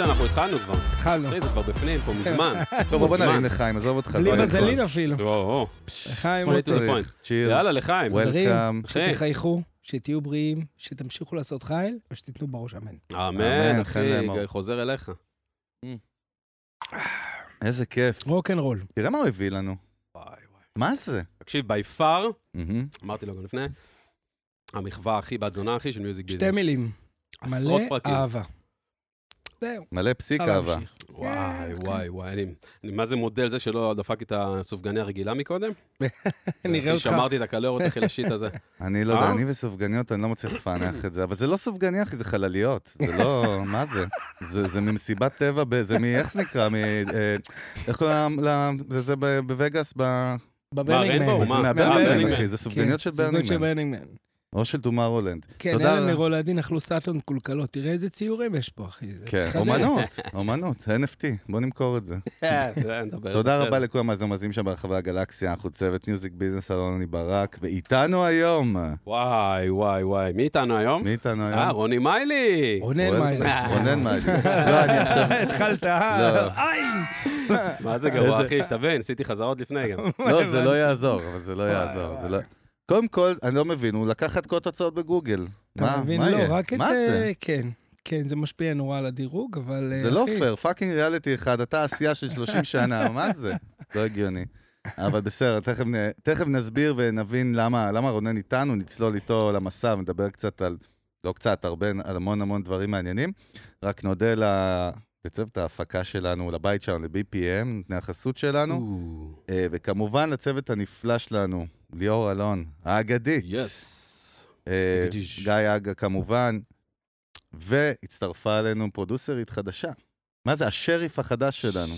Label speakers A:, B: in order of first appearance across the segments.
A: אנחנו התחלנו כבר.
B: התחלנו.
A: אחי, זה כבר בפנים פה מזמן.
C: טוב, בוא
A: מזמן.
C: נרים לחיים, עזוב אותך.
B: בלי
C: זה
B: מזלין
C: הכל.
B: אפילו.
A: או, או.
B: לחיים,
A: כמו
C: לא
A: Straight to the
C: צריך.
A: point.
C: צ'ירס.
A: יאללה, לחיים.
B: חברים,
C: וולקאם.
A: אחי.
B: שתחייכו, שתהיו בריאים, שתמשיכו לעשות חיל ושתיתנו בראש אמן.
A: אמן,
C: אמן, חן לאמור.
A: אחי, חוזר אליך.
C: איזה כיף.
B: רוקנרול.
C: תראה מה הוא הביא לנו.
A: וואי, וואי.
C: מה זה?
A: תקשיב, בי פאר,
C: מהמם.
A: אמרתי לו גם לפני, המחווה הכי בת זונה הכי של מיוזיק ביזנס.
B: שתי מילים,
A: עשרות
B: מלא
A: פרקים.
B: אהבה. זהו,
C: מלא פסיק
B: אפשר
C: אהבה.
B: להמשיך.
A: וואי, וואי, וואי, אני, אני מה זה מודל זה שלא דפקתי את הסופגניה הרגילה מקודם?
B: נראה אותך.
A: שמרתי את הקלוריות אחי לשיט הזה.
C: אני לא יודע,
A: אה?
C: אני וסופגניות, אני לא מצליח לפענח את זה, אבל זה לא סופגניה, אחי, זה חלליות. זה לא... מה זה? זה זה ממסיבת טבע, ב- זה מ... איך זה נקרא? מ... אה, איך קוראים ל- זה- זה ב- בווגאס, ב...
B: בברנינג
A: ריינבואו?
B: אה, מן. כן,
C: זה
A: מה?
C: מהברנינג
A: ברנינג
C: מן,
A: מן.
C: אחי, זה סופגניות של ברנינג מן.
B: ברנינג מן.
C: או של טומארולנד.
B: כן,
C: תודה.
B: אלה מרולדין אכלו סאטון מקולקלות, תראה איזה ציורים יש פה, אחי. זה
C: כן,
B: צריך לדעת.
C: אומנות, אומנות, NFT, בוא נמכור את זה.
A: זה, נדבר על זה
C: תודה
A: אחרי
C: רבה
A: זה.
C: לכל המאזינים המאזינים שם ברחבי הגלקסיה, אנחנו צוות מיוזיק ביזנס, אלון אני ברק, ואיתנו היום,
A: וואי, וואי, וואי, מי איתנו היום?
C: מי איתנו
A: אה,
C: היום?
A: רוני מיילי.
B: רונן
C: רונן-
B: מיילה.
C: רונן מיילי. לא, אני עכשיו...
B: התחלת,
C: לא.
B: אה, איי!
A: מה זה גרוע,
C: איזה-
A: אחי, שתבין, עשיתי חזרות לפני גם.
C: לא, זה לא יעזור, אבל זה לא יעזור. זה לא- קודם כל, אני לא מבין, הוא לקח את כל התוצאות בגוגל. מה,
B: אתה
C: מה
B: מבין?
C: יהיה?
B: לא, רק את...
C: מה זה?
B: אה, כן, כן, זה משפיע נורא על הדירוג, אבל... אה,
C: זה לא
B: אחי,
C: פייר, פאקינג ריאליטי אחד, אתה עשייה של 30 שנה, מה זה? לא הגיוני. אבל בסדר, תכף, נ- תכף נסביר ונבין למה, למה רונן איתנו, נצלול איתו למסע ונדבר קצת על, לא קצת, הרבה, על המון המון דברים מעניינים. רק נודה ל- לצוות ההפקה שלנו, לבית שלנו, ל-BPM, נותני החסות שלנו, אה, וכמובן לצוות הנפלא שלנו, ליאור אלון, האגדית.
A: יס.
C: אה,
A: סטיגדיש.
C: גיא אגה כמובן, והצטרפה אלינו פרודוסרית חדשה. מה זה, השריף החדש שלנו.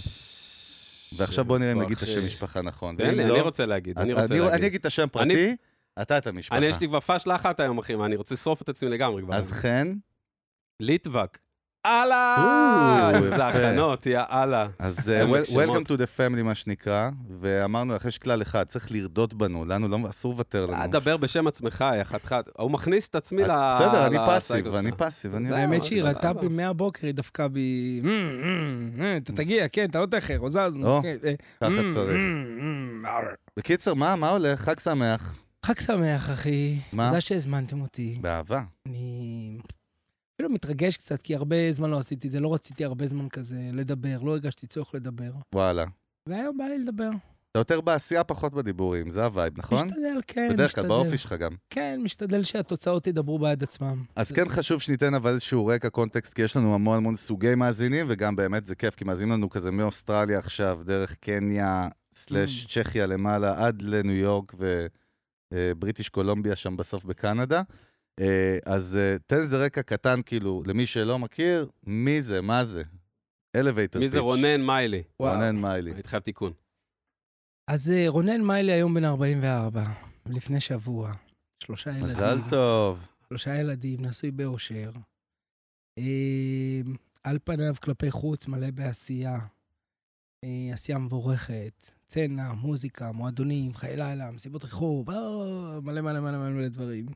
C: ועכשיו בוא נראה אם נגיד את השם משפחה נכון.
A: תן לי,
C: ואם לא,
A: אני רוצה להגיד, אני
C: אני-
A: רוצה
C: אני
A: להגיד.
C: אגיד את השם פרטי, אתה את המשפחה.
A: אני, יש לי כבר פשלה אחת היום, אחי, מה, אני רוצה לשרוף את עצמי לגמרי כבר.
C: אז כן, חן,
A: ליטבק.
C: או,
A: אהלה!
C: יפה.
A: איזה הכנות, יא אללה.
C: אז
A: הם
C: אה, well-
A: שמות.
C: Welcome to the family, מה שנקרא, ואמרנו לך, יש כלל אחד, צריך לרדות בנו, לנו לא, אסור לוותר
A: אל
C: לנו.
A: תדבר בשם עצמך, יא חתיכת. הוא מכניס את עצמי ל...
C: אה, בסדר, אני
A: ל-
C: פאסיב,
A: לסייקוס
C: אני
A: שלך.
C: פאסיב. אני-
A: זה
B: האמת
A: אה,
B: שהיא
A: סבבה.
B: ראתה בי מהבוקר, היא דווקא בי... "מ, מ, מ, אתה תגיע, כן, אתה לא תאחר, הוזזנו.
C: או,
B: כן, אה,
C: ככה
B: "מ,
C: צריך.
B: מ, מ, אר".
C: בקיצר, מה מה הולך? חג שמח.
B: חג שמח, אחי.
C: מה?
B: תודה שהזמנתם אותי.
C: באהבה.
B: אני אפילו מתרגש קצת, כי הרבה זמן לא עשיתי את זה, לא רציתי הרבה זמן כזה לדבר, לא הרגשתי צורך לדבר.
C: וואלה.
B: והיום בא לי לדבר.
C: אתה יותר בעשייה, פחות בדיבורים, זה הווייב, נכון?
B: משתדל, כן, משתדל.
C: בדרך כלל, באופי שלך גם.
B: כן, משתדל שהתוצאות ידברו בעד עצמם.
C: אז
B: זה-
C: כן חשוב שניתן אבל איזשהו רקע קונטקסט, כי יש לנו המון המון סוגי מאזינים, וגם באמת זה כיף, כי מאזינים לנו כזה מאוסטרליה עכשיו, דרך קניה, סלאש
B: Mm.
C: צ'כיה למעלה, עד לניו יורק ובריטיש קולומביה שם בסוף בקנדה. אה, אז אה, תן איזה רקע קטן, כאילו, למי שלא מכיר, מי זה, מה זה? אלווייטר פיץ'.
A: מי זה רונן מיילי?
B: וואו.
C: רונן מיילי.
A: הייתי חייב תיקון.
B: אז אה, רונן מיילי היום בן 44, לפני שבוע. שלושה ילדים.
C: מזל
A: אה.
C: טוב.
B: שלושה ילדים, נשוי באושר. אה, על פניו כלפי חוץ, מלא בעשייה. אה, עשייה מבורכת, צנע, מוזיקה, מועדונים, חיי לילה, מסיבות רחוב, אה, מלא מלא מלא מלא מלא דברים.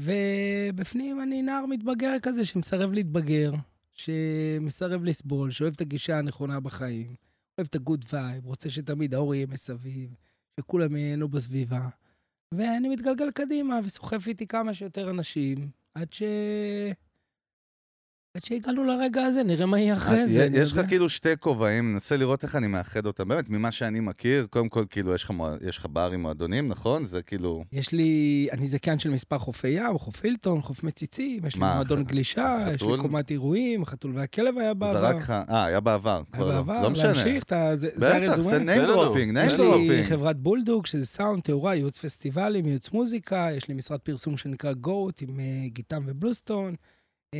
B: ובפנים אני נער מתבגר כזה שמסרב להתבגר, שמסרב לסבול, שאוהב את הגישה הנכונה בחיים, אוהב את הגוד וייב, רוצה שתמיד האור יהיה מסביב, שכולם ייהנו בסביבה. ואני מתגלגל קדימה וסוחף איתי כמה שיותר אנשים, עד ש... עד שהגענו לרגע הזה, נראה מה יהיה אחרי זה. אני
C: יש לך
B: יודע.
C: כאילו שתי כובעים, ננסה לראות איך אני מאחד אותם. באמת, ממה שאני מכיר, קודם כל, כאילו, יש לך מוע- יש לך ברים מועדונים, נכון? זה כאילו...
B: יש לי, אני זכיין של מספר חופי ים, חוף הילטון, חוף מציצים, יש לי
C: מה,
B: מועדון
C: ח-
B: גלישה, יש לי
C: חתול?
B: קומת אירועים, החתול והכלב היה בעבר.
C: זרק לך... אה, היה בעבר.
B: היה
C: כבר לא.
B: בעבר,
C: לא משנה.
B: להמשיך, אתה- זה זה
C: בטח, זה
B: הרזומה.
C: name
A: לנו.
C: dropping,
B: יש
C: name
B: לי
C: dropping.
B: חברת בולדוג, שזה סאונד, תאורה, ייעוץ פסטיבלים, ייעוץ מוזיקה, יש לי משרד פרסום שנקרא גוט עם אה, גיטם ובלוסטון, אה,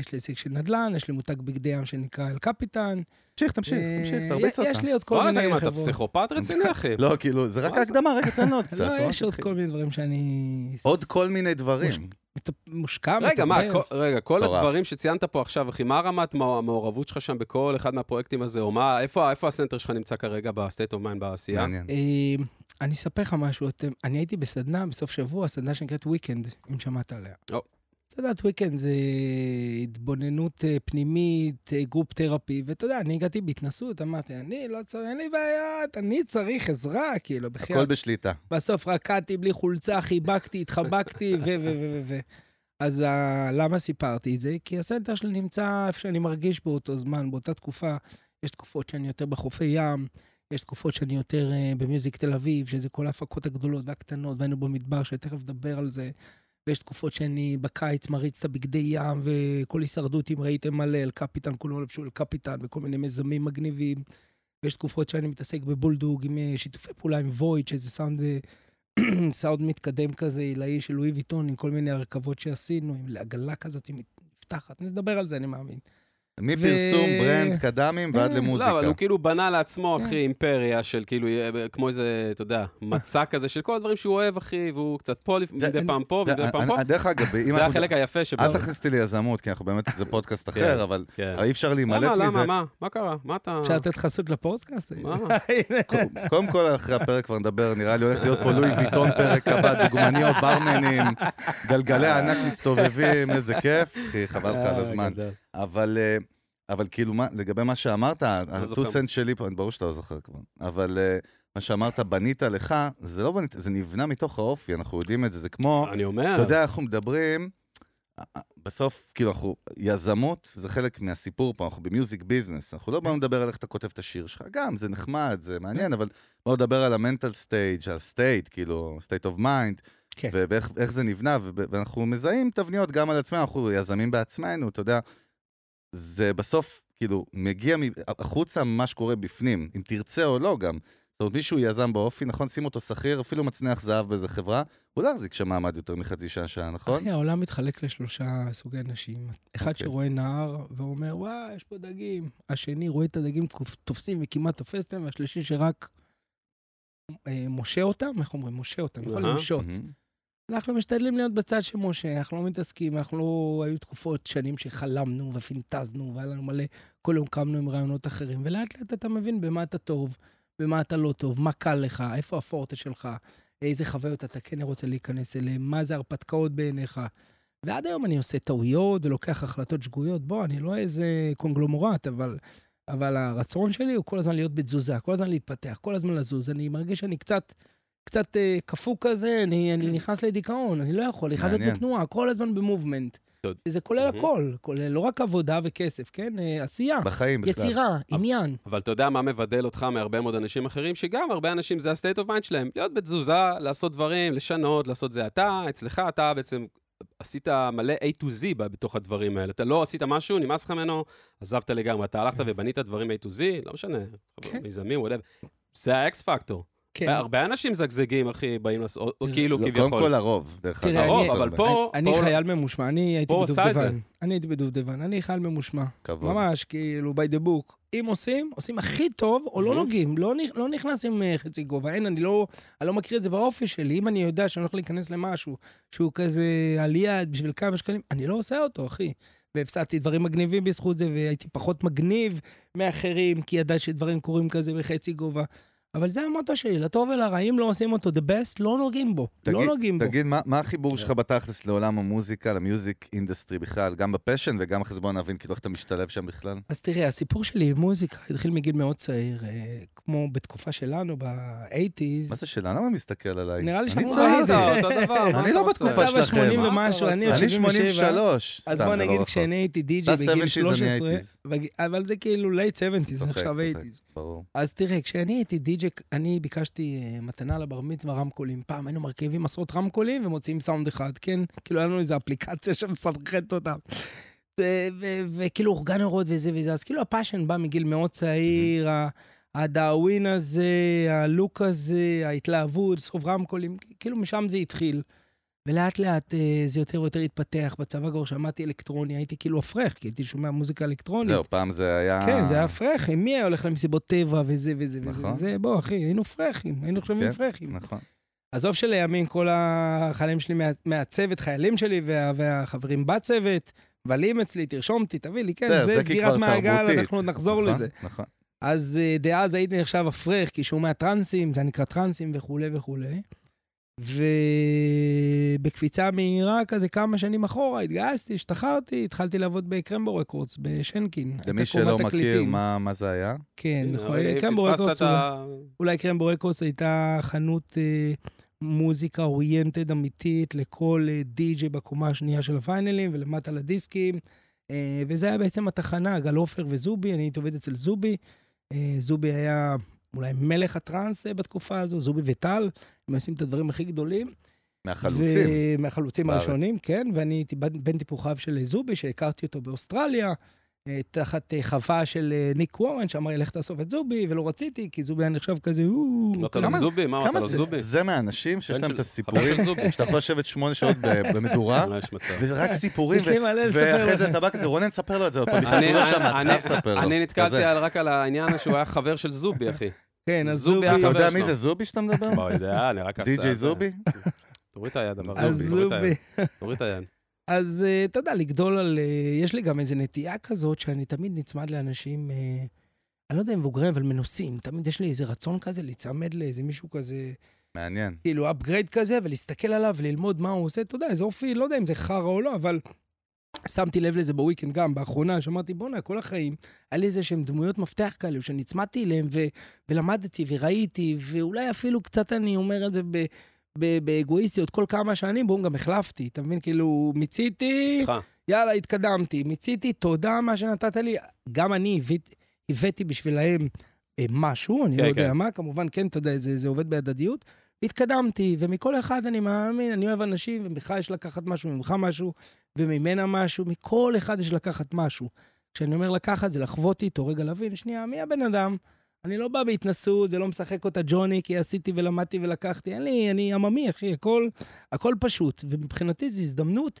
B: יש לי עסק של נדל"ן, יש לי מותג בגדי ים שנקרא אל קפיטן.
C: תמשיך, תמשיך,
B: אה,
C: תמשיך,
B: יש-
C: תרביץ אותה.
B: יש לי עוד כל
A: וואלה, תגיד,
B: מיני
A: מה, אתה
B: חברות.
A: פסיכופת רציני, אחי?
C: לא, כאילו, זה רק
A: מה זה?
C: ההקדמה, רגע, תן לו עוד קצת.
B: לא,
C: עוד
B: יש עוד
C: תתחיל.
B: כל מיני דברים שאני...
C: עוד כל מיני
A: אה,
C: דברים.
B: מת- מושקע,
A: רגע, מה,
B: מתגבר.
A: כל- רגע, כל
C: מטורף.
A: הדברים שציינת פה עכשיו, אחי, מה רמת מע- המעורבות שלך שם בכל אחד מהפרויקטים הזה, או מה, איפה איפה הסנטר שלך נמצא כרגע בסטייט אוף מיינד בעשייה?
C: מעניין.
B: אה, אני אספר לך משהו, אתם, אני הייתי בסדנה בסוף שבוע, סדנה שנקראת ויקנד, אם שמעת עליה.
A: או.
B: את יודעת, וויקנד זה התבוננות אה, פנימית, אה, גרופ תרפי, ואתה יודע, אני הגעתי בהתנסות, אמרתי, אני לא צריך, אין לי בעיה, אני צריך עזרה, כאילו,
C: הכל
B: בחייאת.
C: בשליטה.
B: בסוף רקדתי בלי חולצה, חיבקתי, התחבקתי, ו... ו... ו... ו... ו... אז ה... למה סיפרתי את זה? כי הסנטר שלי נמצא איפה שאני מרגיש באותו זמן, באותה תקופה. יש תקופות שאני יותר בחופי ים, יש תקופות שאני יותר uh, במיוזיק תל אביב, שזה כל ההפקות הגדולות והקטנות, והיינו במדבר, שתכף נדבר על זה. ויש תקופות שאני בקיץ מריץ את הבגדי ים, וכל הישרדות, אם ראיתם מלא, אל קפיטן, כולם לבשו אל קפיטן, וכל מיני מיזמים מגניבים. ויש תקופות שאני מתעסק בבולדוג עם אה, שיתופי פעולה עם וויד, שזה סאונד, אה, סאונד מתקדם כזה, עילאי של לואי ויטון, עם כל מיני הרכבות שעשינו, עם לעגלה כזאת, היא נפתחת. נדבר על זה, אני מאמין.
A: אה.
C: מפרסום, ברנד, קדמים ועד
B: אה,
A: לא, אבל
C: למוזיקה.
A: הוא כאילו בנה לעצמו,
B: כן.
A: אחי, אימפריה של כאילו, אה, כמו איזה, אתה יודע, מצע כזה של כל הדברים שהוא אוהב, אחי, והוא קצת פה, לפ-
C: זה-
A: מדי פעם פה,
C: זה-
A: כאילו מדי פעם פה.
C: אני- דרך אגב, אם
A: זה
C: אנחנו-
A: החלק היפה שבו.
C: אל תכניס אותי ליזמות, כי אנחנו באמת, זה פודקאסט אחר, אבל
A: כן.
C: אי אפשר להימלט
A: למה,
C: מזה.
A: למה, מה? מה קרה? מה אתה...
B: אפשר לתת חסות לפודקאסט?
A: מה?
C: ק- קודם כל, אחרי הפרק כבר נדבר, נראה לי הולך להיות פה לואי ויטון פרק הבא, דוגמניות, ברמנים, גלגלי ענק מסתובבים, איזה כיף. אחי, חבל לך
B: אה,
C: על הזמן.
A: גדל.
C: אבל, אה, אבל כאילו, מה, לגבי מה שאמרת,
A: זוכר.
C: הטו סנט שלי פה, ברור שאתה לא זוכר כבר, אבל אה, מה שאמרת, בנית לך, זה לא בנית, זה נבנה מתוך האופי, אנחנו יודעים את זה, זה כמו,
A: אני אומר.
C: אתה יודע, אנחנו מדברים, אה, אה, בסוף, כאילו, אנחנו, יזמות, זה חלק מהסיפור פה, אנחנו במיוזיק ביזנס, אנחנו לא באנו לדבר על איך אתה כותב את השיר שלך, גם, זה נחמד, זה מעניין, אבל בואו נדבר על המנטל סטייג', על סטייט, כאילו, סטייט אוף מיינד,
B: כן.
C: ו- ואיך איך זה נבנה, ו- ואנחנו מזהים תבניות גם על עצמנו, אנחנו יזמים בעצמנו, אתה יודע, זה בסוף, כאילו, מגיע מ- החוצה מה שקורה בפנים, אם תרצה או לא גם. זאת אומרת, מישהו יזם באופי, נכון? שים אותו שכיר, אפילו מצנח זהב באיזה חברה, הוא לא יחזיק שם מעמד יותר מחצי שעה-שעה, נכון?
B: אחי, העולם מתחלק לשלושה סוגי אנשים. אחד
C: אוקיי.
B: שרואה נהר ואומר, וואי, יש פה דגים. השני רואה את הדגים קופ- תופסים וכמעט תופס אותם, והשלישי שרק אה, משה אותם, איך אומרים? משה אותם, יכול
A: אהה.
B: למשות.
C: מהמם.
B: אנחנו משתדלים להיות בצד של משה, אנחנו לא מתעסקים, אנחנו לא... היו תקופות, שנים שחלמנו ופינטזנו, והיה לנו מלא, כל יום קמנו עם רעיונות אחרים, ולאט לאט אתה מבין במה אתה טוב, במה אתה לא טוב, מה קל לך, איפה הפורטה שלך, איזה חוויות אתה כן רוצה להיכנס אליהן, מה זה הרפתקאות בעיניך. ועד היום אני עושה טעויות ולוקח החלטות שגויות. בוא, אני לא איזה קונגלומורט, אבל, אבל הרצון שלי הוא כל הזמן להיות בתזוזה, כל הזמן להתפתח, כל הזמן לזוז. אני מרגיש שאני קצת, קצת אה, קפוא כזה, אני, אני נכנס לדיכאון, אני לא יכול, אני חייב להיות
C: מעניין.
B: בתנועה, כל הזמן במובמנט.
A: טוב.
B: שזה כולל
A: מהמם.
B: הכל, כולל לא רק עבודה וכסף, כן? אה, עשייה,
C: בחיים בכלל.
B: יצירה, עניין.
A: אבל אתה יודע מה מבדל אותך מהרבה מאוד אנשים אחרים, שגם הרבה אנשים זה ה-state of mind שלהם, להיות בתזוזה, לעשות דברים, לשנות, לעשות זה אתה, אצלך אתה בעצם עשית מלא A to Z ב- בתוך הדברים האלה. אתה לא עשית משהו, נמאס לך ממנו, עזבת לגמרי, אתה הלכת ובנית דברים A to Z, לא משנה,
B: כן.
A: מיזמים, וואטאבר. זה האקס פקטור.
B: כן.
A: הרבה אנשים מזגזגים, אחי, באים לעשות, או
B: לא,
A: כאילו,
C: לא,
A: כביכול.
C: קודם כל הרוב, דרך
B: תראה,
C: אגב.
A: הרוב,
C: זה
A: אבל
C: הרבה.
A: פה-
B: אני
A: פה-
B: חייל ממושמע, אני הייתי
A: פה עשה את זה.
B: בדובדבן. אני הייתי בדובדבן, אני חייל ממושמע.
C: כבוד.
B: ממש, כאילו, by the book. אם עושים, עושים הכי טוב, או לא
A: Mhm.
B: נוגעים, לא, נכ- לא נכנס עם אה, חצי גובה. אין, אני לא, אני לא מכיר את זה באופי שלי. אם אני יודע שאני הולך להיכנס למשהו שהוא כזה על יד בשביל כמה שקלים, אני לא עושה אותו, אחי. והפסדתי דברים מגניבים בזכות זה, והייתי פחות מגניב מאחרים, כי ידעתי שדברים קורים כזה בחצי גובה. אבל זה המוטו שלי, לטוב ולרע, אם לא עושים אותו the best, לא נוגעים בו. לא נוגעים בו.
C: תגיד, מה, מה
B: כן.
C: החיבור שלך בתכלס לעולם המוזיקה, למיוזיק אינדסטרי בכלל, גם בפשן וגם אחרי זה בוא נבין כאילו איך אתה משתלב שם בכלל?
B: אז תראה, הסיפור שלי עם מוזיקה התחיל מגיל מאוד צעיר, אה, כמו בתקופה שלנו, ב-80's.
C: מה זה שאלה? למה מסתכל עליי?
B: נראה לי
C: אני
B: שאמרו
C: צעיר.
A: אה,
B: לי.
A: אתה אותו דבר, מה
C: אני
A: אתה
C: לא
A: רוצה?
C: בתקופה
B: אתה
C: שלכם,
B: ב-80
C: מה?
B: ומשהו, אני
A: אני לא
B: עוד
C: אני
B: 77.
C: 83.
B: אז
C: סתם,
B: בוא
C: זה לא
B: נגיד,
C: רחוק.
B: כשאני הייתי די
C: אתה
B: בגיל
C: 70s, אני
B: 13,
C: 80s.
B: בג- אבל זה כאילו לייט 70's, זה
C: צוחק,
B: נחשב
C: צוחק.
B: 80's.
C: ברור.
B: אז תראה, כשאני הייתי די-ג'י, אני ביקשתי אה, מתנה לבר מצווה רמקולים. פעם היינו מרכיבים עשרות רמקולים ומוציאים סאונד אחד, כן? כאילו, היה לנו איזו אפליקציה שמסנכרנת אותם. ו- ו- וכאילו, אורגנרות וזה וזה. אז כאילו, הפאשן בא מגיל מאוד צעיר, ה- הדאווין הזה, הלוק הזה, ההתלהבות, סחוב רמקולים, כאילו, משם זה התחיל. ולאט לאט אה, זה יותר ויותר התפתח. בצבא כבר שמעתי אלקטרוני, הייתי כאילו הפרך, כי הייתי שומע מוזיקה אלקטרונית.
C: זהו, פעם זה היה...
B: כן, זה היה פרחים. מי היה הולך למסיבות טבע וזה וזה וזה?
C: אה. נכון.
B: זה, בוא, אחי, היינו פרחים, היינו חושבים
C: כן.
B: פרחים.
C: נכון.
B: עזוב שלימים כל החיילים שלי מה- מהצוות, חיילים שלי וה- והחברים בצוות, מבלים אצלי, תרשום אותי, תביא לי, כן,
C: זהו,
B: זה
C: כי
B: סגירת
C: כבר
B: מעגל,
C: תרבותית.
B: אנחנו עוד נחזור
C: נכון,
B: לזה.
C: נכון.
B: אז אה, דאז הייתי נחשב הפרך, כי שומע טרנסים, זה נקרא טרנסים וכולי וכולי. ובקפיצה מהירה כזה כמה שנים אחורה, התגייסתי, השתחררתי, התחלתי לעבוד בקרמבו רקורדס, בשנקין.
C: למי
B: הייתה
C: שלא
B: קומת
C: מכיר,
B: תקליטים.
C: מה מה זה היה?
B: כן,
A: הנה,
B: נכון,
A: אבל
B: קרמבו
A: אה, פספסת
B: רקורדס,
A: את ה-
B: אולי קרמבו רקורדס הייתה חנות אה, מוזיקה אוריינטד אמיתית לכל אה, די-ג'יי בקומה השנייה של הוויינלים ולמטה לדיסקים. אה, וזה היה בעצם התחנה, גל עופר וזובי, אני הייתי עובד אצל זובי. אה, זובי היה אולי מלך הטראנס אה, בתקופה הזו, זובי וטל, הם עושים את הדברים הכי גדולים.
C: מהחלוצים.
B: ו- מהחלוצים
C: בארץ.
B: הראשונים, כן, ואני הייתי בן בן טיפוחיו של זובי, שהכרתי אותו באוסטרליה, אה, תחת אה, חווה של אה, ניק וורן, שאמר לי, לך תאסוף את זובי, ולא רציתי, כי זובי היה נחשב כזה, "או,
A: אמרת
B: כזה."
A: לו לא זובי, מה אמרת
C: כמה
A: לו
C: זה-
A: אה, זובי?
C: זה מהאנשים שיש
A: בן
C: להם
A: של-
C: את הסיפורים,
A: חבר של זובי.
C: שאתה יכול לשבת שמונה שעות ב- במדורה,
A: לא, יש מצב.
C: וזה רק סיפורים,
B: יש
C: ו-
B: לי מלא לספר
C: ואחרי זה
B: לכם.
C: אתה בא כזה, רונן, ספר לו את זה, עוד פעם, בכלל
A: אני-
C: הוא לא שם,
A: אני-
C: אתה חייב לספר לו.
A: אני
C: כזה.
A: נתקלתי על- רק על העניין שהוא היה חבר של זובי, אחי.
B: כן, אז
A: זובי
B: זובי,
A: היה
C: אתה יודע
A: חבר
C: מי
A: שלו.
C: זה זובי שאתה מדבר?
A: בוא, יודע, אני רק עשה...
C: די.ג'יי
A: זה.
C: זובי?
A: תוריד את היד, אבל.
B: אז
A: תוריד את היד,
B: זובי.
A: תוריד את היד.
B: אז אה, אתה יודע, לגדול על... אה, יש לי גם איזו נטייה כזאת, שאני תמיד נצמד לאנשים, אה, אני לא יודע אם מבוגרים, אבל מנוסים. תמיד יש לי איזה רצון כזה להיצמד לאיזה מישהו כזה...
C: מעניין.
B: כאילו upgrade כזה, ולהסתכל עליו, ללמוד מה הוא עושה, אתה יודע, זה אופי, לא יודע אם זה חרא או לא, אבל שמתי לב לזה בוויקנד גם, באחרונה, שאמרתי, בואנה, כל החיים, היה לי איזה שהם דמויות מפתח כאלו, שנצמדתי אליהם, ו- ולמדתי, וראיתי, ואולי אפילו קצת אני אומר את זה ב... ב- באגואיסטיות, כל כמה שנים, בום, גם החלפתי, אתה מבין? כאילו, מיציתי,
A: איתך.
B: יאללה, התקדמתי, מיציתי, תודה מה שנתת לי. גם אני הבאתי, הבאתי בשבילהם אה, משהו, אני
A: כן,
B: לא יודע
A: כן.
B: מה, כמובן, כן, אתה יודע, זה, זה עובד בהדדיות. התקדמתי, ומכל אחד אני מאמין, אני אוהב אנשים, וממך יש לקחת משהו, ממך משהו, וממנה משהו, מכל אחד יש לקחת משהו. כשאני אומר לקחת, זה לחוות איתו, רגע להבין, שנייה, מי הבן אדם? אני לא בא בהתנסות, זה לא משחק אותה ג'וני, כי עשיתי ולמדתי ולקחתי, אין לי, אני עממי, אחי, הכל, הכל פשוט. ומבחינתי זו הזדמנות,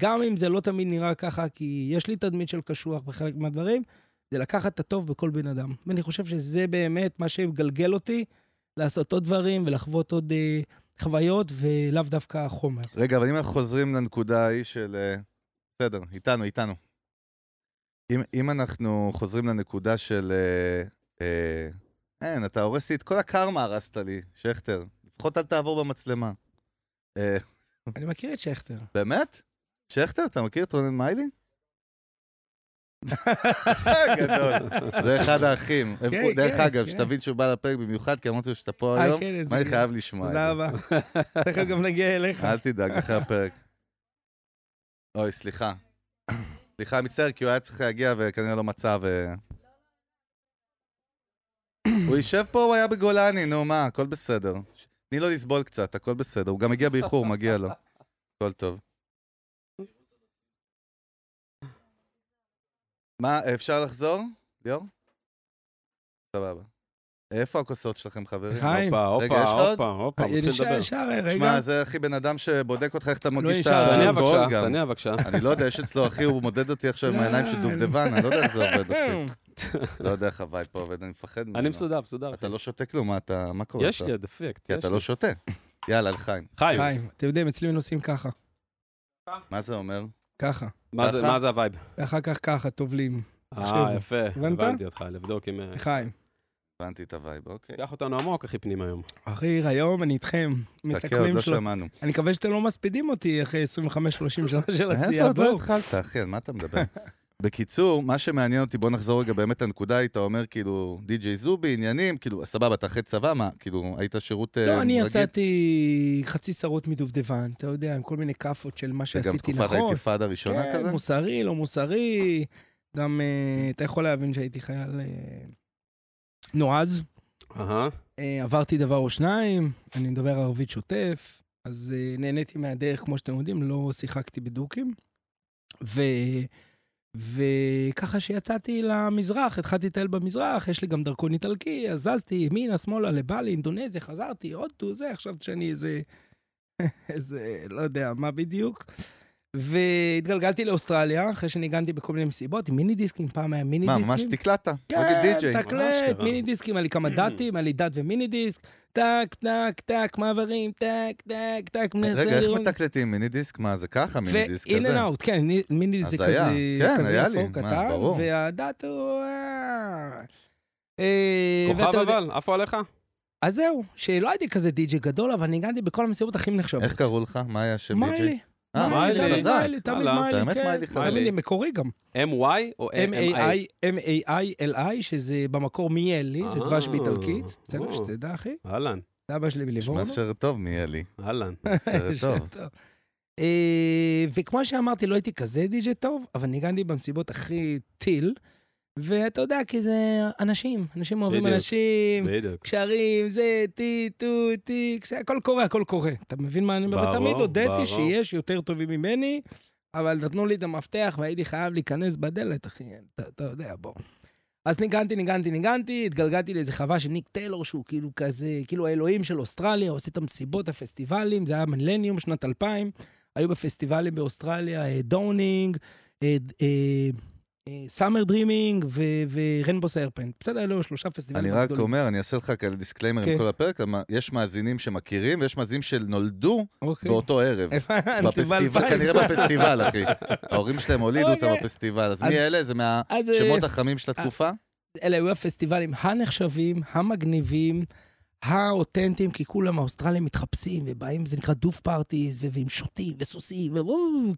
B: גם אם זה לא תמיד נראה ככה, כי יש לי תדמית של קשוח בחלק מהדברים, זה לקחת את הטוב בכל בן אדם. ואני חושב שזה באמת מה שמגלגל אותי, לעשות עוד דברים ולחוות עוד אה, חוויות, ולאו דווקא חומר.
C: רגע, אבל אם אנחנו חוזרים לנקודה ההיא של... אה, בסדר, איתנו, איתנו. אם, אם אנחנו חוזרים לנקודה של... אה, אה, אין, אתה הורס לי את כל הקרמה הרסת לי, שכטר. לפחות אל תעבור במצלמה. אה,
B: אני מכיר את שכטר.
C: באמת? שכטר, אתה מכיר את רונן מיילי? גדול. זה אחד האחים.
B: כן,
C: הוא- דרך
B: כן,
C: אגב,
B: כן.
C: שתבין שהוא בא לפרק במיוחד, כי אמרתי לו שאתה פה
B: אה,
C: היום,
B: כן, איזה
C: מה אה, אני
B: גדול.
C: חייב לשמוע את זה.
B: תודה רבה. תכף גם נגיע אליך.
C: אל תדאג, אחרי הפרק. אוי, סליחה. סליחה, מצטער, כי הוא היה צריך להגיע וכנראה לא מצא ו... הוא יושב פה, הוא היה בגולני, נו מה, הכל בסדר. ש- תני לו לסבול קצת, הכל בסדר. הוא גם הגיע באיחור, מגיע לו. הכל טוב. מה, אפשר לחזור, ליאור? סבבה. איפה הכוסות שלכם, חברים?
B: חיים.
A: הופה,
C: רגע,
A: הופה,
C: יש לך עוד?
A: הופה,
B: אה,
A: הופה, מתחיל לדבר.
B: נשאר, נשאר, רגע.
C: תשמע, זה הכי בן אדם שבודק אותך איך אתה מרגיש את
B: נשאר, תענה
A: תענה
C: הגול
A: בבקשה,
C: גם.
A: תענה בבקשה.
C: אני לא יודע, יש אצלו אחי, הוא מודד אותי עכשיו עם
B: לא.
C: העיניים של דובדבן, אני לא יודע איך זה עובד
B: כן.
C: אחי. לא יודע איך הווי פה עובד, אני מפחד ממנו.
A: אני מסודר, מסודר.
C: אתה לא שותה כלום, מה אתה, מה קורה?
A: יש
C: אתה?
A: לי, דפקט.
C: כי
A: יש
C: אתה
A: לי.
C: לא שותה. יאללה, לחיים.
A: חיים,
B: חיים, אתם יודעים, אצלי הם נוסעים ככה,
C: מה זה אומר?
B: ככה,
A: מה זה-
C: ככה?
A: מה זה הווייב?
B: ואחר כך ככה, טובלים. תחשבו.
A: אה, יפה,
B: הבנת?
A: הבנתי אותך, לבדוק אם... אה,
B: חיים,
C: הבנתי את הווייב, אוקיי.
A: קח אותנו עמוק, אחי פנים היום.
B: אחי, היום אני איתכם.
C: חכה, עוד
B: מסכמים
C: לא
B: שלו.
C: שמענו.
B: אני מקווה שאתם לא מספידים אותי אחרי 25-30 שנה של
C: איזה
B: עשייה.
C: עוד לא
B: בואו.
C: התחלת, אחי, על מה אתה מדבר? בקיצור, מה שמעניין אותי, בוא נחזור רגע באמת לנקודה, היית אומר כאילו, די.ג'יי זובי, עניינים, כאילו, סבבה, אתה אחרי צבא, מה, כאילו, היית שירות אה,
B: לא, אני
C: רגיל?
B: יצאתי חצי שרוט מדובדן, אתה יודע, עם כל מיני כאפות של מה
C: זה גם
B: שעשיתי
C: תקופת
B: נכון.
C: האינתיפאדה הראשונה כזה?
B: כן, מוסרי, לא מוסרי. גם אה, אתה יכול להבין שהייתי חייל אה, נועז.
A: אהה.
B: אה, עברתי דבר או שניים, אני מדבר ערבית שוטף, אז אה, נהניתי מהדרך, כמו שאתם יודעים, לא שיחקתי בדוקים. ו... וככה שיצאתי למזרח, התחלתי לטייל במזרח, יש לי גם דרכון איטלקי, אז זזתי ימינה, שמאלה, לבלי, אינדונזיה, חזרתי, הודו, זה, חשבתי שאני איזה... איזה, לא יודע מה בדיוק. והתגלגלתי לאוסטרליה, אחרי שניגנתי בכל מיני מסיבות, עם מיני דיסקים, פעם היה מיני
C: מה,
B: דיסקים.
C: ממש תקלטת? רק
B: כן,
C: די.ג'יי.
A: ממש
B: תקלט,
A: קרה.
B: מיני דיסקים, היה לי כמה דאטים, היה לי דאט ומיני דיסק, טק, טק, טק, מעברים, טק, טק, טק, מנסה
C: אה, רגע, איך
B: לראות.
C: מתקלטים מיני דיסק? מה, זה ככה מיני דיסק
B: ו-in
C: כזה?
B: and out, כן, מי- מיני דיסק
C: אז
B: זה
C: היה,
B: כזה,
C: כן,
B: כזה
C: היה
B: יפו,
C: לי, מה,
B: קטן,
C: ברור.
B: והדאט הוא... אה, אה, ואתה
A: כוכב
B: יודע-
A: אבל, עפו עליך?
B: אז זהו, שלא הייתי כזה די-ג'י גדול, אבל ניגנתי בכל המסיבות הכי נחשבות.
C: איך קראו לך? מה היה השם די.ג'יי?
B: מיילי.
C: אה,
A: מיילי,
B: תמיד
C: חזק.
B: מיילי, תמיד
A: וואלה.
B: מיילי,
C: באמת
B: כן.
C: מיילי חזק.
B: מיילי מקורי גם.
A: M-Y או M-A-I?
B: M-A-I-L-I, שזה במקור מיאלי, זה
A: אה,
B: דבש באיטלקית. בסדר,
A: או.
B: שתדע, אחי.
A: אהלן,
B: זה אבא שלי
C: מה
B: מליבורנו.
C: סרט טוב נהיה לי.
A: אהלן.
C: סרט טוב.
B: אה, וכמו שאמרתי, לא הייתי כזה די-ג'י טוב, אבל ניגנתי במסיבות הכי טיל. ואתה יודע, כי זה אנשים, אנשים אוהבים
A: בדיוק.
B: אנשים,
A: בדיוק.
B: קשרים, זה, טי, טו, טי, כש- הכל קורה, הכל קורה. אתה מבין מה אני אומר?
A: ברור,
B: ותמיד הודיתי
A: ברור.
B: שיש יותר טובים ממני, אבל נתנו לי את המפתח והייתי חייב להיכנס בדלת, אחי, אתה, אתה יודע, בוא. אז ניגנתי, ניגנתי, ניגנתי, התגלגלתי לאיזה חווה של ניק טיילור, שהוא כאילו כזה, כאילו האלוהים של אוסטרליה, הוא עושה את המסיבות, הפסטיבלים, זה היה מילניום, שנת 2000, היו בפסטיבלים באוסטרליה, אה, דאונינג, אה, סאמר דרימינג ורנבו סיירפנט. בסדר, אלו שלושה פסטיבלים
C: אני
B: גדולים.
C: רק אומר, אני אעשה לך כאלה דיסקליימר עם
B: כן.
C: כל הפרק, למה- יש מאזינים שמכירים ויש מאזינים שנולדו
B: אוקיי.
C: באותו ערב.
B: הבנתי,
C: בפסטיבל,
B: ב-2000.
C: כנראה בפסטיבל, אחי. ההורים שלהם הולידו אותם
B: אוקיי.
C: בפסטיבל. אז
B: אז-
C: מי אלה? זה
B: אז, אה,
C: מהשמות החמים של התקופה?
B: אלה היו הפסטיבלים הנחשבים, המגניבים, האותנטיים, כי כולם האוסטרלים מתחפשים, ובאים, זה נקרא דוף פארטיז, ו- ועם שוטים וסוסים, ו-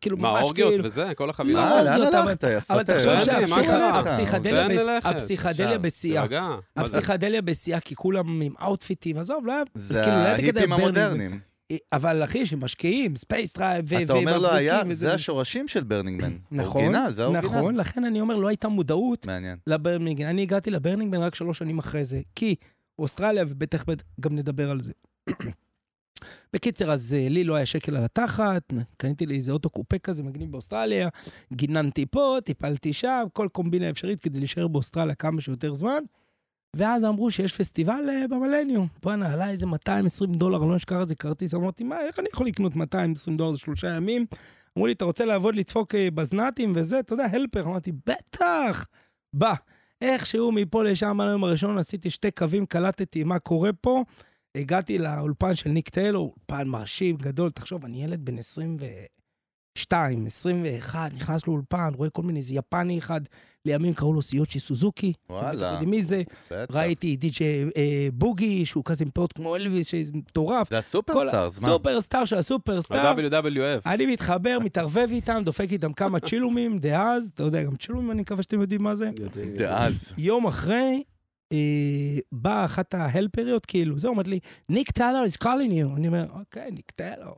B: כאילו
A: מה,
B: ממש
A: אורגיות
B: כאילו.
A: וזה? כל
B: לא,
A: החבילה?
C: מה, אה, לאן
B: אורגיות, אבל-
C: הלכת? יא
B: אבל
C: סוטה?
B: תחשוב
A: זה, מה קרה?
B: שהפסיכדליה
A: תן
B: הפסיכדליה בס-
A: ללכת.
B: הפסיכדליה
C: ישר,
B: בשיאה.
A: תירגע. מה זה?
B: הפסיכדליה בשיאה, כי כולם עם האוטפיטים, עזוב, לא היה...
C: זה
B: כאילו, לא היה כדי
C: ההיפים
B: הברנינג.
C: המודרנים.
B: אבל אחי, שמשקיעים, ספייס דרייב, ו-
C: אתה אומר לא
B: ומבריקים
C: היה,
B: וזה-
C: זה השורשים של ברנינג מן.
B: נכון,
C: אורגינל, זה האורגינל.
B: נכון, לכן אני אומר, לא הייתה מודעות
C: מעניין.
B: לברמינגן. אני הגעתי לברנינגן רק שלוש שנים אחרי זה, כי אוסטרליה, ובטח בטח גם נדבר על זה. בקיצר, אז אה, לי לא היה שקל על התחת, קניתי לי איזה אוטו קופה כזה מגניב באוסטרליה, גיננתי פה, טיפלתי שם, כל קומבינה אפשרית כדי להישאר באוסטרליה כמה שיותר זמן. ואז אמרו שיש פסטיבל אה, במילניום. בואנה, עלה איזה 220 דולר, לא אשכח איזה כרטיס. אמרתי, מה, איך אני יכול לקנות 220 דולר זה שלושה ימים? אמרו לי, אתה רוצה לעבוד, לדפוק אה, בזנתים וזה, אתה יודע, הלפר. אמרתי, בטח, בא. איכשהו מפה לשם, על היום הראשון עשיתי שתי קווים, קלטתי מה קורה פה. הגעתי לאולפן של ניק טיילור, אולפן מרשים, גדול. תחשוב, אני ילד בן 22, 21, נכנס לאולפן, רואה כל מיני, איזה יפני אחד, לימים קראו לו סיוצ'י סוזוקי.
C: וואלה.
B: אתם יודעים מי זה?
C: בטח.
B: ראיתי די.ג'יי אה, בוגי, שהוא כזה עם פאות כמו אלוויס, שמטורף.
C: זה הסופרסטארס, מה?
B: סופרסטאר של הסופרסטאר.
A: ה-WWF.
B: אני מתחבר, מתערבב איתם, דופק איתם כמה צ'ילומים, דאז, אתה יודע, גם צ'ילומים, אני מקווה שאתם יודעים מה זה.
C: דאז.
B: יום אחרי, אה, באה אחת ההלפריות, כאילו, זה אומרת לי, ניק טיילר is calling you. אני אומר, אוקיי, ניק טיילר.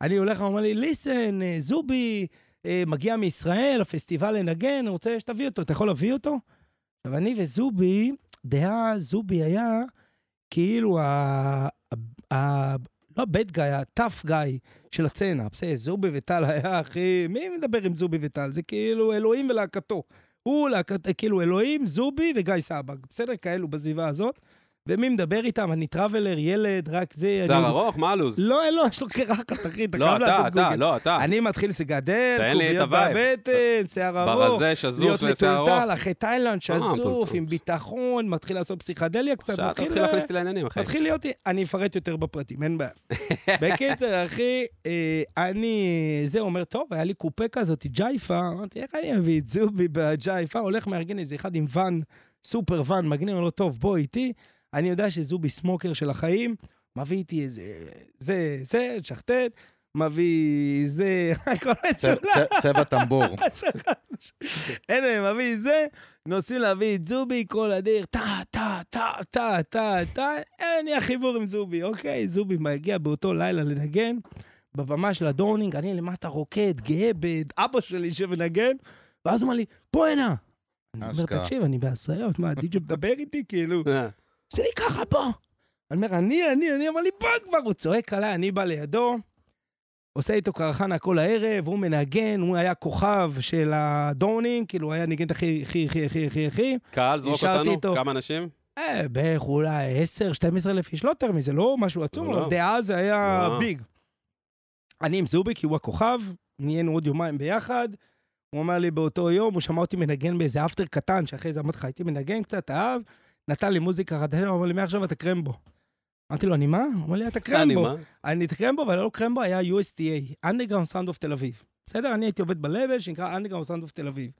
B: אני הולך ואומר לי, ליסן, אה, זובי, אה, מגיע מישראל, הפסטיבל לנגן, אני רוצה שתביא אותו, אתה יכול להביא אותו? עכשיו, אני וזובי, דעה, זובי היה כאילו ה... ה... ה... לא הבד גיא, הטאף גיא של הצנע. בסדר, זובי וטל היה הכי... מי מדבר עם זובי וטל? זה כאילו אלוהים ולהקתו. הוא להקת... כאילו אלוהים, זובי וגיא סבג. בסדר? כאלו בסביבה הזאת. ומי מדבר איתם? אני טראבלר, ילד, רק זה...
A: שר
B: אני-
A: ארוך? מה הלו"ז?
B: לא, אין לו, יש לו קרחת, אחי, אתה
A: לא,
B: חייב
A: אתה,
B: לעשות
A: אתה,
B: גוגל.
A: לא, אתה.
B: אני מתחיל לגדל,
A: תן לי את
B: קוביות
A: הווייב.
B: בבטן, שיער ארוך,
A: ברזה שזוף
B: להיות
A: לשיער ארוך.
B: מטולטל, אחרי תאילנד שזוף,
A: אה, מטולטל.
B: עם ביטחון, מתחיל לעשות פסיכדליה קצת,
A: עכשיו אתה
B: מתחיל
A: מתחיל להכניס כן. אותי לעניינים, אחי.
B: מתחיל להיות, אני אפרט יותר בפרטים, אין בעיה. בקיצר, אחי, אה, אני, זה אומר, טוב, היה לי קופה כזאת, ג'ייפה, אמרתי, איך אני אביא את זובי בג'ייפה? הולך מארגן איזה אחד עם ואן, סופר ואן, מגניב, אומר לו, טוב, בוא איתי, אני יודע שזובי סמוקר של החיים, מביא איתי איזה, זה, זה, שחטט, מביא זה, הכל
C: צבע-
B: מצולם.
C: צבע- צבע טמבור.
B: שכחנו ש- אין להם, מביא זה, נוסעים להביא את זובי כל הדרך, טה, טה, טה, טה, טה, טה, אין לי החיבור עם זובי, אוקיי? זובי מגיע באותו לילה לנגן, בבמה של הדורנינג, אני למטה רוקד, גאה באבא שלי שמנגן, ואז הוא אומר לי, בוא הנה. אני אומר,
C: אשכרה.
B: תקשיב, אני בהסיות, מה, הדיג'י מדבר איתי? כאילו,
A: אה,
B: זה לי ככה, בוא. אני אומר, אני, אני, אני, אמר לי, בוא כבר. הוא צועק עליי, אני בא לידו, עושה איתו קרחנה כל הערב, הוא מנגן, הוא היה כוכב של הדורנינג, כאילו, הוא היה ניגן את הכי, הכי, הכי, הכי, הכי, הכי.
A: קהל, זרוק
B: נשארתי איתו.
A: אותנו. כמה אנשים?
B: אה, בערך אולי 10, 12 אלף איש, לא יותר מזה, לא משהו עצום,
A: לא.
B: אבל דאז זה היה
A: לא.
B: ביג. אני עם זובי, כי הוא הכוכב, נהיינו עוד יומיים ביחד. הוא אמר לי באותו יום, הוא שמע אותי מנגן באיזה אפטר קטן, שאחרי זה אמרתי לך, הייתי מנגן קצת, אהב, נתן לי מוזיקה חדשה, הוא אמר לי, מעכשיו אתה קרמבו. אמרתי לו, אני מה? הוא אמר לי, אתה
A: אני,
B: קרמבו.
A: מה?
B: אני את קרמבו, אבל לא קרמבו היה USTA, Underground Sound of תל אביב. בסדר? אני הייתי עובד בלבל שנקרא Underground Sound of תל אביב.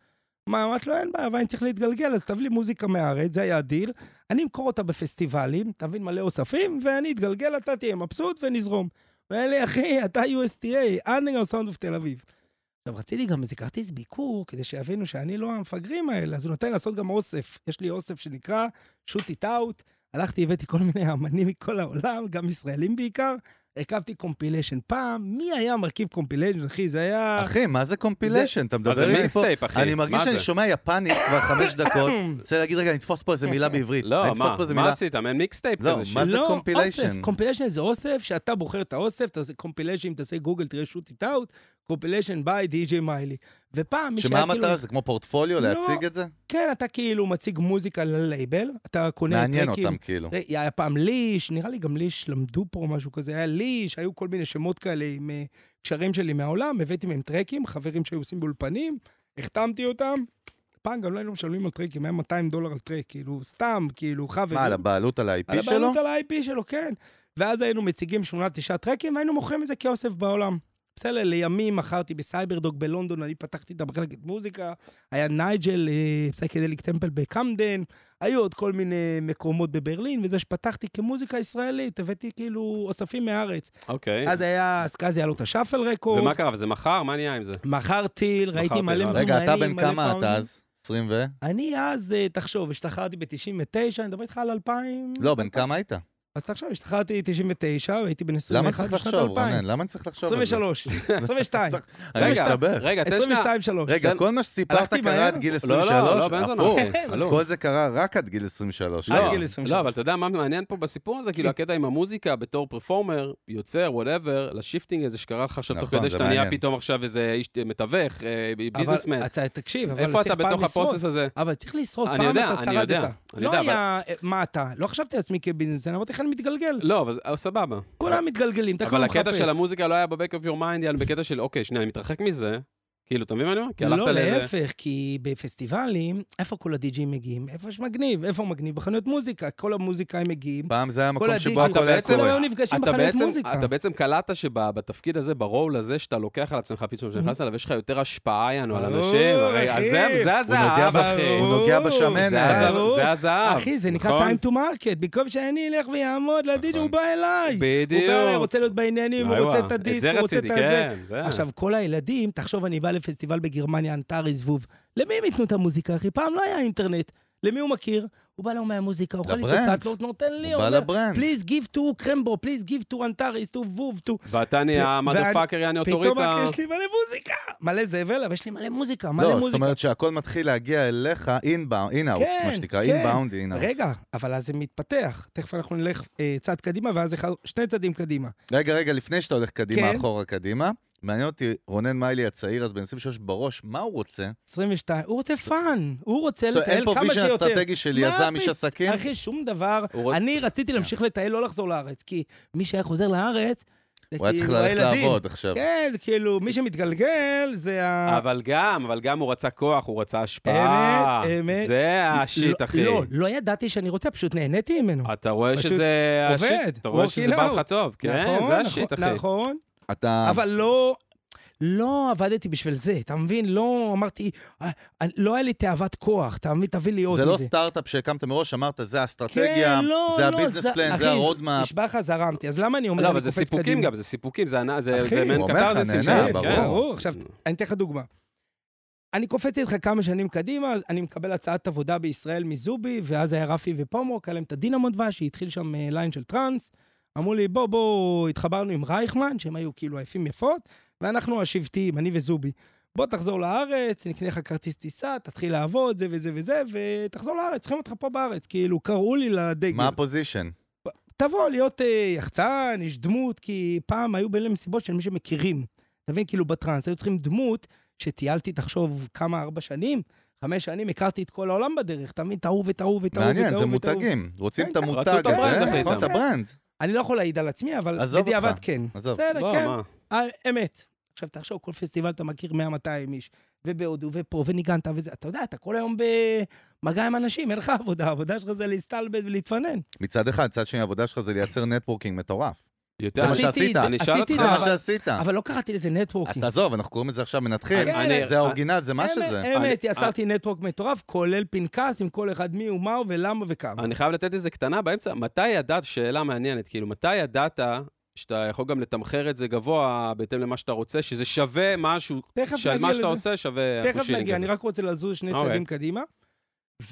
B: מה, אמרת לו, אין בעיה, אבל אני צריך להתגלגל, אז תביא לי מוזיקה מהארץ, זה היה הדיל. אני אמכור אותה בפסטיבלים, תבין מלא אוספים, ואני אתגלגל, אתה תהיה מבסוט ונזרום. ואין לי, אחי, אתה USTA, אנדרגרם סאונד אוף תל אביב. עכשיו, רציתי גם איזה כרטיס ביקור, כדי שיבינו שאני לא המפגרים האלה, אז הוא נותן לעשות גם אוסף. יש לי אוסף שנקרא שוט איט אאוט. הלכתי, הבאתי כל מיני אמנים מכל העולם, גם ישראלים בעיקר. הרכבתי קומפיליישן פעם, מי היה מרכיב קומפיליישן, אחי? זה היה...
C: אחי, מה זה קומפיליישן? אתה מדבר איתי פה...
A: מיקסטייפ, אחי.
C: אני מרגיש
A: מה
C: שאני
A: זה?
C: שומע יפנית כבר חמש דקות. אני רוצה להגיד, רגע, נתפוס פה איזה מילה בעברית.
A: לא,
C: אני
A: מה,
C: נתפוס פה איזה
A: מה
C: מילה-
A: עשית? מעין מיקסטייפ
C: לא,
A: כזה. ש-
C: מה זה
B: לא,
C: compilation?
B: אוסף, קומפיליישן זה אוסף, שאתה בוחר את האוסף, אתה עושה קומפיליישן, אם תעשה גוגל, תראה שוט איט אאוט, קומפיליישן ביי די.ג'יי מיילי. ופעם, מי
C: שמה
B: שהיה כאילו...
C: המטרה? זה כמו פורטפוליו
B: לא.
C: להציג את זה?
B: כן, אתה כאילו מציג מוזיקה ללייבל, אתה קונה
C: מעניין
B: טרקים.
C: אותם, כאילו.
B: תראה, היה פעם ליש, נראה לי גם ליש, למדו פה משהו כזה, היה ליש, היו כל מיני שמות כאלה עם אה, קשרים שלי מהעולם, הבאתי מהם טרקים, חברים שהיו עושים באולפנים, החתמתי אותם. פעם גם לא היינו משלמים על טרקים, היה 200 דולר על טרק, כאילו, סתם, כאילו, חברים.
C: מה, על הבעלות על ה-IP
B: על
C: שלו?
B: הבעלות על ה-IP שלו, כן. ואז היינו מציגים שמונה, תשעה טרקים, והיינו מוכרים את זה כאוסף בעולם. בסדר, לימים מכרתי בסייברדוג בלונדון, אני פתחתי את המחלקת מוזיקה, היה נייג'ל, אה, פסייקדליק טמפל בקמדן, היו עוד כל מיני מקומות בברלין, וזה שפתחתי כמוזיקה ישראלית, הבאתי כאילו אוספים מהארץ.
C: כן.
A: אוקיי.
B: אז היה, אז כזה היה לו את השאפל רקורד,
A: ומה קרה? וזה מחר? מה נהיה עם זה?
B: מכרתי, ראיתי
A: מכרתי,
B: מלא
A: לא.
B: מזומנים,
C: אה, רגע, אתה בן
B: מלא
C: כמה
B: פאונדים.
C: אתה אז? 20 ו?
B: אני אז, אה, תחשוב, השתחררתי ב-99, אני מדבר איתך על 2000.
C: לא, בן כמה היית?
B: אז תחשוב, השתחררתי 99, והייתי בן 21
C: למה צריך
B: בשנת
C: לחשוב,
B: 2000.
C: רונן? למה אני צריך לחשוב על זה?
B: 23, 22,
C: אני
A: רגע,
C: מסתבך.
A: רגע, תן שנייה.
B: 22, 3.
C: רגע,
A: תן-
C: כל מה שסיפרת
B: הלכתי
C: קרה
B: מהר?
C: עד גיל
A: לא,
C: 23?
A: לא, לא, בן זונה.
C: הפוך.
A: אחי, הלו.
C: כל זה קרה רק עד גיל 23.
B: עד
A: לא,
B: גיל כן. 23.
A: לא, אבל אתה יודע מה מעניין פה בסיפור הזה? כאילו, הקטע עם המוזיקה בתור פרפורמר, יוצר, וואטאבר, לשיפטינג הזה שקרה לך עכשיו, תוך
C: נכון,
A: כדי
C: זה
A: שאתה נהיה
C: מעניין.
A: פתאום עכשיו איזה איש מתווך, אה, ביזנסמן.
B: אבל אתה, תקשיב, אבל
A: איפה אתה
B: צריך פעם
A: בתוך
B: לשרוד.
A: הפרוסס הזה?
B: אבל צריך לשרוד,
A: אני
B: פעם
A: יודע,
B: אתה שרדת.
A: אני יודע, אני
B: לא
A: יודע, אבל-
B: היה, אה, מה אתה? לא חשבתי על עצמי כביזנסמן, אמרתי לך, אני מתגלגל.
A: לא, אבל זה- אבל סבבה.
B: כולם מתגלגלים, אתה כבר
A: אבל
B: מחפש.
A: הקטע של המוזיקה לא היה ב-back of your mind, אלא בקטע של, אוקיי, שנייה, אני מתרחק מזה. כאילו, אתה מבין מה אני אומר? כי הלכת
B: לא,
A: לאיזה...
B: להפך, כי בפסטיבלים, איפה כל הדי-ג'ים מגיעים? איפה יש מגניב, איפה מגניב? בחנויות מוזיקה, כל המוזיקאים מגיעים.
C: פעם זה היה מקום
B: כל
C: שבו
B: הדיג'י-
C: הכל היה
A: בעצם-
C: קורה.
B: היו נפגשים
A: אתה
B: בחנויות
A: בעצם,
B: מוזיקה.
A: אתה בעצם קלטת שבתפקיד הזה, ברול הזה שאתה לוקח על עצמך פתאום,
B: Mm-hmm.
A: שנכנסת אליו, יש לך יותר השפעה יענו על
B: ברור,
A: אנשים. הרי
B: אחי.
A: זה- זה
C: הוא נוגע
A: הזהב,
C: בש-
A: אחי.
C: הוא נוגע
B: ברור.
C: בשמנת.
A: זה הזהב-
B: ברור.
A: זה הזהב.
B: אחי, זה נקרא
A: נכון?
B: time to market, במקום שאני אלך ויעמוד לדי-ג'י,
C: נכון.
B: הוא בא אליי.
A: בדיוק.
B: הוא בא אליי, רוצה להיות בעניינים, הוא
A: איואה,
B: רוצה את הדיסק,
A: זה
B: הוא רוצה את
A: רציתי,
B: הזה.
A: כן, זה.
B: עכשיו, כל הילדים, תחשוב, אני בא לפסטיבל בגרמניה, אנטרי זבוב. למי הם ייתנו את המוזיקה, אחי? פעם לא היה אינטרנט. למי הוא מכיר? הוא בא לו מהמוזיקה, אוכל לי את
C: לברנד.
B: הסטלות, נותן לי,
C: הוא בא לברנד.
B: פליז גיב טו קרמבו, פליז גיב טו אנטריס, טו ווב, טו.
A: ואתה נהיה
B: ואני-
A: המדפאקר, יעני
B: פתאום
A: אוטוריטה.
B: רק יש לי מלא מוזיקה. מלא זבל, אבל יש לי מלא מוזיקה, מלא
C: לא,
B: מוזיקה.
C: זאת אומרת שהכל מתחיל להגיע אליך אין-האוס, מה
B: כן,
C: שנקרא,
B: כן.
C: אין-באונד, אין-האוס.
B: רגע, אבל אז זה מתפתח. תכף אנחנו נלך אה, צעד קדימה, ואז אחד, שני צעדים קדימה.
C: רגע, רגע, לפני שאתה הולך קדימה,
B: כן.
C: אחורה, קדימה, מעניין אותי, רונן מיילי הצעיר, אז בן 23 בראש, מה הוא רוצה?
B: 22, הוא רוצה פאן, הוא רוצה
C: זאת אומרת, אין
B: לטייל
C: פה
B: כמה
C: ויז'ן
B: שיותר.
C: אסטרטגי כן. של
B: מה
C: יזם, איש
B: פת-
C: עסקים?
B: אחי, שום דבר.
A: הוא רוצ-
B: אני רציתי להמשיך לטייל, לא לחזור לארץ, כי מי שהיה חוזר לארץ, זה
C: הוא היה צריך
B: כאילו
C: ללכת
B: הילדים.
C: לעבוד עכשיו.
B: כן, זה כאילו, מי שמתגלגל זה ה...
A: אבל גם, אבל גם הוא רצה כוח, הוא רצה השפעה.
B: אמת, אמת.
A: אה, זה השיט,
B: לא-
A: אחי.
B: לא, לא ידעתי שאני רוצה, פשוט נהניתי ממנו.
A: אתה רואה
B: פשוט
A: שזה
B: עובד,
A: השיט, אתה רואה
B: working
A: שזה בא
B: out.
A: לך טוב. כן,
B: נכון,
A: זה השיט,
B: נכון,
A: אחי.
B: נכון.
C: אתה...
B: אבל לא... לא עבדתי בשביל זה, אתה מבין? לא אמרתי, אה, אני- לא היה לי תאוות כוח, אתה מבין? תביא לי עוד
C: זה לא
B: מזה.
C: סטארט-אפ שהקמת מראש, אמרת, זה האסטרטגיה,
B: כן, לא,
C: זה
B: לא,
C: הביזנס פלן,
B: אחי,
C: זה הרודמאפ.
B: נשבע לך, זרמתי. אז למה אני אומר,
A: לא,
B: אני
A: אבל זה
B: קופץ
A: סיפוקים
B: קדימה?
A: גם, זה סיפוקים, זה ענ- זה
B: אחי,
A: זה מעין
C: הוא אומר לך,
A: קתרזיסים
C: נהנה,
A: שלי,
C: ברור.
A: כן.
B: ברור. עכשיו, אני אתן לך דוגמה. אני קופץ איתך כמה שנים קדימה, אז אני מקבל הצעת עבודה בישראל מזובי, ואז היה רפי ופומרוק, היה להם את הדינמו דבש, שהתחיל שם אה, ליין של טראנס. אמרו לי, בוא, בוא, התחברנו עם רייכמן, שהם היו כאילו עייפים יפות, ואנחנו השבטיים, אני וזובי. בוא תחזור לארץ, נקנה לך כרטיס טיסה, תתחיל לעבוד, זה וזה וזה, ותחזור לארץ, צריכים אותך פה בארץ. כאילו, קראו לי לדגל.
C: מה הפוזיישן?
B: תבוא להיות אה, יחצן, איש דמות, כי פעם היו בין מסיבות של מי שמכירים. אתה מבין? כאילו בטראנס, היו צריכים דמות שטיילתי, תחשוב, כמה, ארבע שנים? חמש שנים, הכרתי את כל העולם בדרך, אתה מבין? את ההוא ואת ההוא ואת ההוא ואת ההוא.
C: מעניין, זה
B: ואת ההוא.
C: מותגים. רוצים
B: כן,
C: את
B: כן.
C: המותג
A: רצו את הברנד,
C: הזה,
A: אחי,
C: נכון? את
A: איתם.
C: הברנד.
B: אני לא יכול להעיד על עצמי, אבל
C: עזוב אותך.
B: בדיעבד כן.
C: עזוב.
B: בסדר,
A: לא,
B: כן.
A: מה?
B: אה, אמת. עכשיו, תחשוב, כל פסטיבל אתה מכיר 100-200 איש, ובהודו, ופה, וניגנת, וזה. אתה יודע, אתה כל היום במגע עם אנשים, אין לך עבודה, העבודה שלך זה להסתלבט ולהתפנן.
C: מצד אחד, מצד שני, העבודה שלך זה לייצר נטוורקינג מטורף.
A: יותר
C: זה מה
A: מש-
B: עשיתי את
C: שעשית.
B: זה,
A: זה נשאר
B: עשיתי את
A: אותך?
C: זה
B: זה,
C: מה
B: אבל-
C: שעשית.
B: אבל לא קראתי לזה נטוורקינג.
C: אה. אתה עזוב, אנחנו קוראים לזה עכשיו מנתחיל.
B: כן, אני-
C: זה האורגינל, זה מה
B: אמת,
C: שזה.
B: אמת,
A: אני-
B: יצרתי נטוורק מטורף, כולל פנקס עם כל אחד מי ומה הוא ולמה וכמה.
A: אני חייב לתת איזה קטנה באמצע. מתי ידעת, שאלה מעניינת, כאילו, מתי ידעת שאתה יכול גם לתמחר את זה גבוה בהתאם למה שאתה רוצה, שזה שווה משהו,
B: תכף
A: שעל
B: נגיע
A: מה שאתה
B: לזה.
A: עושה שווה
B: תכף
A: החושילינג
B: נגיע,
A: הזה.
B: אני רק רוצה לזוז שני
A: אוקיי.
B: צעדים קדימה.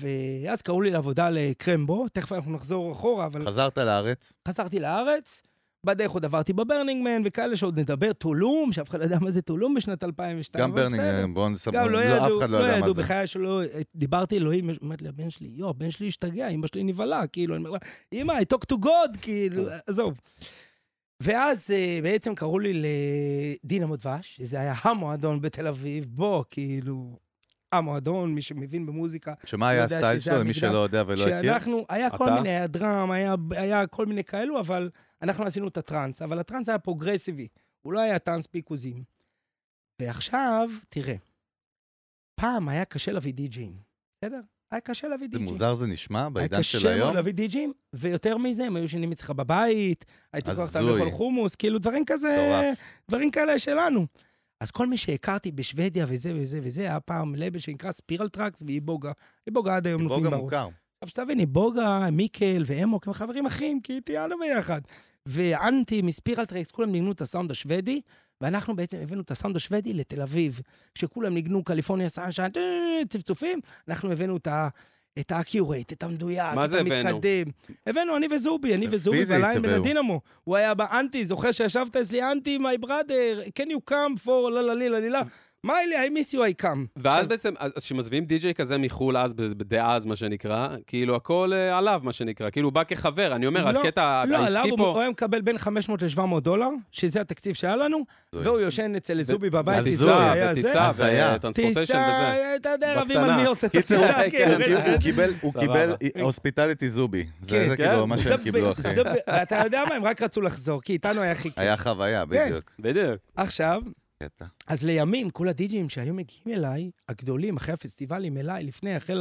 B: ואז קראו לי לעבודה לקרמבו, תכף אנחנו נחזור אחורה, אבל
C: חזרת לארץ,
B: חזרתי לארץ, בדרך עוד עברתי בברנינגמן וכאלה שעוד נדבר, טולום, שאף אחד לא יודע מה זה טולום בשנת 2002.
C: גם
B: אבל
C: ברנינג,
B: בסדר.
C: בואו נסביר,
B: גם לא ידעו,
C: אף אחד לא יודע מה
B: ידעו
C: זה.
B: בחיי שלא, דיברתי אלוהים, אמרתי לבן שלי, יואו, הבן שלי השתגע, אמא שלי נבהלה, כאילו, אני אומר לה, אמא, I talk to God, כאילו, עזוב. ואז אה, בעצם קראו לי לדינמו דבש, שזה היה המועדון בתל אביב, בוא, כאילו, המועדון, מי שמבין במוזיקה,
C: שמה היה
B: יודע
C: הסטייל
B: שזה
C: שלו, למי
B: המגדר.
C: שלא יודע ולא הכיר?
B: שאנחנו, היה כל
A: אתה?
B: מיני, היה דראם, היה, היה כל מיני כאלו, אבל אנחנו עשינו את הטראנס, אבל הטראנס היה פרוגרסיבי, הוא לא היה טראנס פיקוזים. ועכשיו, תראה, פעם היה קשה להביא די-ג'ים, בסדר? היה קשה להביא
C: זה
B: די-ג'ים.
C: מוזר זה נשמע בעידן של
B: היה קשה מאוד
C: היום.
B: להביא די-ג'ים, ויותר מזה, הם היו שנים אצלך בבית, היית לוקח אותם
C: הזוי.
B: לאכול חומוס, כאילו דברים כזה,
C: מטורף.
B: דברים כאלה שלנו. אז כל מי שהכרתי בשוודיה וזה וזה וזה, היה פעם לבל שנקרא ספירל טראקס ואיבוגה. איבוגה עד היום
C: בוא
B: נותנים
C: גם
B: בראש.
C: מוכר.
B: עכשיו, שתביני, בוגה, מיקל ואמוק הם חברים אחים, כי טיילנו ביחד. ואנטי מספירל טרקס, כולם ניגנו את הסאונד השוודי, ואנחנו בעצם הבאנו את הסאונד השוודי לתל אביב. כשכולם ניגנו קליפורניה, סאנשן, צפצופים, אנחנו הבאנו את ה... את האקיורייט, את המדויק,
A: מה
B: את
A: זה הבאנו?
B: המתקדם. הבאנו, אני וזובי, אני וזובי
C: פיזית
B: בליין
C: הביאו.
B: בלדינמו. הוא היה באנטי, זוכר שישבת אצלי, אנטי, my brother, can you come for לה לה לה לה לה לה. מיילי, I miss you, I come.
A: ואז בעצם, אז כשמזמינים די-ג'יי כזה מחו"ל, אז, ב- בדאז, מה שנקרא, כאילו הכל אה, עליו, מה שנקרא, כאילו הוא בא כחבר, אני אומר,
B: לא,
A: הקטע
B: לא, עליו
A: העסקי
B: הוא- הוא
A: פה...
B: היה מקבל בין 500 ל-700 דולר, שזה התקציב שהיה לנו,
C: זוי.
B: והוא יושן אצל זובי בבית,
C: הזוי,
B: טיסה, היה זה.
A: וטיסה,
C: הזיה.
A: וטרנספורטיישן וזה.
B: טיסה, אתה יודע, רבים על
A: בקטנה.
B: מי עושה את
C: קיצור,
B: הטיסה,
A: הוא-
B: כן,
A: הוא-
B: רגע,
C: הוא קיבל- הוא
A: סבבה.
C: קיבל הוספיטליטי זובי. זה
B: כן,
C: זה
A: כן.
C: כאילו מה שהם
B: זה
C: קיבלו,
B: ב-
C: אחי.
B: זה ב- ואתה יודע מה, הם רק רצו לחזור, כי איתנו היה הכי כיף.
C: היה חוויה,
B: כן.
C: בדיוק.
A: בדיוק.
B: עכשיו,
C: קטע.
B: אז לימים, כל הדי-ג'ים שהיו מגיעים אליי, הגדולים, אחרי הפסטיבלים אליי, לפני, אחרי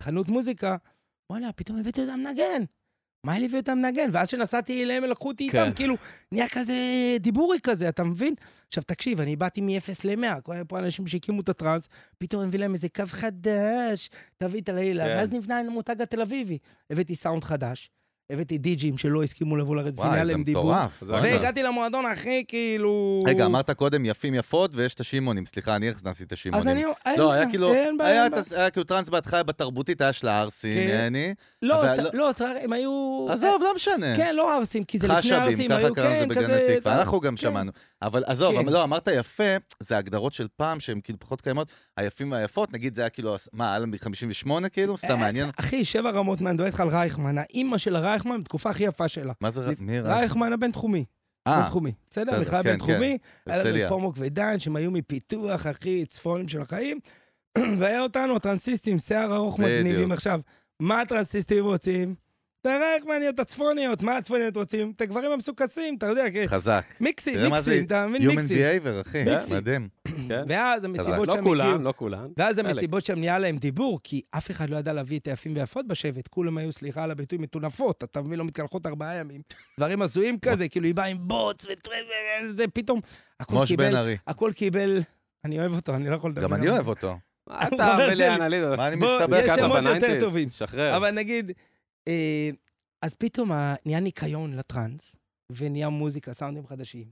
B: לחנות מוזיקה, וואלה, פתאום הבאתי אותם מנגן. מה לי הביא אותם מנגן? ואז כשנסעתי אליהם, הם לקחו אותי
A: כן.
B: איתם, כאילו, נהיה כזה דיבורי כזה, אתה מבין? עכשיו, תקשיב, אני באתי מ-0 ל-100, כל היה פה אנשים שהקימו את הטראנס, פתאום אני מביא להם איזה קו חדש, תביא את הלילה,
A: כן.
B: ואז נבנה המותג התל אביבי. הבאתי סאונד חדש, הבאתי די-ג'ים שלא הסכימו לבוא לארץ, ונהיה
C: וואי, זה
B: להם דיבור.
C: מטורף.
A: זה
C: וואלה.
B: והגעתי למועדון הכי, כאילו...
C: רגע, אמרת קודם יפים יפות ויש את השימונים. סליחה, אני הכנסתי את
B: אז אני...
C: השימונים.
B: אין
C: לא, היה
B: בעיה,
C: כאילו,
B: אין בעיה,
C: היה
B: אין
C: את הס- היה כאילו טראנס בהתחלה בתרבותית, היה של
B: כן.
C: הערסים, יעני.
B: לא,
C: אבל
B: אתה-
C: לא-
B: לא, אתה- הם היו...
C: עזוב, לא משנה.
B: כן, לא ערסים, כי זה לפני
C: חשבים,
B: ערסים,
C: ככה
B: היו
C: קראנו
B: כן,
C: לזה בגן
B: כזה...
C: התקווה, אנחנו גם
B: כן.
C: שמענו. אבל עזוב,
B: כן.
C: אבל לא, אמרת יפה, זה הגדרות של פעם שהן כאילו פחות קיימות, היפים והיפות, נגיד זה היה כאילו, הס- מה, אלנבי 58 כאילו? סתם מעניין.
B: אה, אחי, שבע רמות מה, אני מדבר איתך על רייכמן, האימא של הרייכמן בתקופה הכי יפה שלה.
C: מה זה,
B: זה-
C: ר- מי ראה?
B: רייכמן הבינתחומי,
C: כן, אה,
B: בינתחומי, בסדר?
C: בסדר,
B: בכלל
C: כן,
B: בינתחומי, היה לנו
C: הרצליה.
B: את פומוק ודן, שהם היו מפיתוח, אחי, צפונים של החיים, והיה אותנו, הטרנסיסטים, שיער ארוך
C: בדיוק.
B: מגניבים עכשיו. מה הטרנסיסטים רוצים? את הרייכמניות הצפוניות, מה הצפוניות רוצים? את הגברים המסוכסים, אתה יודע, כן.
C: חזק.
B: מיקסים,
C: תראה מה זה
B: מיקסים, אתה מבין?
C: Human
B: מיקסים.
C: behavior, אחי, אה,
B: מיקסים.
C: מדהים.
A: כן.
B: ואז המסיבות
A: לא
B: שם הגיעו.
A: כולן, לא כולן.
B: ואז
A: חלק.
B: המסיבות שם נהיה להם דיבור, כי אף אחד לא ידע להביא את היפים והיפות בשבט. כולם היו, סליחה על הביטוי, מטונפות. אתה מבין, לא מתקלחות ארבעה ימים. דברים הזויים כזה, כאילו היא באה עם בוץ וטרמר, זה פתאום... הכל
C: מוש בן
B: קיבל,
C: ארי.
B: הכל קיבל... אני אוהב אותו, אני לא יכול לדבר.
C: גם אני
B: עליו.
C: אוהב אותו.
A: מה
B: הוא
A: אתה
B: חבר שלי.
A: מלאה אנליזות?
C: מה אני
B: בוא,
C: מסתבר
B: יש
C: כאן?
B: שמות יותר
A: בניינטיז,
B: טובים.
A: שחרר.
B: אבל נגיד, אה, אז פתאום ה- נהיה ניקיון לטראנס, ונהיה מוזיקה, סאונדים חדשים.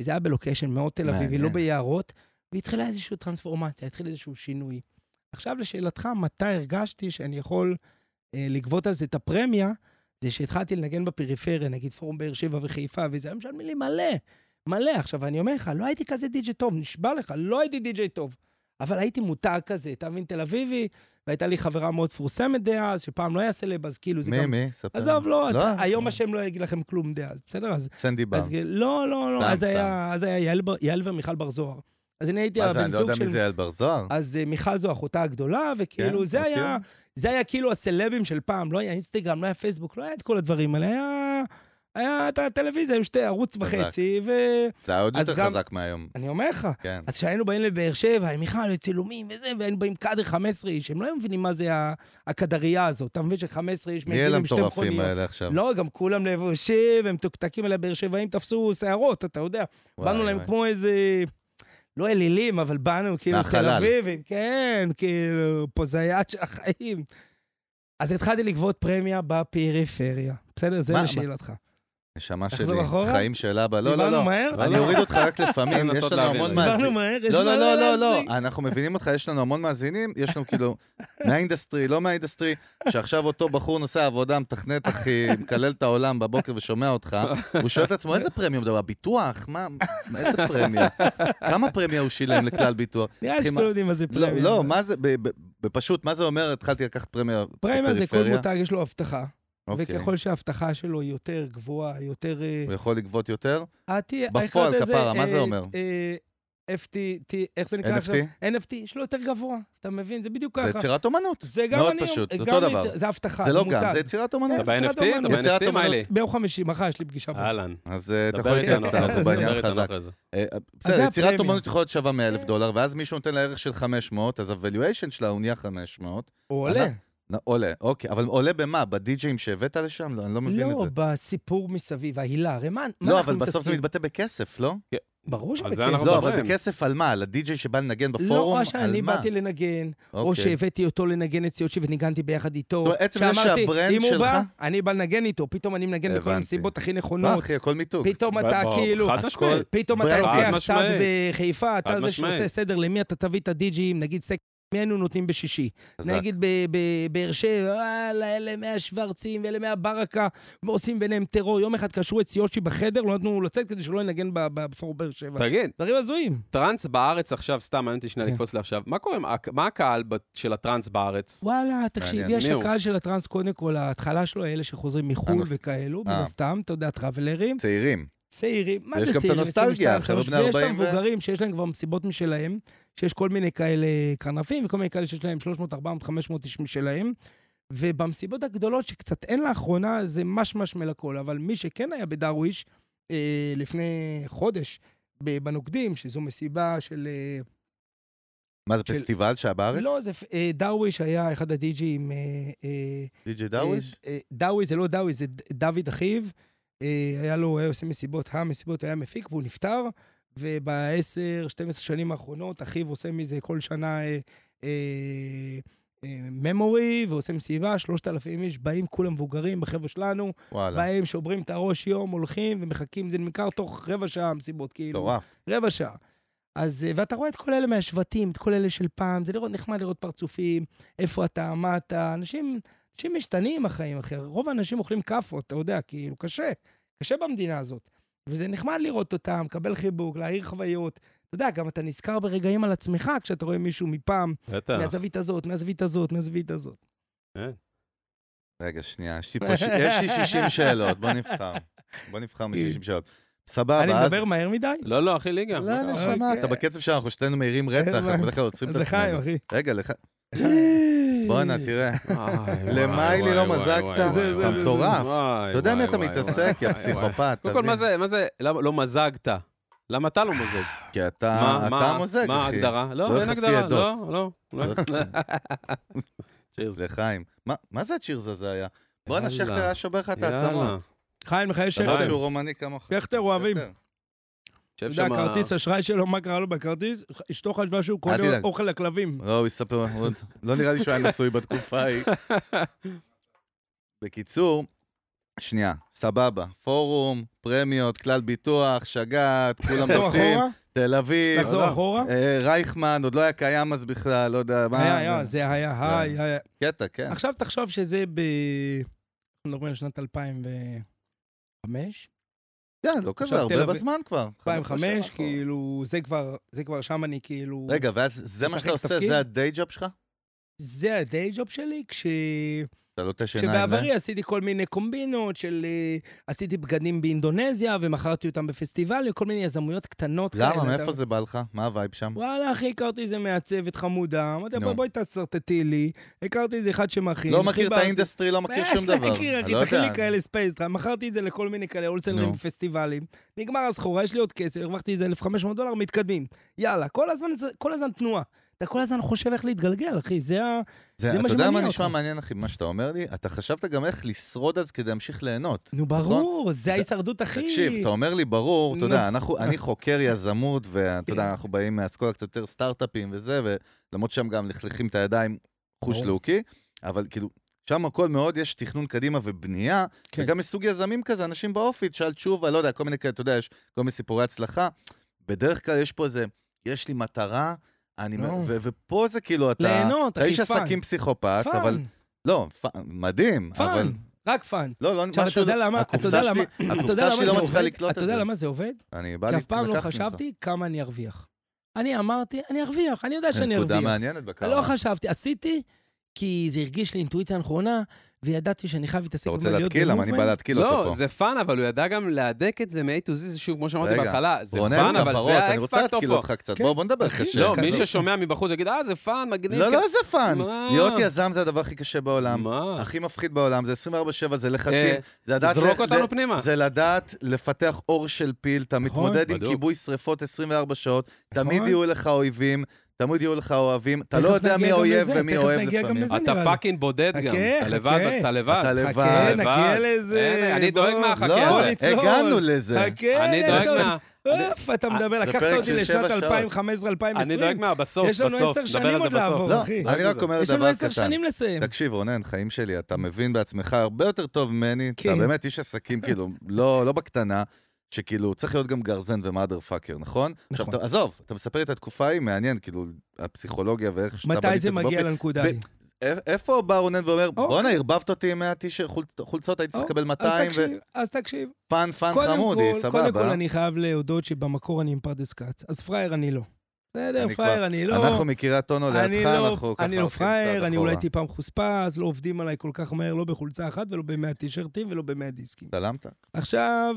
B: וזה היה בלוקיישן מאוד תל אביבי,
C: מעניין.
B: לא ביערות, והתחילה איזושהי טרנספורמציה, התחיל איזשהו שינוי. עכשיו לשאלתך, מתי הרגשתי שאני יכול אה, לגבות על זה את הפרמיה, זה שהתחלתי לנגן בפריפריה, נגיד פורום באר שבע וחיפה, וזה היה משלמים לי מלא, מלא. עכשיו, אני אומר לך, לא הייתי כזה די-ג'יי טוב, נשבע לך, לא הייתי די-ג'יי טוב. אבל הייתי מותג כזה, אתה מבין, תל אביבי, והייתה לי חברה מאוד מפורסמת דאז, שפעם לא היה סלב, אז כאילו זה
C: מי,
B: גם...
C: מי? ספר.
B: עזוב, לא,
C: לא?
B: אתה- היום השם לא יגיד לכם כלום דאז, בסדר? אז...
C: סנדי בר.
B: אז כאילו, לא, לא,
C: סתם,
B: לא, אז
C: סתם.
B: היה- אז היה יעל בר- יעל ומיכל בר זוהר. אז אני הייתי
C: מה זה,
B: הבן
C: אני לא יודע
B: זוג של...
C: מי זה אל בר זוהר?
B: אז אה, מיכל זו אחותה הגדולה, וכאילו
C: נכון. כן,
B: זה
C: מכיר.
B: היה, זה היה כאילו הסלבים של פעם, לא היה אינסטגרם, לא היה פייסבוק, לא היה את כל הדברים האלה, היה היה את הטלוויזיה, היו שתי ערוץ
C: חזק.
B: וחצי, ו...
C: זה היה עוד
B: אז
C: יותר
B: גם-
C: חזק מהיום.
B: אני אומר לך.
C: כן.
B: אז כשהיינו באים לבאר שבע, עם מיכל, צילומים וזה, והיינו באים קאדר 15 איש, הם לא היו מבינים מה זה ה- הקדרייה הזאת. אתה מבין ש-15 איש
C: מי אלה
B: מגיעים עם שתי מכוניות.
C: המטורפים האלה עכשיו?
B: לא, גם כולם לבושים, הם מתוקתקים אל הבאר שבעים, תפסו שערות, אתה יודע.
C: וואי,
B: באנו להם
C: וואי.
B: כמו איזה... לא אלילים, אבל באנו כאילו תל
C: מהחלל.
B: אביבים, כן, כאילו, פוזיית של החיים. אז התחלתי לגבות פרמיה בפריפריה. בסדר? זה
C: מה-
B: לשאלתך.
C: נשמה
B: תחזור
C: שלי,
B: אחורה?
C: חיים של אבא. לא, לא,
B: דיברנו
C: לא.
B: מהר?
C: אני
A: לא.
C: אוריד אותך רק
A: אין
C: לפעמים, יש
A: לנסות
C: לנו
A: להבין,
C: המון
A: רגע.
B: דיברנו
C: מאזינים.
B: מהר? יש
C: לא,
B: מה
C: לא, לא, לא,
B: להצדיק.
C: לא. אנחנו מבינים אותך, יש לנו המון מאזינים, יש לנו כאילו מהאינדסטרי, לא מהאינדסטרי, שעכשיו אותו בחור נוסע עבודה, מתכנת, אחי, מקלל את העולם בבוקר ושומע אותך, הוא שואל את עצמו, איזה פרמיה הוא מדבר? ביטוח? מה, איזה פרמיה? כמה פרמיה הוא שילם לכלל ביטוח?
B: נראה לי
C: אחי,
B: שכולם
C: מה-
B: יודעים מה זה
C: לא,
B: פרמיה.
C: לא, מה זה, ב- ב- בפשוט, מה זה אומר, התחלתי לקחת פרמיה
B: פרמיה זה כל
C: בפריפריה?
B: מותג, יש לו הבטחה.
C: אוקיי.
B: וככל שההבטחה שלו היא יותר גבוהה, יותר... אה,
C: הוא יכול לגבות יותר?
B: אה, תהיה...
C: בפועל,
B: איך קראת לזה?
C: כפרה, מה זה
B: אה,
C: אומר?
B: אה, FT, T, איך זה נקרא
C: NFT?
B: עכשיו? NFT, יש לו יותר גבוה, אתה מבין? זה בדיוק
C: זה
B: ככה.
C: יצירת אומנות.
B: זה גם
C: מאוד
B: אני...
C: פשוט, זה
B: גם
C: אותו
B: יצ-
C: דבר.
B: זה הבטחה,
C: זה לא
B: מותג.
C: גם, זה יצירת אומנות.
A: אתה
B: יצירת
A: ב-NFT?
B: אומנות.
A: אתה
C: יצירת
A: ב-NFT,
C: אומנות.
A: מיילי?
B: ביום חמישי, מחר יש לי פגישה. פה.
A: אהלן.
C: אז אה, אתה יכול
A: דבר איתנו
C: להתייעץ
A: אחרי
C: איתנו,
A: זה,
C: אנחנו בעניין
A: דבר איתנו
C: חזק.
A: אחרי זה.
C: אה,
B: זה
C: בסדר, יצירת
B: הפרמיה. כן.
C: אומנות יכולה להיות שווה 100 אלף דולר, ואז מישהו נותן לה ערך של 500, אז הווליואשן שלה הוא נהיה 500.
B: הוא עולה.
C: אה, נ- עולה, אוקיי, אבל עולה במה? בדי-ג'אים שהבאת לשם? לא, אני לא מבין את
B: לא,
C: זה.
B: בסיפור מסביב, ההילה, הרי מה מה
C: לא,
B: אנחנו
C: אבל בסוף זה
B: מתעסקים?
C: מתבטא בכסף, לא?
B: ברור
A: על זה אנחנו
B: שבכסף.
C: לא,
A: מדברים.
C: אבל בכסף על מה? על הדי-ג'יי שבא לנגן
B: לא,
C: בפורום?
B: או
C: על
B: שאני
C: מה?
B: באתי לנגן, או
C: אוקיי.
B: שהבאתי אותו לנגן את ציוצ'י וניגנתי ביחד איתו.
C: זאת אומרת, עצם זה
B: שאמרתי,
C: שהברנד
B: אם הוא בא,
C: שלך-
B: אני בא לנגן איתו, פתאום אני מנגן בכל
C: הבנתי.
B: המסיבות הכי
C: מה,
B: נכונות.
C: אחי, הכל מיתוג.
B: פתאום אתה
A: ברור,
B: כאילו,
A: חד משמעית.
B: פתאום אתה
C: ברנד.
A: חד
B: לוקח צד
A: משמעית.
B: בחיפה, אתה
A: חד
B: זה
A: משמעית.
B: שעושה סדר למי אתה תביא את הדי-ג'ים, נגיד סק... מי היינו נותנים בשישי?
C: חזק.
B: נגיד ב- בבאר שבע, וואלה, אלה מהשוורצים ואלה מהברקה, עושים ביניהם טרור. יום אחד קשרו את ציוצ'י בחדר, לא נתנו לו לצאת כדי שלא ינגן ב- ב- בפורום באר שבע.
A: תגיד,
B: דברים הזויים.
A: טראנס בארץ עכשיו, סתם, מעניין אותי שנייה
B: כן.
A: לקפוץ לעכשיו, מה קורה, עם הק- מה הקהל ב- של הטראנס בארץ?
B: וואלה, תקשיב,
C: מעניין.
B: יש
A: מי הוא?
B: לקהל של הטראנס, קודם כל, ההתחלה שלו, אלה שחוזרים מחו"ל
C: הנוס-
B: וכאלו, מן
C: אה.
B: הסתם, אתה יודע, טראבלרים,
C: צעירים.
B: צעירים, מה
C: ויש גם
B: זה
C: את
B: צעירים?
C: הנוסטלגיה,
B: 22,
C: חבר'ה
B: 23,
C: בני
B: ויש את
C: 40 ו-
B: המבוגרים שיש להם כבר מסיבות משלהם, שיש כל מיני כאלה קרנפים, וכל מיני כאלה שיש להם 300, 400, 500 איש משלהם. ובמסיבות הגדולות שקצת אין לאחרונה, זה משמש מלקול, אבל מי שכן היה בדרוויש אה, לפני חודש, ב- בנוקדים, שזו מסיבה של... אה,
C: מה, זה
B: של-
C: פסטיבל שהיה בארץ?
B: לא, זה... אה, דרוויש היה אחד הדי-ג'ים... אה, אה,
C: די-ג'יי דאוויש?
B: אה, אה, דאווי זה לא דאווי, זה ד- דוד אחיו. אה, היה לו, הוא היה עושה מסיבות, המסיבות היה מפיק והוא נפטר, ובעשר, 12 שנים האחרונות, אחיו עושה מזה כל שנה אה, אה, אה, memory, ועושה מסיבה, 3,000 איש, באים כולם מבוגרים, החבר'ה שלנו,
C: וואלה,
B: באים, שוברים את הראש יום, הולכים ומחכים, זה נמכר תוך רבע שעה המסיבות, כאילו.
C: מטורף.
B: רבע שעה. אז, אה, ואתה רואה את כל אלה מהשבטים, את כל אלה של פעם, זה לראות, נחמד לראות פרצופים, איפה אתה, מה אתה, אנשים, אנשים משתנים החיים, אחי. רוב האנשים אוכלים כאפות, אתה יודע, כאילו, קשה, קשה במדינה הזאת. וזה נחמד לראות אותם, לקבל חיבוק, להעיר חוויות. אתה יודע, גם אתה נזכר ברגעים על עצמך כשאתה רואה מישהו מפעם,
C: אה.
A: בטח.
B: מהזווית הזאת, מהזווית הזאת, מהזווית הזאת.
C: כן. רגע, שנייה, יש לי פה ש- יש לי 60 שאלות, בוא נבחר. בוא נבחר מ-60 שאלות.
B: אני
C: סבבה, אז...
B: מדבר מהר מדי?
A: לא, לא, אחי ליגה. מה
C: לא,
A: קרה?
C: נשמה,
B: אוקיי.
C: אתה בקצב שאנחנו שתינו מהירים רצח, אנחנו בדרך כלל עוצרים את
B: לחיים,
C: עצמנו.
B: אחי.
C: רגע, לך... בואנה, תראה.
A: וואי, וואי,
C: למה לי
A: וואי,
C: לא
A: וואי,
C: מזגת?
A: וואי,
C: אתה
A: וואי, וואי,
C: מטורף.
A: וואי,
C: אתה יודע מי
A: וואי,
C: אתה
A: וואי,
C: מתעסק,
A: וואי,
C: יא
A: וואי.
C: פסיכופת.
A: קודם כל,
C: תבין.
A: מה זה, מה זה, למה לא מזגת? למה אתה לא מוזג?
C: כי אתה
A: מה-
C: אתה
A: מה-
C: מוזג,
A: מה
C: אחי.
A: ההגדרה?
C: לא
A: לא, אין
C: איך לפי
A: הגדרה, לא,
C: עדות.
A: לא. לא.
C: לא
A: צ'ירס.
C: זה חיים. מה- מה זה הצ'ירז הזה היה? בואנה,
A: יאללה.
C: שכטר היה שובר לך את
A: יאללה.
C: העצמות.
B: חיים, מחייך
C: למרות
A: חיים.
B: שכטר.
C: שהוא רומני כמוך.
B: שכטר, אוהבים.
C: יותר.
A: שב
B: אתה יודע,
A: שמה-
B: הכרטיס אשראי שלו, מה קרה לו בכרטיס? אשתו חשבה שהוא קונה
C: תדאג.
B: אוכל לכלבים.
C: לא, הוא יספר, הוא עוד- לא נראה לי שהוא היה נשוי בתקופה ההיא. בקיצור, שנייה, סבבה, פורום, פרמיות, כלל ביטוח, שג"ת, כולם
B: לחזור
C: רוצים,
B: אחורה?
C: תל אביב,
B: לחזור
A: לא.
B: אחורה?
C: אה, רייכמן, עוד לא היה קיים אז בכלל, לא יודע מה.
B: היה, היה, זה היה,
C: זה-
B: היה, היה.
C: קטע, כן.
B: עכשיו תחשוב שזה ב... אנחנו מדברים על שנת 2005,
C: כן, לא כזה
B: עכשיו תל
C: הרבה
B: אביב-
C: בזמן כבר. 15
B: 2005,
C: שנה אחורה.
B: כאילו, זה כבר, זה כבר שם אני כאילו...
C: נכון. רגע, ואז זה מה
B: משחק
C: שאתה עושה,
B: תפקיד?
C: זה הדיי ג'וב שלך?
B: זה הדיי ג'וב שלי, כש...
C: אתה לא תשן עין, זה?
B: שבעברי עשיתי כל מיני קומבינות של... אה, עשיתי בגדים באינדונזיה ומכרתי אותם בפסטיבל, כל מיני יזמויות קטנות
C: למה?
B: אתה-
C: מאיפה זה בא לך? מה הווייב שם?
B: וואלה, אחי, הכרתי איזה מעצבת חמודה, אמרתי,
C: נו.
B: בואי בואי תסרטטי לי, הכרתי איזה אחד שמכין.
C: לא מכיר את
B: חיברתי.
C: האינדסטרי, לא מכיר
B: מה יש
C: שום דבר.
B: להכיר,
C: אני
B: אחי,
C: לא
B: תכין לי
C: יודע.
B: כאלה ספייס, מכרתי את זה לכל מיני כאלה הולסלרים
C: נו.
B: בפסטיבלים, נגמר הסחורה, יש לי עוד כסף, הרווחתי איזה 1,500 דולר, מתקדמים. יאללה, כל הזמן זה- כל הזמן תנועה. אתה כל הזמן חושב איך להתגלגל, אחי, זה ה...
C: זה,
B: זה מה
C: אתה יודע מה
B: שמניע
C: נשמע
B: אותך.
C: מעניין, אחי, מה שאתה אומר לי? אתה חשבת גם איך לשרוד אז כדי להמשיך ליהנות.
B: נו, ברור, זה ההישרדות הכי...
C: נכון. תקשיב, אתה אומר לי, ברור, אתה
B: נו. כן.
C: יודע, אנחנו- אני חוקר יזמות, ואתה יודע, אנחנו באים מאסכולה קצת יותר סטארט-אפים וזה, ולמרות ששם גם לכלכים את הידיים חוש
B: ברור.
C: לוקי, אבל כאילו, שם הכל מאוד, יש תכנון קדימה ובנייה,
B: כן.
C: וגם מסוג יזמים כזה, אנשים באופי, תשאל תשובה, לא יודע, כל מיני כאלה, אתה יודע, יש כל מיני סיפורי הצלחה. בדרך כלל יש פה איזה, יש לי מטרה, אני... מ-
B: לא.
C: ו- ופה זה כאילו, אתה...
B: ליהנות,
C: אתה
B: אחי,
C: איש
B: פאן.
C: עסקים פסיכופת,
B: פאן,
C: אבל... לא, פאן, מדהים, אבל...
B: פאן, רק פאן.
C: לא, לא,
B: עכשיו, אתה
C: משהו...
B: יודע למה, אתה יודע
C: הקופסה
B: למה,
C: שלי-
B: אתה יודע
C: הקופסה
B: למה
C: שלי
B: זה
C: לא מצליחה
B: עובד?
C: לקלוט את
B: אתה
C: זה.
B: יודע למה זה עובד?
C: אני בא
B: כי
C: לי-
B: אף פעם לא
C: לקחת ממך.
B: חשבתי כמה אני ארוויח. אני אמרתי, אני ארוויח, אני יודע שאני
C: נקודה
B: ארוויח.
C: מעניינת בקרה.
B: לא חשבתי, עשיתי, כי זה הרגיש לי אינטואיציה נכונה, וידעתי שאני חייב להתעסק
C: אתה רוצה
B: במה, להיות
C: להתקיל? למה אני בא
B: במובן.
C: להתקיל אותו
A: לא,
C: פה?
A: זה פאן, אבל הוא ידע גם להדק את זה מ-A to Z, זה שוב, כמו שאמרתי
C: רגע,
A: בהתחלה, זה
C: רונן,
A: פאן, אבל
C: כפרות,
A: זה
C: אני
A: האקס
C: רוצה
A: פקטור
C: להתקיל
A: פה.
C: אותך קצת.
B: כן.
C: בוא, בוא נדבר
B: אחי,
C: קשה.
A: לא,
C: כזה.
A: מי ששומע מבחוץ יגיד, אה, זה פאן, מגניב.
C: לא,
A: כן."
C: לא, זה פאן.
A: מה?
C: להיות יזם זה הדבר הכי קשה בעולם.
A: מה?
C: הכי מפחיד בעולם, זה 24-7, זה לחצים,
A: אה,
C: זה לדעת...
A: זרוק
C: ל-
A: אותנו
C: ל-
A: פנימה.
C: זה לדעת לפתח אור של פיל, אתה
B: נכון,
C: מתמודד עם
A: בדיוק.
C: כיבוי שרפות 24 שעות, תמיד
B: נכון.
C: יהיו לך אויבים, תמיד יהיו לך אוהבים, אתה לא
B: תכף
C: יודע מי
B: נגיע גם
C: האויב
B: לזה,
C: ומי
B: תכף
C: אוהב
B: נגיע גם
C: לפעמים.
B: לזה.
A: אתה
B: נראה לי.
A: פאקינג בודד גם.
B: חכה,
A: אתה לבד,
B: חכה.
A: אתה לבד.
C: אתה לבד.
B: חכה,
A: לבד.
B: נגיע לזה.
A: אין, אני דואג
B: בוא.
A: מהחכה
C: לא,
A: הזה.
B: נצלול.
C: הגענו לזה.
B: חכה,
A: אני
B: יש
A: דואג
B: עוד-
A: מה... אה,
B: אוף, אתה מדבר,
C: זה
B: לקחת
C: פרק
B: אותי
C: של שבע
B: לשנת
C: שעות.
B: 2015-2020.
A: אני דואג מה... בסוף,
B: יש לנו
A: בסוף.
B: עשר
A: נדבר
B: שנים
A: על זה
B: עוד
A: בסוף.
B: לעבור.
C: לא,
B: אחי.
C: אני
A: רק
C: רק
A: זה.
C: אומר
B: יש לנו
C: דבר
B: עשר
C: קטן.
B: שנים לסיים.
C: תקשיב, רונן, חיים שלי, אתה מבין בעצמך הרבה יותר טוב ממני, אתה
B: כן.
C: באמת איש עסקים, כאילו, לא, לא בקטנה, שכאילו, צריך להיות גם גרזן ומאדר פאקר, נכון? עכשיו,
B: נכון.
C: אתה- עזוב, אתה מספר לי את התקופה ההיא, מעניין, כאילו, הפסיכולוגיה ואיך שאתה
B: מתי
C: בנית
B: זה
C: את
B: מגיע
C: באופן-
B: לנקודה?
C: ב-
B: ההיא?
C: א- איפה בא רונן ואומר,
B: אוקיי.
C: בואנה, ערבבת אותי עם 100 טישר חולצות, הייתי
B: אוקיי,
C: צריך לקבל 200,
B: אז תקשיב, אז תקשיב.
C: ופאן פאן
B: קודם
C: חמודי,
B: כל- קודם כל
C: סבבה.
B: אני חייב להודות שבמקור אני עם פרדס כץ, אז פראייר אני לא. בסדר,
C: אני
B: פראייר
C: כבר-
B: אני לא.
C: אנחנו מקריית אונו
B: אני
C: לידך,
B: לא-
C: אנחנו ככה
B: אני לא
C: הולכים צעד
B: פראייר, אני אולי
C: אחורה.
B: טיפה מחוספה, אז לא עובדים עליי כל כך מהר, לא בחולצה אחת ולא במאה טישרטים ולא במאה דיסקים.
C: צלמת?
B: עכשיו,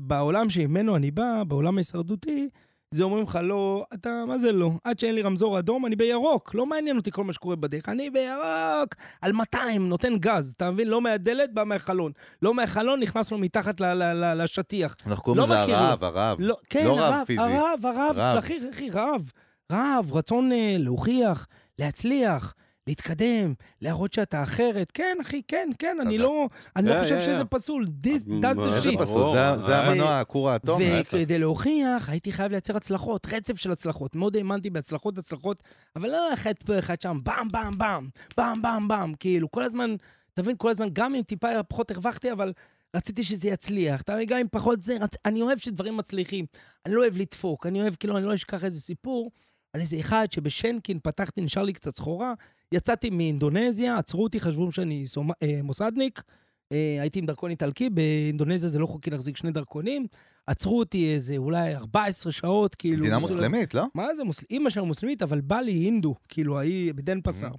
B: בעולם שממנו אני בא, בעולם ההישרדותי, זה אומרים לך, לא, אתה, מה זה לא? עד שאין לי רמזור אדום, אני בירוק. לא מעניין אותי כל מה שקורה בדרך. אני בירוק, על 200, נותן גז, אתה מבין? לא מהדלת, בא מהחלון. לא מהחלון, נכנס לו מתחת ל- ל- ל- לשטיח.
C: אנחנו קוראים
B: לא
C: לזה
B: מכיר, לא.
C: הרעב, הרעב.
B: לא, כן,
C: לא רב
B: הרב,
C: פיזי.
B: הרב, הרב,
C: רב.
B: אחי, אחי, רב. רב, רצון אה, להוכיח, להצליח, להתקדם, להראות שאתה אחרת. כן, אחי, כן, כן, אני
C: חזק.
B: לא, אני לא
A: יא,
B: חושב
A: יא,
B: שזה
A: יא.
B: פסול. This
A: אז
B: does
A: מה,
B: the
C: איזה
A: שיט.
B: shit.
C: פסול, זה- זה
A: ברור.
C: המנוע, הכור האטום. ההפך.
B: וכדי להוכיח, הייתי חייב לייצר הצלחות, רצף של הצלחות. מאוד האמנתי בהצלחות, הצלחות, אבל לא אחד פה, אחד שם, באם, באם, באם, באם, באם, באם, כאילו, כל הזמן, אתה מבין, כל הזמן, גם אם טיפה פחות הרווחתי, אבל רציתי שזה יצליח. אתה מבין, גם אם פחות זה, רצ... אני אוהב שדברים מצליחים. אני לא אוהב לדפוק, אני אוהב, כאילו, אני לא אשכח איזה סיפור על איזה אחד שבשנקין פתחתי, נשאר לי קצת סחורה, יצאתי מאינדונזיה, עצרו אותי, חשבו שאני סומ... אה, מוסדניק. אה, הייתי עם דרכון איטלקי, באינדונזיה זה לא חוקי להחזיק שני דרכונים. עצרו אותי איזה אולי 14 שעות, כאילו...
C: מדינה
B: ניסו לה-
C: מוסלמית, לא?
B: מה זה מוסלמית? אימא שלה מוסלמית, אבל בא לי הינדו, כאילו, ההיא בדן פסר.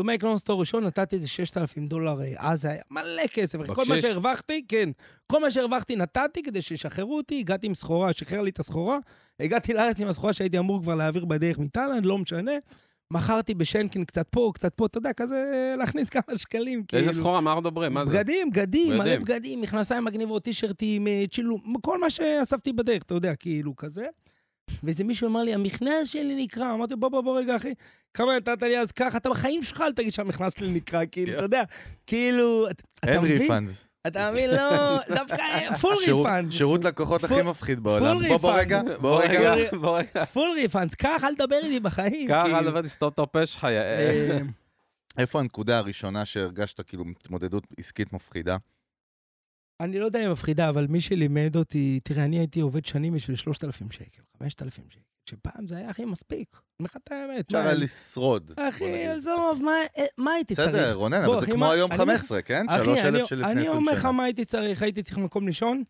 B: To make long story ראשון, נתתי איזה 6,000 דולר, אה, אז היה מלא כסף. אחי. כל מה
A: בקשיש.
B: שהרווחתי, כן. כל מה שהרווחתי נתתי כדי שישחררו אותי, הגעתי עם סחורה, שחרר לי את הסחורה, הגעתי לארץ עם הסחורה שהייתי אמור כבר להעביר בדרך מתאילנד, לא משנה. מכרתי בשנקין קצת פה, קצת פה, אתה יודע, כזה אה, להכניס כמה שקלים, כאילו.
A: איזה סחורה, מה אנחנו מדברים? מה זה?
B: בגדים, בגדים, מלא
A: בגדים.
B: בגדים, מכנסיים מגניבות, טישרטים, אה, צ'ילום, כל מה שאספתי בדרך, אתה יודע, כאילו, כזה. ואיזה מישהו אמר לי, המכנס שלי נקרע. אמרתי, בוא, בוא, בוא רגע, אחי, כמה נתת לי אז ככה, אתה בחיים שלך אל תגיד שהמכנס שלי נקרע, כאילו, אתה יודע, כאילו, אתה-
C: אין
B: אתה מבין?
C: ריפאנס.
B: אתה מבין? לא, דווקא פול ריפאנד.
C: שירות לקוחות הכי
B: פול-
C: מפחיד בעולם.
B: פול
C: בוא, בוא
B: refund.
C: רגע,
A: בוא
C: בוא רגע.
A: רגע, בוא רגע.
B: פול ריפאנס, ככה אל תדבר איתי בחיים,
A: ככה
B: כאילו.
A: לבד לסתום את הפה שלך, יא-
B: אה,
C: איפה הנקודה הראשונה שהרגשת כאילו התמודדות עסקית מפחידה?
B: אני לא יודע אם מפחידה, אבל מי שלימד אותי, תראה, אני הייתי עובד שנים בשביל 3,000 שקל, 5,000 שקל, שפעם זה היה הכי מספיק. אני אומר לך את האמת.
C: אפשר
B: מה,
C: היה לשרוד. בוא
B: אה, אחי,
C: נגיד.
B: עזוב, מה- אה, מה הייתי צריך?
C: בסדר, רונן,
B: בוא,
C: אבל זה
B: אחי,
C: כמו
B: מה-
C: היום
B: אני-
C: 15, כן?
B: אחי,
C: 3,000
B: אני-
C: שלפני
B: אני
C: 20
B: אומר לך
C: שנה.
B: מה הייתי צריך, הייתי צריך מקום לישון,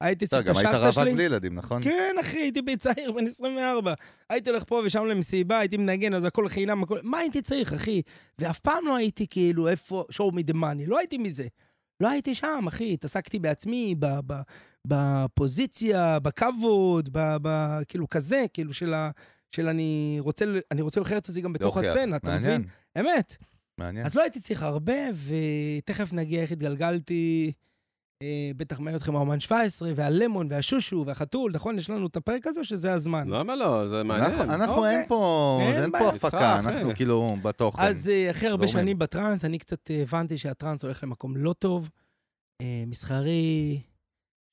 B: הייתי
C: אתה
B: צריך את
C: גם היית
B: השבתא
C: רווק
B: שלי.
C: בלי ילדים, נכון?
B: כן, אחי, הייתי בצעיר, בן 24. הייתי הולך פה ושם למסיבה, הייתי מנגן, אז הכל חינם, הכל... מה הייתי צריך, אחי? ואף פעם לא הייתי כאילו, איפה, show me the money, לא הייתי מזה. לא הייתי שם, אחי, התעסקתי בעצמי, ב- ב- בפוזיציה, בכבוד, ב- ב- כאילו כזה, כאילו של ה... של אני רוצה, אני רוצה להוכיח את זה גם בתוך
C: להוכיח.
B: הצצנה, אתה
C: מעניין,
B: מבין? אמת.
C: מעניין.
B: אז לא הייתי צריך הרבה, ותכף נגיע איך התגלגלתי, אה, בטח מעניין אתכם האומן 17, והלמון, והשושו, והחתול, נכון? יש לנו את הפרק הזה, או שזה הזמן?
A: למה לא?
B: אה,
A: זה
C: אנחנו-
A: מעניין.
C: אנחנו
B: אוקיי.
C: אין פה,
B: אין
C: אין
B: בעיה.
C: פה הפקה,
A: איתך, אחי.
C: אנחנו כאילו בתוכן.
B: אז אה, אחרי הרבה
C: זורמים.
B: שנים בטראנס, אני קצת אה, הבנתי שהטראנס הולך למקום לא טוב, אה, מסחרי,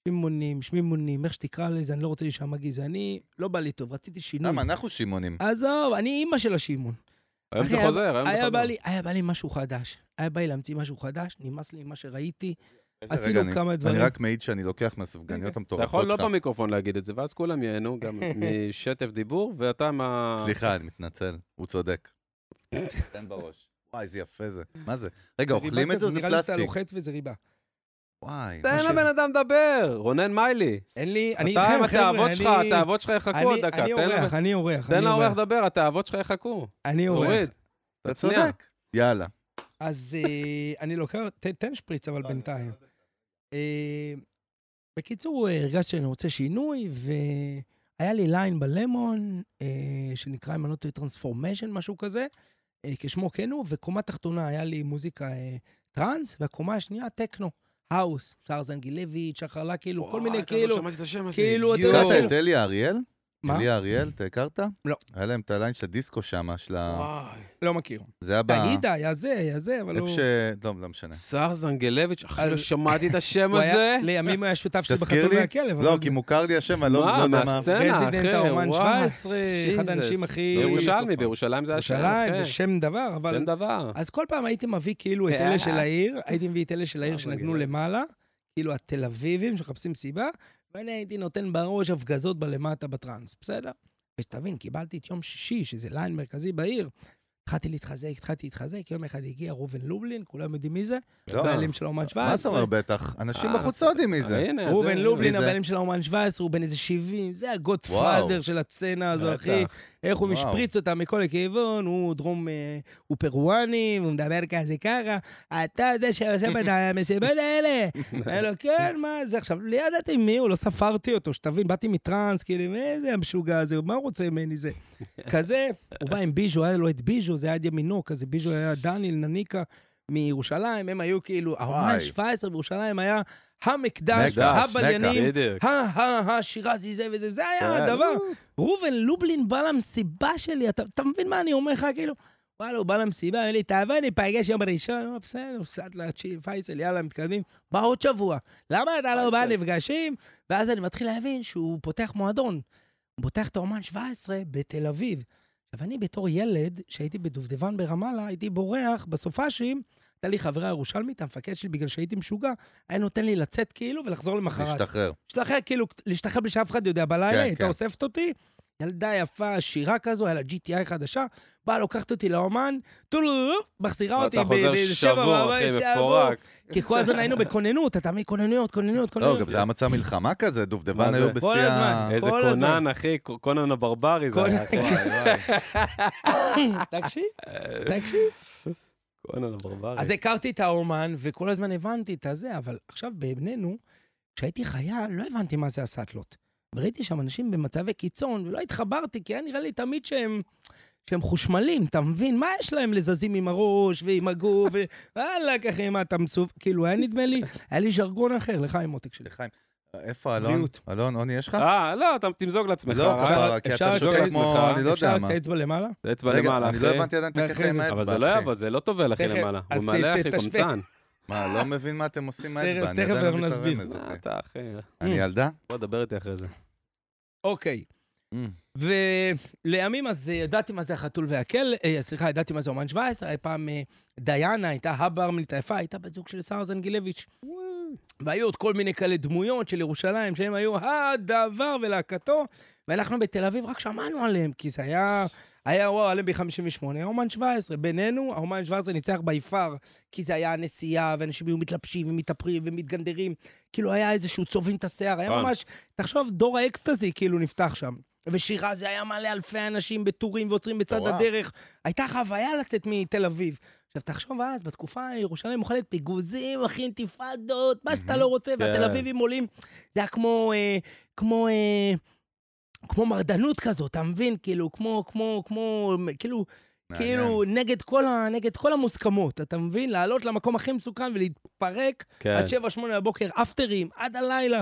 B: שימונים, שמימונים, איך שתקרא לזה, אני לא רוצה להישמע גזעני, לא בא לי טוב, רציתי שינוי.
C: למה, אנחנו שמעונים.
B: עזוב, אני אימא של השימון.
A: היום זה
B: אחי,
A: חוזר, היום זה
B: היה
A: חוזר.
B: בא לי- היה בא לי משהו חדש. היה בא לי להמציא משהו חדש, נמאס לי ממה שראיתי,
C: איזה רגע
B: עשינו
C: אני-
B: כמה דברים. אה,
C: אני רק מעיד שאני לוקח מהסופגניות
A: אתה
C: המטורפות
A: יכול לא
C: שלך.
A: במיקרופון להגיד את זה, ואז כולם ייהנו גם משטף דיבור, ואתה מה...
C: סליחה, אני מתנצל, הוא צודק. תן בראש. וואי, איזה יפה זה. מה זה? רגע,
B: ריבה
C: אוכלים את
B: כזה,
C: זה או זה
B: נראה לי שאתה
C: פלסטיק?
B: לוחץ וזה ריבה.
C: וואי. מה
A: תן
C: ש-
A: לבן אדם לדבר, רונן מיילי.
B: אין לי, אני
A: אתה עם
B: איתכם, חבר'ה,
A: התאוות
B: אני-
A: שלך, התאוות שלך יחכו עוד
B: אני-
A: דקה.
B: אני
A: תן לה-
B: אורח, אני אורח,
A: תן
B: אני
A: לאורח
B: אורח,
A: לדבר, התאוות שלך יחכו.
B: אני אורח.
A: תוריד.
C: אתה
A: תצניע.
C: צודק. יאללה.
B: אז אה, אני לוקח, ת- תן שפריץ אבל בינתיים. אה, בקיצור, אה, הרגשתי שאני רוצה שינוי, והיה לי ליין בלמון, אה, שנקרא, אם אני לא טועה, טרנספורמיישן, משהו כזה, אה, כשמו כן הוא, וקומה תחתונה היה לי מוזיקה אה, טראנס, והקומה השנייה, טכנו, האוס, שר זנגילביץ', שחר לה, כאילו, כל מיני, כאילו,
A: שמעתי לא את השם
B: הזה. כאילו, אתה-
C: הכרת
B: כאילו-
C: את אלי אריאל?
B: מה?
C: אלי אריאל, אתה הכרת?
B: לא.
C: היה להם את הליין של הדיסקו שם, של ה...
B: לא מכיר.
C: זה היה ב...
B: תגידה, היה זה, היה זה, אבל
C: איפה
B: לא...
C: ש... לא, לא משנה.
A: שר זנגלביץ', אחי, לא
B: אז-
A: שמעתי את השם
B: הוא
A: הזה.
B: היה, לימים הוא היה שותף שלי
C: תזכיר
B: בחתול
C: לי?
B: והכלב.
C: לא,
B: אבל-
C: כי מוכר לי השם, אני לא לא
A: מה,
C: יודע מה...
A: מהסצנה, אחי,
B: רזידנט, האומן
A: וואו,
B: 17, אחד האנשים
A: Jesus.
B: הכי-
A: ירושלמי, בירושלים זה השם,
B: ירושלים, זה
A: אחי.
B: שם דבר, אבל...
A: שם דבר.
B: אז כל פעם הייתי מביא כאילו את
A: אה,
B: אלה של העיר, הייתי מביא את אלה של העיר
A: סבבה,
B: שנגנו
A: גדול.
B: למעלה, כאילו התל אביבים שמחפשים סיבה, ואני הייתי נותן בראש הפגזות בלמטה בטראנס, בסדר? ושתבין, קיבלתי את יום שישי, שזה ליין מרכזי בעיר. התחלתי להתחזק, התחלתי להתחזק, יום אחד הגיע ראובן לובלין, כולם יודעים מי זה,
C: לא.
B: בעלים של האומן
C: מה זאת
B: 17.
C: אומרת בטח? אנשים
A: אה,
C: בחוץ לא יודעים מי זה.
A: הנה,
B: ראובן
A: זה-
B: לובלין,
C: מי זה?
B: הבעלים של האומן 17, הוא בן איזה 70, זה הגוד
C: וואו.
B: פאדר של הצצנה הזו,
A: בטח.
B: אחי. איך הוא
C: וואו.
B: משפריץ אותה מכל הכיוון, הוא דרום, אה, הוא פרואני, הוא מדבר כזה ככה, אתה זה שעושה את המסיבות האלה. אני לו, כן, מה זה עכשיו? לא ידעתי מי הוא, לא ספרתי אותו, שתבין, באתי מטראנס, כאילו, איזה המשוגע הזה, מה הוא רוצה ממני זה? כזה, הוא בא עם ביז'ו, היה לו את ביז'ו, זה היה יד ימינו, כזה ביז'ו היה דניאל, נניקה. מירושלים, הם היו כאילו, האומן
C: וואי.
B: 17 בירושלים היה המקדש,
C: מכה,
B: הבליינים,
A: בדיוק.
B: הא, הא, הא, שירזי זה וזה, זה
C: אה,
B: היה
A: כן.
B: הדבר. ראובן לובלין בא למסיבה שלי, אתה, אתה מבין מה אני אומר לך, כאילו? וואלה, הוא בא למסיבה, אומר לי, תעבור, ניפגש יום ראשון, אמר, בסדר, סעד להתשיל, פייסל, יאללה, מתקדמים. בא עוד שבוע, למה אתה לא בא
A: פייסל.
B: נפגשים? ואז אני מתחיל להבין שהוא פותח מועדון. הוא פותח את האומן 17 בתל אביב. עכשיו, אני בתור ילד, שהייתי בדובדבן ברמאללה, הייתי בורח בסופאשים, הייתה לי חברה ירושלמית, המפקד שלי, בגלל שהייתי משוגע, היה נותן לי לצאת כאילו ולחזור למחרת.
C: להשתחרר.
B: להשתחרר, כאילו, להשתחרר בלי שאף אחד יודע. בלילה
C: כן,
B: היא הייתה
C: כן.
B: אוספת אותי, ילדה יפה, עשירה כזו, היה לה GTI חדשה, באה, לוקחת אותי לאומן, טולולולו, מחזירה אותי
A: ואתה חוזר
B: באיזה
A: שבור,
B: בבית,
A: אחי,
B: שבור.
A: מפורק.
B: כי כל הזמן היינו בכוננות, אתה מבין? כוננויות, כוננויות,
C: לא, גם
B: כוננויות.
C: זה היה מצע מלחמה כזה, דובדבן
A: מה
C: היו
A: זה?
C: בשיא
B: כל
C: ה...
B: הזמן.
A: איזה
B: כל הזמן.
A: קונן, אחי, ק- קונן הברברי זה
B: קונן.
A: היה. כן. אחי.
C: וואי, וואי.
B: תקשיב, תקשיב.
A: קונן הברברי.
B: אז הכרתי את האומן, וכל הזמן הבנתי את הזה, אבל עכשיו בימינו, כשהייתי חייל, לא הבנתי מה זה הסאטלות. וראיתי שם אנשים במצבי קיצון, ולא התחברתי, כי היה נראה לי תמיד שהם... שהם חושמלים, אתה מבין? מה יש להם לזזים עם הראש ועם הגוף, ווואלכ, אחי, מה אתה מסוב... כאילו, היה נדמה לי, היה לי ז'רגון אחר, לך עם עותק שלי.
C: לחיים. איפה אלון?
B: בריאות.
C: אלון, עוני, יש לך?
A: אה, לא, אתה תמזוג לעצמך. אה,
C: לא,
A: רק-
C: כפרה, כי
B: אפשר
C: אתה
A: לשאול
C: שותק
A: את
C: כמו,
A: עצמך,
C: אני לא
B: אפשר
C: יודע
B: רק
C: מה.
B: את האצבע למעלה?
A: זה אצבע
C: רגע,
A: למעלה,
C: אני
A: אחי.
C: לא הבנתי עדיין את
B: ואחרי
C: הקטע עם
B: זה-
C: האצבע,
A: אבל זה לא
C: אחי.
A: יעבוד, זה לא טובל, אחי,
B: תכף,
A: למעלה.
B: אז
A: הוא
B: ת-
A: מלא,
B: ת-
A: אחי,
B: תשווה.
A: קומצן.
C: מה, לא מבין מה אתם עושים עם האצבע, אני
B: תכף
C: עדיין לא
B: אנחנו נסביר. Mm.
C: מבין את הרמז,
A: מה
C: אחי.
A: אתה, אחי?
C: אני ילדה?
A: בוא, דבר איתי אחרי זה.
B: אוקיי.
C: Mm.
B: ולימים אז אה, ידעתי מה זה החתול והכל, אה, סליחה, ידעתי מה זה אומן 17, היה פעם אה, דיאנה, הייתה הברמלית היפה, הייתה בת זוג של שרה זנגילביץ'. והיו עוד כל מיני כאלה דמויות של ירושלים, שהם היו הדבר ולהקתו, ואנחנו בתל אביב רק שמענו עליהם, כי זה היה היה וואו אלנבי 58, היה אומן 17. בינינו, האומן 17 ניצח ביפר, כי זה היה הנסיעה, ואנשים היו מתלבשים ומתאפרים ומתגנדרים. כאילו היה איזשהו צובעים את השיער, היה
A: כן.
B: ממש... תחשוב, דור האקסטזי כאילו נפתח שם. ושירה זה היה מלא אלפי אנשים בטורים ועוצרים בצד
C: וואו.
B: הדרך. הייתה חוויה לצאת מתל אביב. עכשיו, תחשוב אז, בתקופה ירושלים אוכלת פיגוזים, אחי, אינתיפאדות, מה שאתה לא רוצה, והתל
A: כן.
B: אביבים עולים. זה היה כמו, אה, כמו, אה, כמו מרדנות כזאת, אתה מבין? כאילו, כמו, כמו, כמו, כאילו,
C: מעניין.
B: כאילו, נגד כל, ה, נגד כל המוסכמות, אתה מבין? לעלות למקום הכי מסוכן ולהתפרק
A: כן.
B: עד 7-8 בבוקר, אפטרים, עד הלילה.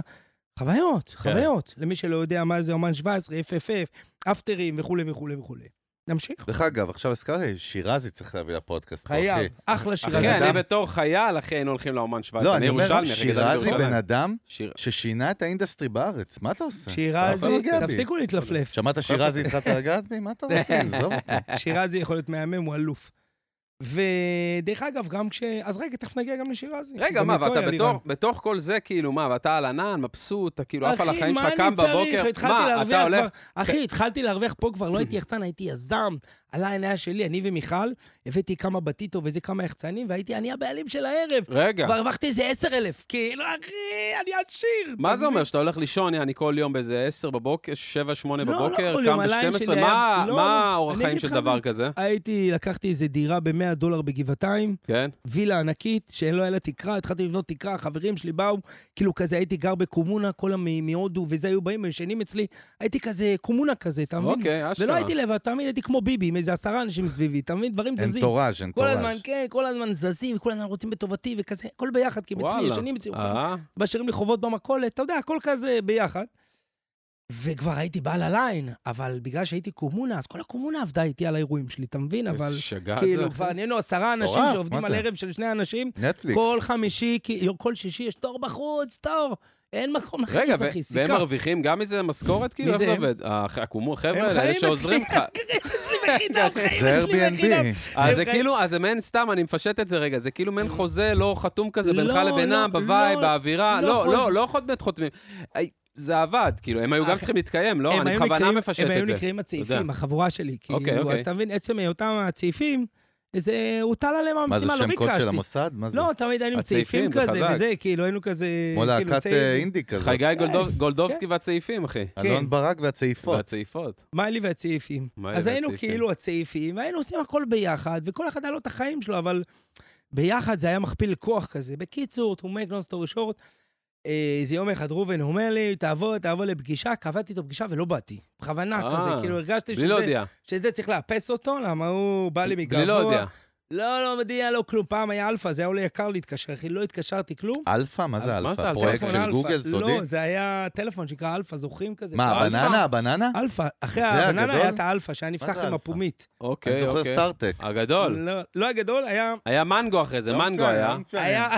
B: חוויות, חוויות. למי שלא יודע מה זה אומן 17, FFF, אפטרים וכולי וכולי וכולי. נמשיך?
C: דרך אגב, עכשיו הזכרת לי, שירזי צריך להביא לפודקאסט. פה, אחי.
B: חייב, אחלה שירה. כן.
A: אחי,
C: זה
A: אני
C: אדם-
A: בתור חייל, אחי, היינו הולכים לאומן 17.
C: לא, אני אומר,
A: ירושלמי, אחי, גדלתי
C: שירזי בן
A: בירושלים.
C: אדם
A: שיר-
C: ששינה את האינדסטרי בארץ, מה אתה עושה? אתה
B: שירזי,
C: יכול לגעת בי.
B: תפסיקו להתלפלף.
C: שמעת שירזי התחלת לגעת בי? מה אתה רוצה? עזוב אותי.
B: שירזי יכול להיות מהמם, הוא אלוף. ודרך אגב, גם כש... אז רגע, תכף נגיע גם לשירזי.
A: רגע,
B: גם
A: מה,
B: איתו
A: ואתה
B: היה לי רעיון.
A: בתוך- בתוך כל זה, כאילו, מה, ואתה על ענן, מבסוט, אתה כאילו עף על החיים שלך, קם
B: אחי, מה אני
A: בבוקר,
B: צריך? התחלתי
A: מה, אתה
B: להרוויח
A: הולך...
B: כבר... אחי, התחלתי להרוויח פה כבר, לא הייתי יחצן, הייתי יזם. עלה העיניה שלי, אני ומיכל, הבאתי כמה בטיטו וזה כמה יחצנים, והייתי אני הבעלים של הערב.
A: רגע,
B: כבר הרווחתי איזה 10,000. כאילו, אחי, אני עשיר.
A: מה
B: אתה
A: זה
B: מבין?
A: אומר? שאתה הולך לישון, יעני, כל יום באיזה 10 בבוקר, 7-8
B: לא
A: בבוקר,
B: כל
A: קם
B: יום, הליין
A: ב-12?
B: שלי
A: מה
B: היה- לא,
A: מה האורח
B: אני
A: חיים
B: אגיד
A: של
B: לך
A: דבר
B: מה.
A: כזה?
B: הייתי, לקחתי איזה דירה ב-100 דולר בגבעתיים,
A: כן?
B: וילה ענקית, שלא היה לה תקרה, התחלתי לבנות תקרה, חברים שלי באו, כאילו כזה הייתי גר בקומונה, כל המ- מהודו וזה היו באים, ישנים אצלי, הייתי כזה קומונה כזה, אתה מבין?
A: אוקיי, אשכרה.
B: ולא הייתי לבד, תמיד הייתי כמו ביבי, עם איזה עשרה אנשים סביבי, אתה מבין? דברים
C: אין
B: זזים.
C: תורש, אין
B: כל הזמן,
C: תורש.
B: כן, כל הזמן זזים, כל הזמן רוצים בטובתי וכזה, הכל ביחד, כי הם אצלי
A: וואלה.
B: ישנים אצלי, אוכלים
A: אה,
B: משאירים לי חובות במכולת, אתה יודע, הכל כזה ביחד. וכבר הייתי בעל הליין, אבל בגלל שהייתי קומונה, אז כל הקומונה עבדה איתי על האירועים שלי, אתה מבין? אבל
A: איזה שגע זה,
B: כאילו,
A: אחי.
B: כבר נהיינו עשרה אנשים
C: מטורף,
B: שעובדים
C: מה
B: על
C: זה?
B: ערב של שני אנשים,
C: נטפליקס.
B: כל חמישי, כי- כל שישי יש תור בחוץ, תור. אין מקום
A: רגע,
B: להכניס, אחי,
A: ו- והם
B: סיכה.
A: מרוויחים גם מזה משכורת? כאילו,
B: מי
A: איך
B: זה
A: זה
B: הם?
A: עובד? הח- הקומו-
B: הם
A: החבר'ה האלה, אלה
B: חיים
A: שעוזרים לך.
B: אצלי בחינם, חיים
C: זה
B: אצלי בחינם.
C: Airbnb.
A: אז
B: הם
A: זה
B: חיים-
A: כאילו, אז זה מעין סתם, אני מפשט את זה רגע, זה כאילו מעין חוזה לא חתום כזה בינך
B: לא,
A: לבינם,
B: לא,
A: בווייב,
B: לא,
A: באווירה,
B: לא
A: לא,
B: חוזה.
A: לא, לא חותמת חותמים. אי, זה עבד, כאילו, הם היו גם
B: אח-
A: צריכים להתקיים, לא?
B: הם
A: אני
B: היו
A: בכוונה
B: נקראים-
A: מפשט
B: הם
A: את
B: היו
A: זה.
B: נקראים הצעיפים,
A: יודע.
B: החבורה שלי.
A: אוקיי,
B: כאילו, אז
A: אוקיי.
B: אתה מבין, עצם היותם הצעיפים, זה הוטל עליהם
C: מה זה
B: המשימה, לא
C: שם קוד של
B: ביקשתי.
C: המוסד? מה זה?
B: לא, תמיד היינו עם צעיפים
A: הצעיפים, זה
B: כזה,
A: חזק.
B: וזה, כאילו, היינו כזה...
C: כמו
B: כאילו,
C: להקת
B: צעיר.
C: אה, אינדי כזאת.
A: חגי גולדוב- גולדובסקי והצעיפים, אחי.
C: אלון
B: כן.
C: ברק והצעיפות.
A: והצעיפות.
B: מה לי והצעיפים.
A: מה לי
B: אז היינו
A: והצעיפים?
B: כאילו הצעיפים, והיינו עושים הכל ביחד, וכל אחד היה לו את החיים שלו, אבל ביחד זה היה מכפיל כוח כזה. בקיצור, to make no story short, אה, איזה יום אחד ראובן אומר לי, תבוא, תבוא לפגישה, קבעתי איתו פגישה ולא באתי. בכוונה
A: אה,
B: כזה, כאילו הרגשתי
A: בלי
B: שזה...
A: להודיע.
B: שזה צריך לאפס אותו, למה הוא בא לי מגבוה.
A: בלי לא להודיע.
B: לא, לא מודיע, לא כלום. פעם היה אלפא, זה היה עולה יקר להתקשר, אחי, לא התקשרתי כלום.
C: אלפא? מה
A: מה
C: זה
A: זה אלפא?
C: אלפא? פרויקט
B: טלפון
C: של
B: אלפא.
C: גוגל סודי?
B: לא, זה היה טלפון שנקרא אלפא, זוכרים כזה?
C: מה,
B: אלפא?
C: הבננה? הבננה?
B: אלפא, אחרי
C: זה
B: הבננה
C: הגדול?
B: היה את האלפא, שהיה נפתח
C: זה
B: עם
C: אלפא?
B: הפומית.
A: אוקיי,
C: אני
A: אוקיי.
C: זוכר סטארטק.
A: הגדול.
B: לא- לא הגדול, היה...
A: היה מנגו אחרי זה,
C: לא
A: מנגו
C: משנה,
A: היה.
C: לא משנה.
B: היה...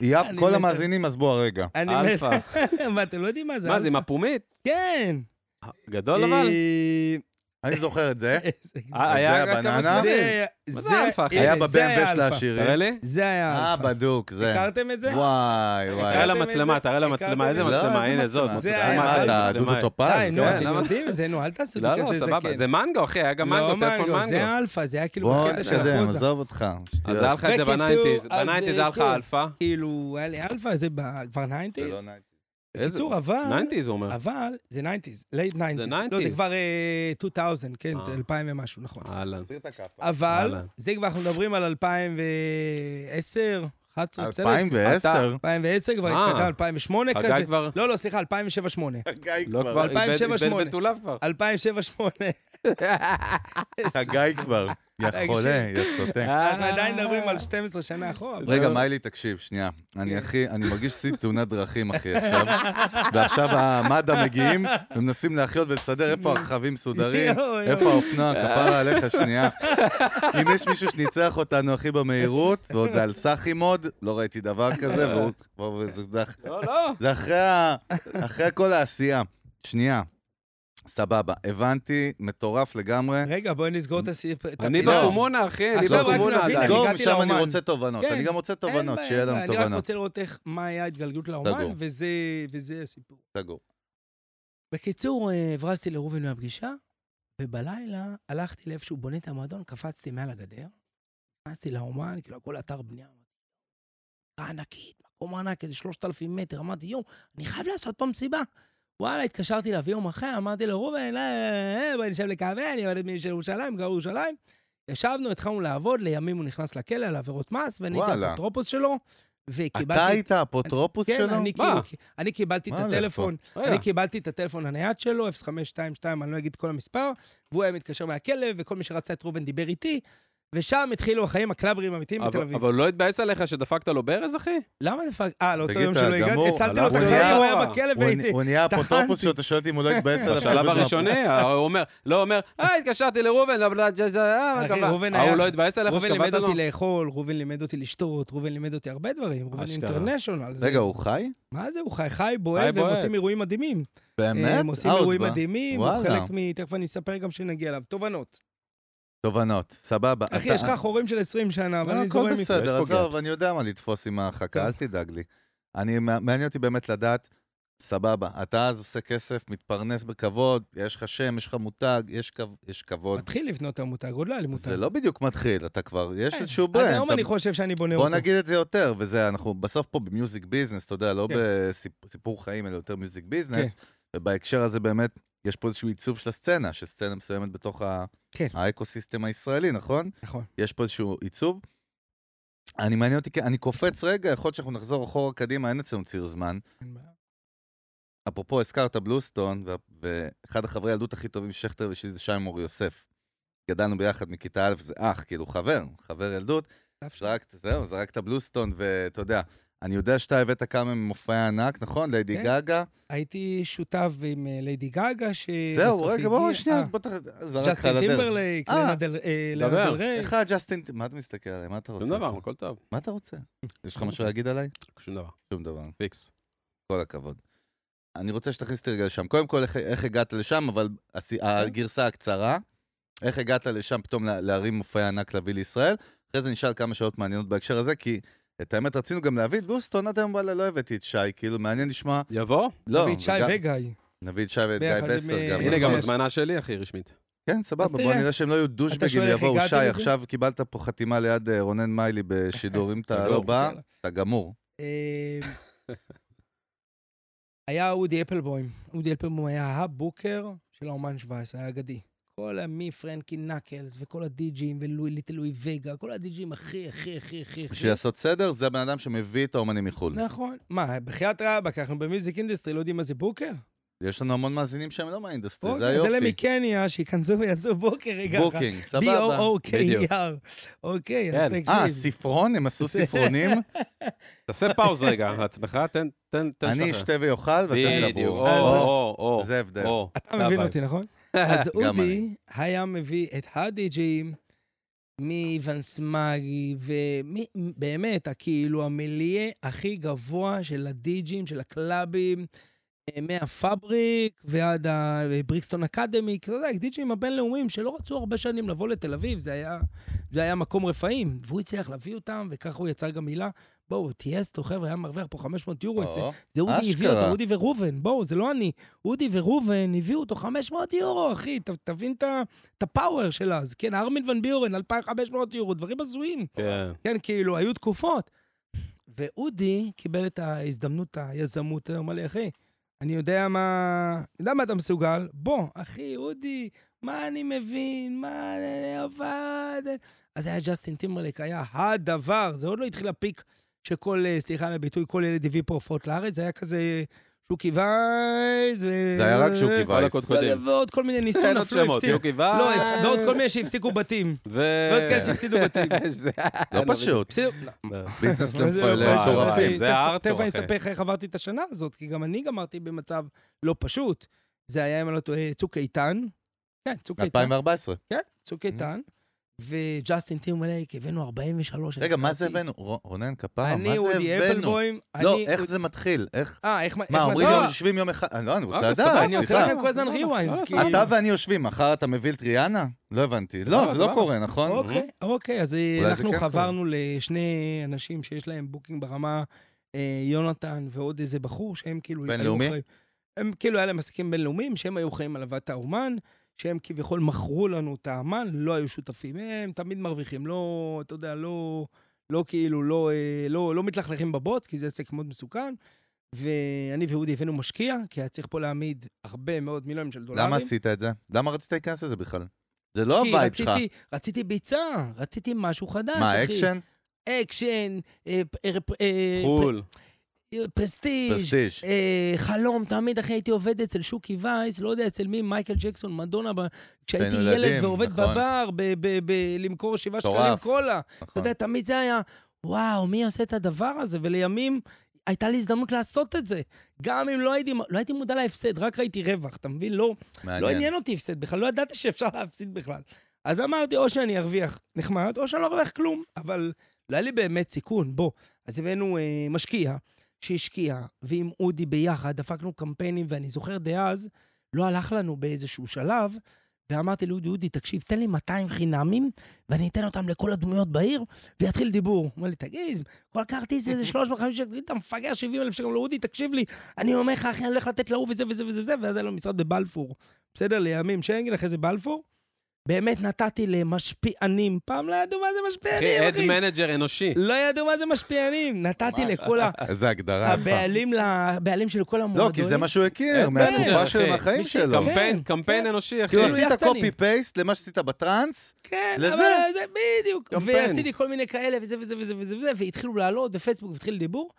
C: יפ,
B: אני
C: כל
B: מת.
C: המאזינים עזבו הרגע.
B: אני מת.
A: אלפא.
B: מה, אתם לא יודעים מה זה?
A: מה זה, עם
B: אלפא?
A: הפומית?
B: כן.
A: גדול אבל.
B: אה,
C: אני זוכר את זה.
B: איזה-
A: אה, היה
C: זה
A: גם כמה
C: הבננה?
A: סוגים.
B: זה-
A: מה זה
B: זה-
A: אלפא, אחי?
B: הנה,
C: היה
B: זה
C: בבמבה של
B: אלפא.
A: תראה
C: העשירים.
A: לי.
B: זה היה
C: אה,
B: אלפא.
C: בדוק, זה.
B: הכרתם את זה?
C: וואי,
A: תראה
C: וואי.
B: הכרתם את
A: למצלמה,
B: זה?
A: תראה למצלמה,
B: הכרתם
A: איזה
B: את
C: זה?
A: מצלמה,
C: לא, איזה
A: הנה זאת,
C: מצלמה.
A: מוצאת
B: זה
A: למה,
B: היה-
C: מה
A: איזה
C: אתה,
A: מצלמה.
C: דודו טופז?
B: די, נו,
A: זה,
B: אתם
A: כן, למה?
B: יודעים את זה, נו, אל תעשו לי
A: לא,
B: כזה
A: לא, סבבה,
B: זקן.
A: זה מנגו, אחי, היה גם מנגו,
B: לא
A: טלפון
B: מנגו,
A: מנגו.
B: זה אלפא, זה היה כאילו
C: בוא
B: בקטע של
C: נתקדם,
B: אחוזה.
C: עזוב אותך.
A: אז
C: שטויות.
A: היה לך את זה
B: בקיצור,
A: בניינטיז,
B: אז,
A: בניינטיז
B: אה,
A: היה לך
B: כן.
A: אלפא.
B: כאילו, היה לי אלפא, זה ב- כבר
C: זה
B: ניינטיז.
C: לא נייט.
A: איזה-
B: בקיצור, אבל,
A: ניינטיז, הוא אומר.
B: אבל, זה ניינטיז, לייט ניינטיז. לא,
A: 90s.
B: זה כבר אה, 2000, כן,
A: אה.
B: 2000 ומשהו, נכון.
A: אהלן.
C: תחזיר את הכאפה.
B: אבל,
A: אהלן.
B: זה כבר, אנחנו מדברים על 2010, 11, בסדר?
C: 2010.
B: 2010 כבר
A: אה.
B: התקדם, 2008 כזה.
A: חגי כבר,
B: לא, לא, סליחה, 2007-2008.
C: חגי
A: לא כבר, איבד-
B: 2007,
A: איבד
B: 2008.
A: בתוליו כבר.
B: 2007-2008.
C: חגי כבר. יא חולה, יא סוטה.
B: אנחנו
A: אה.
B: עדיין מדברים על 12 שנה אחורה. אבל-
C: רגע, מיילי, תקשיב, שנייה.
B: כן.
C: אני הכי, אני מרגיש שעשיתי תאונת דרכים, אחי, עכשיו. ועכשיו המד"א מגיעים ומנסים להחיות ולסדר איפה הרכבים מסודרים,
B: יואו, יואו.
C: איפה האופנוע, כפרה עליך שנייה. אם יש מישהו שניצח אותנו, אחי, במהירות, ועוד זה על סאחי מוד, לא ראיתי דבר כזה, והוא- והוא... זה- זה אח-
A: לא, לא.
C: זה אחרי ה- אחרי כל העשייה. שנייה. סבבה, הבנתי, מטורף לגמרי.
B: רגע, בואי נסגור את הסיפור.
A: אני בקומונה, אחי, אני
B: לא. עכשיו רק
A: בקומונה
B: נבין-
A: עדיין.
C: תסגור,
B: לא הגעתי
C: משם אני
B: לאומן.
C: רוצה תובנות.
B: כן,
C: אני גם רוצה
B: אין
C: תובנות,
B: בעיה,
C: שיהיה
B: אין בעיה.
C: לנו
B: אני רק
C: תובנות.
B: רוצה לראות איך, מה היה ההתגלגלות לאומן,
C: סגור.
B: וזה וזה הסיפור.
C: סגור.
B: בקיצור, אה, הברזתי לראובן מהפגישה, ובלילה הלכתי לאיפה שהוא בונה את המועדון, קפצתי מעל הגדר, נכנסתי לאומן, כאילו הכל אתר בנייה. אמרתי, ענקית, מקום ענק, איזה 3,000 מטר. אמרתי, יואו, אני חייב לעשות פה מסיבה. וואלה, התקשרתי אליו יום אחרי, אמרתי לו, ראובן, אה, אה, בוא נשב לקפה, אני יורדת של ירושלים, גר ירושלים. ישבנו, התחלנו לעבוד, לימים הוא נכנס לכלא על עבירות מס, ואני הייתי
C: וואלה.
B: האפוטרופוס שלו, וקיבלתי...
C: אתה היית האפוטרופוס
B: כן,
C: שלו?
B: אני
A: מה?
B: כאילו- אני קיבלתי את
C: מה הולך
B: הטלפון,
A: רגע,
B: אני קיבלתי את הטלפון הנייד שלו, 0522, אני לא אגיד כל המספר, והוא היה מתקשר מהכלא, וכל מי שרצה את ראובן דיבר איתי, ושם התחילו החיים הקלאברים האמיתיים בתל
A: אבל
B: אביב.
A: אבל הוא לא התבאס עליך שדפקת לו ברז, אחי?
B: למה דפק... אה, לאותו
C: תגיד,
B: יום
C: אתה
B: שלא הגעתי,
C: גמור,
B: הצלתי לו את
A: הלך
B: החיים,
A: אחורה.
B: הוא היה בכלא
C: הוא-
B: והייתי.
C: הוא נהיה
B: טחנתי.
C: האפוטרופוס שלו, אתה שואל אותי אם הוא לא התבאס עליו.
A: בשלב הראשוני, הוא אומר, לא אומר, אה, התקשרתי לראובן, לא, לא, לא, לא, מה
B: אחי,
A: קרה?
B: ראובן
A: ההוא
B: היה-
A: לא התבאס עליך
B: ראובן
A: שקבעת
B: לימד
A: לו?
B: אותי לאכול, ראובן לימד אותי לשתות, ראובן לימד אותי הרבה דברים, ראובן
A: אשכרה.
B: אינטרנשיונל. זה-
C: רגע, הוא חי?
B: מה זה, הוא חי, חי, בועט,
A: חי,
B: והם
A: בועט.
B: עושים אירועים מדהימים.
C: באמת?
B: הם עושים
C: אה, עוד
B: אירועים
C: בא.
B: מדהימים, הוא
C: וואלה.
B: חלק מ... תכף אני אספר גם כשנגיע אליו. תובנות.
C: תובנות, סבבה.
B: אחי,
C: אתה-
B: יש לך חורים של 20 שנה, אבל
C: לא,
B: אני זורם
C: הכל
B: איתך.
C: בסדר,
A: יש פה
C: עזוב,
A: gaps.
C: אני יודע מה לתפוס עם ההרחקה,
B: כן.
C: אל תדאג לי. אני, מעניין אותי באמת לדעת, סבבה, אתה אז עושה כסף, מתפרנס בכבוד, יש לך שם, יש לך מותג, יש כב- יש כבוד.
B: מתחיל לבנות את המותג, עוד לא היה לי מותג.
C: זה לא בדיוק מתחיל, אתה כבר, יש
B: כן.
C: איזשהו ברנד.
B: עד היום
C: אתה-
B: אני חושב שאני בונה אותו.
C: בוא נגיד את זה יותר, וזה, אנחנו בסוף פה במיוזיק ביזנס, אתה יודע, לא
B: כן.
C: בסיפור חיים, אלא יותר מיוזיק ביזנס, ובהקשר הזה באמת, יש פה איזשהו עיצוב של הסצנה, שסצנה מסוימת בתוך ה-
B: כן.
C: האקוסיסטם הישראלי, נכון?
B: נכון.
C: יש פה איזשהו עיצוב. אני מעניין אותי, כי אני קופץ רגע, יכול להיות שאנחנו נחזור אחורה קדימה, אין אצלנו ציר זמן.
B: אין בעיה.
C: אפרופו, הזכרת בלוסטון, וה- ואחד החברי ילדות הכי טובים של שכטר ושלי זה שי מור יוסף. גדלנו ביחד מכיתה א', זה אח, כאילו חבר, חבר ילדות.
B: אף שלא.
C: זרקת, זהו, זרקת בלוסטון, ואתה יודע, אני יודע שאתה הבאת כמה ממופעי ענק, נכון? ליידי
B: כן.
C: גאגה.
B: הייתי שותף עם אה, ליידי גאגה, שבסוף
C: זהו, רגע, בואו שנייה,
B: אה,
C: אז בוא ת... זרק לך
B: ג'סטין
C: על הדרך.
B: טימברלייק,
C: אה.
B: לאנה דל- אה, לאנה
A: דבר.
B: דל ריי.
C: איך הג'סטין... מה אתה מסתכל עליי? מה אתה רוצה?
A: שום דבר, הכל טוב.
C: מה אתה רוצה? יש לך משהו להגיד עליי?
A: שום דבר,
C: שום דבר.
A: פיקס.
C: כל הכבוד. אני רוצה שתכניס אותי רגע לשם. קודם כל, איך, איך הגעת לשם, אבל הסי,
B: כן.
C: הגרסה הקצרה, איך הגעת לשם פתאום לה, להרים מופעי ענק להביא לישראל? אחרי זה נשאל כמה שאלות מעניינות בהקשר הזה, כי את האמת רצינו גם להביא את בוסטון, עד היום וואלה לא הבאתי את שי, כאילו מעניין לשמוע...
A: יבוא?
C: לא,
B: דוד שי
C: וגם-
B: וגיא.
C: נביא את שי ואת
B: ביחד
C: גיא
B: עם,
C: בסר
B: אה,
C: גם.
A: הנה
B: אבל
A: גם
B: יש-
A: הזמנה שלי, אחי, רשמית.
C: כן, סבבה,
B: אז
C: בוא
B: תראה.
C: נראה שהם לא יהיו
B: שואל
C: דושבגים,
B: איך
C: יבואו.
B: הגעתי
C: שי,
B: לזה?
C: עכשיו קיבלת פה חתימה ליד אה, רונן מיילי בשידור, אם אתה לא
A: סגור.
C: בא, אתה גמור.
B: אה, היה אודי אפלבוים. אודי אפלבוים היה הבוקר של האומן 17, היה אגדי. כל המי פרנקי נקלס, וכל הדי-ג'ים, וליטל לואי וגה, כל הדי-ג'ים הכי, הכי, הכי, הכי, הכי.
C: בשביל לעשות סדר, זה הבן אדם שמביא את האומנים מחו"ל.
B: נכון. מה, בחייאת רבאק, אנחנו במיוזיק אינדסטרי, לא יודעים מה זה בוקר?
C: יש לנו המון מאזינים שהם לא מהאינדסטרי, זה
B: אוקיי, זה
C: היופי.
B: למקניה, שייכנסו ויעשו בוקר רגע אחד.
C: בוקינג, סבבה.
A: בדיוק.
B: B-O-O-K-R. אוקיי, אז
A: כן.
B: תקשיב.
C: אה, ספרון? הם עשו ספרונים?
A: תעשה פאוז רגע, עצמך, תן, תן, תן
C: אני
A: שחרר.
C: אשתה ואוכל ואתם
A: בדיוק,
C: דברו.
B: אה,
A: או,
C: או,
A: או, או.
C: זה ההבדל.
A: או.
B: אתה מבין
A: הביי.
B: אותי, נכון? אז
C: גם
B: אודי היה מביא את הדי-ג'ים מוונס מאגי, ובאמת, כאילו, המיליה הכי גבוה של הדי-ג'ים, של הקלאבים, אה, מהפאבריק ועד הבריקסטון אקדמי, אתה יודע, די-ג'ים הבינלאומיים שלא רצו הרבה שנים לבוא לתל אביב, זה היה, זה היה מקום רפאים, והוא הצליח להביא אותם, וככה הוא יצר גם מילה. בואו, טייסטו, חבר'ה, היה מרוויח פה 500 יורו אצל...
C: או,
B: זה אודי הביא
C: אשכרה.
B: אותו, אודי וראובן, בואו, זה לא אני. אודי וראובן הביאו אותו 500 יורו, אחי, ת, תבין את ה- את הפאוור שלה. אז כן, ארמין ון ביורן, 2,500 יורו, דברים הזויים.
A: כן.
B: כן, כאילו, היו תקופות. ואודי קיבל את ההזדמנות, היזמות, הוא אמר לי, אחי, אני יודע מה, אני יודע מה אתה מסוגל, בוא, אחי, אודי, מה אני מבין, מה אה, עבד. אז היה ג'סטין טימרליק, היה הדבר, זה עוד לא התחיל הפיק שכל, אה, סליחה על הביטוי, כל ילד הביא פה הופעות לארץ, זה היה כזה שוקי וייז.
C: זה היה רק לא שוקי
A: כל
C: וייס.
A: הקודקוד. קודם.
B: ועוד כל מיני ניסו
A: אין עוד
B: נפלו,
A: שמות,
B: הפסיקו.
A: יוקי אה.
B: לא,
A: וייס.
B: ועוד כל מיני שהפסיקו בתים.
A: ו...
B: ועוד כאלה שהפסידו בתים.
A: זה- אה,
C: לא פשוט.
B: הפסידו-
C: ביזנס
B: זה לא
A: וואי,
B: פשוט,
A: וואי,
B: אחי.
C: למטורפים.
A: זה
B: תכף-
A: הארטור,
B: תכף אני
A: אחי.
B: אספר לך איך עברתי את השנה הזאת, כי גם אני גמרתי במצב לא פשוט. זה היה, אם אני לא טועה, צוק איתן. כן, צוק איתן.
C: 2014.
B: כן, צוק איתן. וג'סטין טימבלייק, הבאנו 43.
C: רגע,
B: אלף
C: מה זה
B: כרטיס.
C: הבאנו? רו- רונן כפרה, מה
B: אני,
C: זה
B: אודי
C: הבאנו?
B: אפלבוים.
C: לא,
B: אני-
C: איך זה מתחיל? איך...
B: אה, איך... מה-
C: מה,
B: איך
C: אומרים לא
B: מתחיל?
C: יום- יושבים יום אחד? אה, לא, אני רוצה
A: אוקיי, סבבה,
C: לדעת,
B: אני עושה
C: סליחה.
B: לכם כל הזמן
A: לא,
B: rewind,
A: לא,
B: כאילו.
A: סבבה.
C: אתה ואני יושבים, מחר אתה מביא את ריאנה? לא הבנתי. לא,
A: סבבה,
C: זה לא
A: סבבה.
C: קורה, נכון?
B: אוקיי, אוקיי, אז אה,
C: אולי זה
B: אנחנו
C: כן קורה.
B: חברנו לשני אנשים שיש להם בוקינג ברמה, אה, יונתן ועוד איזה בחור, שהם כאילו... היו
C: בינלאומי?
B: אחראים- הם כאילו, היה להם עסקים בינלאומיים, שהם היו חיים על הבאת האומן, שהם כביכול מכרו לנו את האמן, לא היו שותפים. הם תמיד מרוויחים, לא, אתה יודע, לא, לא כאילו, לא, אה, לא, לא מתלכלכים בבוץ, כי זה עסק מאוד מסוכן. ואני ואודי הבאנו משקיע, כי היה צריך פה להעמיד הרבה מאוד מיליונים של דולרים.
C: למה עשית את זה? למה רצית להיכנס לזה בכלל? זה לא
B: כי
C: הווייב שלך.
B: רציתי- רציתי ביצה, רציתי משהו חדש,
C: מה,
B: אחי.
C: אקשן?
B: אקשן, אה, פ- אה, פ- אה,
A: חו"ל.
B: פ- פרסטיג',
C: פרסטיג'.
B: אה, חלום, תמיד אחי הייתי עובד אצל שוקי וייס, לא יודע אצל מי, מייקל ג'קסון, מדונה, ב- כשהייתי
C: בין
B: ילד
C: ילדים,
B: ועובד
C: נכון.
B: בבר, ב- ב- ב- למכור שבעה
C: מטורף.
B: שקלים קולה. אתה
C: נכון.
B: יודע, תמיד זה היה, וואו, מי עושה את הדבר הזה? ולימים הייתה לי הזדמנות לעשות את זה. גם אם לא הייתי, לא הייתי מודע להפסד, רק ראיתי רווח, אתה מבין? לא, לא
C: מעניין.
B: עניין אותי הפסד בכלל, לא ידעתי שאפשר להפסיד בכלל. אז אמרתי, או שאני ארוויח נחמד, או שאני לא ארוויח כלום, אבל לא היה לי באמת סיכון, בוא. אז הבאנו אה, משקיע שהשקיע, ועם אודי ביחד דפקנו קמפיינים, ואני זוכר דאז, לא הלך לנו באיזשהו שלב, ואמרתי לאודי, אודי, תקשיב, תן לי 200 חינמים, ואני אתן אותם לכל הדמויות בעיר, ויתחיל דיבור. הוא אומר לי, תגיד, כל כרטיס זה 350 שקל, תגיד, אתה מפגר 70 אלף שקל, לא, אודי, תקשיב לי, אני אומר לך, אחי, אני הולך לתת להוא וזה וזה וזה וזה, ואז היה לו משרד בבלפור. בסדר, לימים שיינגל, אחרי זה בלפור. באמת נתתי למשפיענים, פעם לא ידעו מה זה
A: אחי,
B: משפיענים,
A: אד
B: אחי.
A: מנג'ר אנושי.
B: לא ידעו מה זה משפיענים, נתתי לכל ה-
C: איזה הגדרה יפה.
B: הבעלים, ל- הבעלים של כל המועדונים. כן,
C: לא, כי זה מה שהוא הכיר,
A: אה,
C: מהתקופה
A: בטח,
C: של
A: אחי.
C: החיים
B: מי
C: שלו.
B: שהכיר,
A: קמפיין,
B: כן,
A: קמפיין
B: כן.
A: אנושי, אחי.
C: כאילו
B: כן.
C: עשית
B: יחצני.
C: קופי-פייסט למה שעשית בטראנס,
B: כן,
C: לזה.
B: לזה. אבל זה בדיוק.
A: קמפיין.
B: ועשיתי כל מיני כאלה, וזה וזה וזה וזה וזה, והתחילו לעלות בפייסבוק, והתחיל דיבור.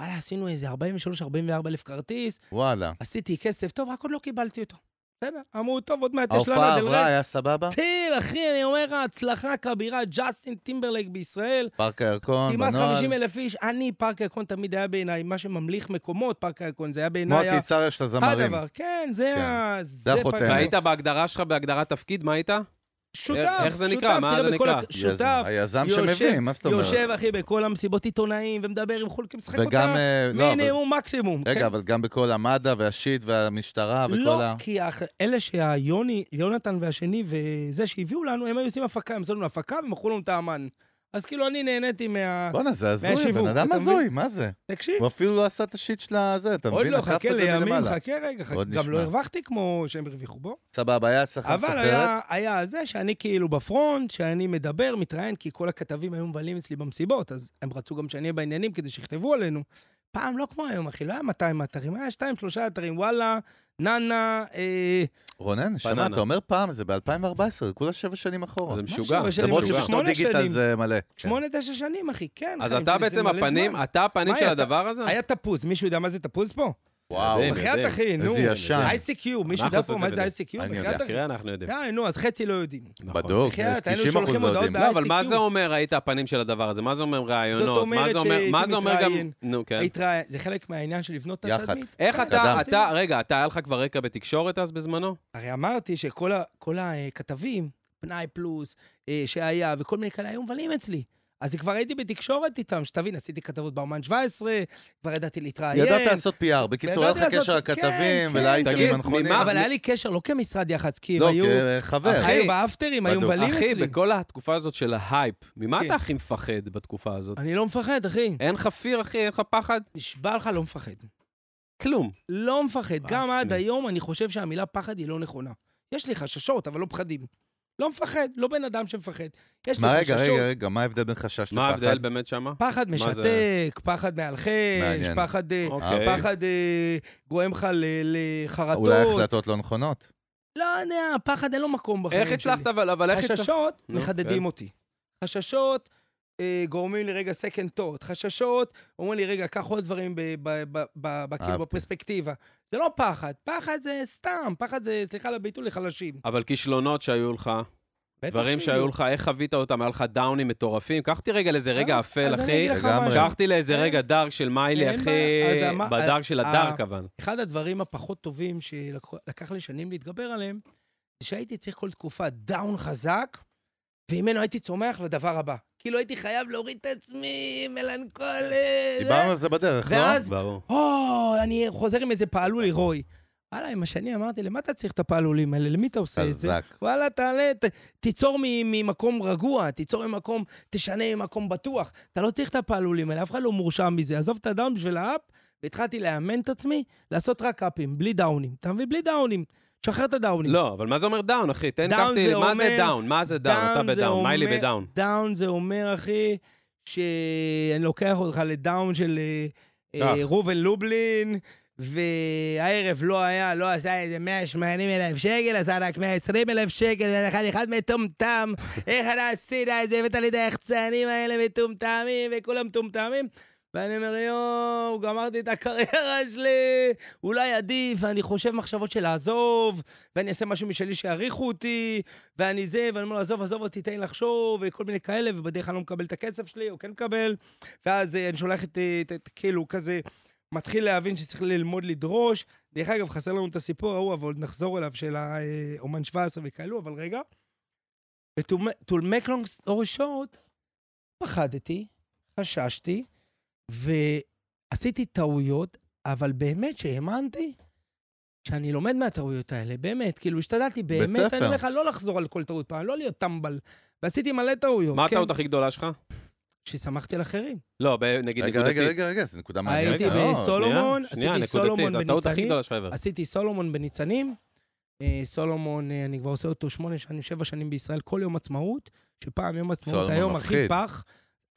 B: וואלה, עשינו איזה 43-44 אלף כרטיס,
C: וואלה.
B: עשיתי כסף טוב, רק עוד לא קיבלתי אותו. בסדר, אמרו, טוב, עוד מעט יש לנו...
C: ההופעה
B: דברי-
C: עברה, היה סבבה?
B: טיל, אחי, אני אומר לך, הצלחה כבירה, ג'סטין טימברלייק בישראל,
C: פארק הירקון,
B: כמעט 50
C: נכון, בנוהל.
B: אלף איש. אני, פארק הירקון תמיד היה בעיניי, מה שממליך מקומות, פארק הירקון, זה היה
C: כמו
B: בעיניי
C: הקיסריה של הזמרים.
B: הדבר. כן, זה
C: כן.
B: ה...
C: זה
B: פארק
C: החותמת.
A: והיית בהגדרה שלך, בהגדרת תפקיד, מה היית?
B: שותף,
A: איך- איך זה נקרא?
B: שותף,
A: מה
B: תראה
A: זה
B: בכל
A: נקרא?
B: הק-
C: יזם.
B: שותף,
C: היזם
B: יושב-
C: שמבין, מה זאת אומרת?
B: יושב, אחי, בכל המסיבות עיתונאים, ומדבר עם חולקים, משחק
C: וגם,
B: אותה
C: אה, לא, אבל-
B: מינימום מקסימום. כן?
C: רגע, אבל גם בכל המד"א והשיט והמשטרה
B: לא,
C: וכל ה...
B: כי האח- אלה שהיוני, יונתן והשני וזה שהביאו לנו, הם היו עושים הפקה, הם עשו לנו הפקה ומכרו לנו את האמן. אז כאילו, אני נהניתי מה...
C: בואנה, זה הזוי,
B: מהשיווק,
C: בן אדם
B: אתה מבין?
C: הזוי, מה זה?
B: תקשיב,
C: הוא אפילו לא עשה את השיט של הזה, אתה
B: עוד
C: מבין?
B: לא,
C: לקח את
B: חכה
C: זה
B: לימים,
C: מלמעלה.
B: חכה רגע, חכה.
C: עוד
B: גם
C: נשמע.
B: לא הרווחתי כמו שהם הרוויחו בו.
C: סבבה, היה אצלך
B: אבל
C: סחרת?
B: היה, היה זה שאני כאילו בפרונט, שאני מדבר, מתראיין, כי כל הכתבים היו מבלים אצלי במסיבות, אז הם רצו גם שאני אהיה בעניינים כדי שיכתבו עלינו. פעם לא כמו היום, אחי, לא היה 200 אתרים, היה 2-3 אתרים, וואלה, נאנה, אה,
C: רונן, נשמה,
A: בננה.
C: אתה אומר פעם, זה ב-2014, כולה שבע שנים אחורה.
A: זה משוגע.
B: שבע שנים?
C: למרות
B: משוגע.
C: שבשנות
B: שמונה
C: דיגיטל
B: שנים.
C: זה מלא. כן.
B: 8-9 שנים, אחי, כן.
A: אז
B: חיים
A: אתה
B: שלי, זה
A: בעצם
B: מלא
A: הפנים, אה.
B: זמן.
A: אתה הפנים
B: מה
A: של
B: היה?
A: הדבר הזה?
B: היה תפוז, מישהו יודע מה זה תפוז פה?
C: וואו,
A: יודעים,
C: אחי,
A: יודעים.
B: בחייאת אחי, נו.
C: איזה ישן.
B: ICQ, מישהו יודע
A: אנחנו
B: פה מה זה
A: עושים את
B: ICQ?
C: אני
B: בחייאת
C: יודע.
B: אחי.
A: תראה, אנחנו יודעים.
B: די, נו, אז חצי לא יודעים.
A: נכון.
C: בדוק,
B: בחייאת, היינו
C: 90 אחוז
B: שולחים
C: לא
B: הודעות
C: יודעים.
A: לא, אבל
B: ב-ICQ.
A: מה זה אומר היית הפנים של הדבר הזה? מה זה אומר רעיונות? מה
B: אומרת
A: זה אומר- מה
B: שהייתי
A: זה אומר גם...
B: מתראיין.
A: נו, כן.
B: ההתראה- זה חלק מהעניין של לבנות את
C: יח"צ.
B: התדמית. כן,
A: איך
C: קדם.
A: אתה, אתה, רגע, אתה, היה לך כבר רקע בתקשורת אז בזמנו?
B: הרי אמרתי שכל ה- כל הכתבים, פנאי פלוס, אה, שהיה, וכל מיני כאלה היו מבלים אצלי. אז כבר הייתי בתקשורת איתם, שתבין, עשיתי כתבות באומן 17, כבר ידעתי להתראיין.
C: ידעת לעשות PR, בקיצור, היה לך
B: ידעתי
C: קשר
B: לעשות-
C: לכתבים
B: כן,
C: ולאייטמים
A: תגיד,
C: הנכונים.
A: ממה-
B: אבל היה לי קשר, לא כמשרד יח"צ, כי הם
C: לא,
B: היו...
C: כחבר.
A: אחי,
B: אחי, באפטרים היו
C: בדוק.
B: מבלים
A: אחי,
B: אצלי.
A: בכל התקופה הזאת של ההייפ, ממה
B: כן.
A: אתה הכי מפחד בתקופה הזאת?
B: אני לא מפחד, אחי.
A: אין לך פיר, אחי? אין לך פחד?
B: נשבע לך, לא מפחד.
A: כלום.
B: לא מפחד. גם
A: באסה.
B: עד היום אני חושב שהמילה פחד היא לא נכונה. יש לי חששות, אבל לא פחדים. לא מפחד, לא בן אדם שמפחד. יש לי
C: מה,
B: חששות.
C: רגע, רגע, רגע, מה ההבדל בין חשש
A: מה ההבדל
C: לפחד?
A: באמת שמה?
B: פחד
A: מה זה?
B: משתק, פחד מאלחש,
C: מעניין.
B: פחד, אה,
A: אוקיי.
B: פחד אה, גורם לך ל-
C: אולי
B: לחרטות.
C: החלטות לא נכונות.
B: לא יודע, פחד אין לו מקום בחיים
A: איך
B: שלי.
A: הצלחת אבל, אבל איך הצלחת?
B: חששות
A: נו,
B: מחדדים
A: כן.
B: אותי. חששות אה, גורמים לי רגע second thought. חששות אומרים לי, רגע, קח עוד דברים ב- ב- ב- ב- ב- כאילו
C: אהבתי.
B: בפרספקטיבה. זה לא פחד, פחד זה סתם, פחד זה, סליחה על הביטוי, לחלשים.
A: אבל כישלונות שהיו לך,
B: בטח
A: דברים
B: שיהיו.
A: שהיו לך, איך חווית אותם? היה לך דאונים מטורפים? קח אותי רגע לאיזה רגע
B: אה,
A: אפל,
B: אז אני
A: אחי.
B: אגיד לך
C: לגמרי.
B: משהו.
A: קח אותי לאיזה
B: אין-
A: רגע דארק של מיילי,
B: אה? אין
A: אחי.
B: בעיה, אז אמר-
A: בדארק של
B: אה,
A: הדארק, אבל.
B: אחד הדברים הפחות טובים שלקח לי שנים להתגבר עליהם, זה שהייתי צריך כל תקופה דאון חזק, וממנו הייתי צומח לדבר הבא. כאילו הייתי חייב להוריד את עצמי, מלנכולי.
C: דיברנו על זה בדרך, לא?
B: ואז,
A: ברור.
B: או, אני חוזר עם איזה פעלולי רוי. וואלה, עם השני אמרתי, למה אתה צריך את הפעלולים האלה? למי אתה עושה את זה?
C: חזק.
B: וואלה, תעלה, ת, תיצור מ- ממקום רגוע, תיצור ממקום, תשנה ממקום בטוח. אתה לא צריך את הפעלולים האלה, אף אחד לא מורשע מזה. עזוב את הדאון בשביל האפ, והתחלתי לאמן את עצמי, לעשות רק אפים, בלי דאונים. אתה מבין? בלי דאונים. תשחרר את הדאונים.
A: לא, אבל מה זה אומר דאון, אחי? תן
B: דאון
A: קפטי,
B: זה
A: מה זה
B: אומר-
A: דאון? מה זה דאון? אתה
B: דאון זה
A: בדאון, מיילי
B: אומר-
A: בדאון.
B: דאון זה אומר, אחי, שאני לוקח אותך לדאון של אה, אה,
A: אח.
B: ראובן לובלין, והערב לא היה, לא עשה איזה 180 אלף שקל, עשה רק 120 אלף שקל, אחד אחד מטומטם, איך אתה עשית את זה, הבאת לי את היחצנים האלה מטומטמים, וכולם מטומטמים. ואני אומר, יואו, גמרתי את הקריירה שלי, אולי עדיף, ואני חושב מחשבות של לעזוב, ואני אעשה משהו משלי שיעריכו אותי, ואני זה, ואני אומר לו, עזוב, עזוב אותי, תן לי לחשוב, וכל מיני כאלה, ובדרך כלל אני לא מקבל את הכסף שלי, או כן מקבל, ואז אה, אני שולח את, אה, את, את כאילו, כזה, מתחיל להבין שצריך ללמוד לדרוש. דרך אגב, חסר לנו את הסיפור ההוא, אבל עוד נחזור אליו, של האומן 17 וכאלו, אבל רגע. ו-to make long story short, פחדתי, חששתי, ועשיתי טעויות, אבל באמת שהאמנתי שאני לומד מהטעויות האלה, באמת. כאילו, השתדלתי באמת,
C: ספר.
B: אני אומר לך, לא לחזור על כל טעות פעם, לא להיות טמבל. ועשיתי מלא טעויות,
A: מה
B: כן?
A: הטעות הכי גדולה שלך?
B: ששמחתי על אחרים.
A: לא, ב- נגיד
C: רגע, רגע,
A: נקודתית.
C: רגע, רגע, זו נקודה מעניינת.
B: הייתי
C: לא,
A: רגע,
C: מאוד.
A: שנייה,
B: בסולומון,
A: שנייה,
B: עשיתי
A: נקודתית,
B: סולומון
A: הטעות הכי
B: בניצנים,
A: גדולה שלך ever.
B: עשיתי סולומון בניצנים. אה, סולומון, אה, אני כבר עושה אותו שמונה שנים, שבע שנים בישראל, כל יום עצמאות, שפעם יום עצמאות
C: סולומון
B: היום
C: מפחיד.
B: הכי פח.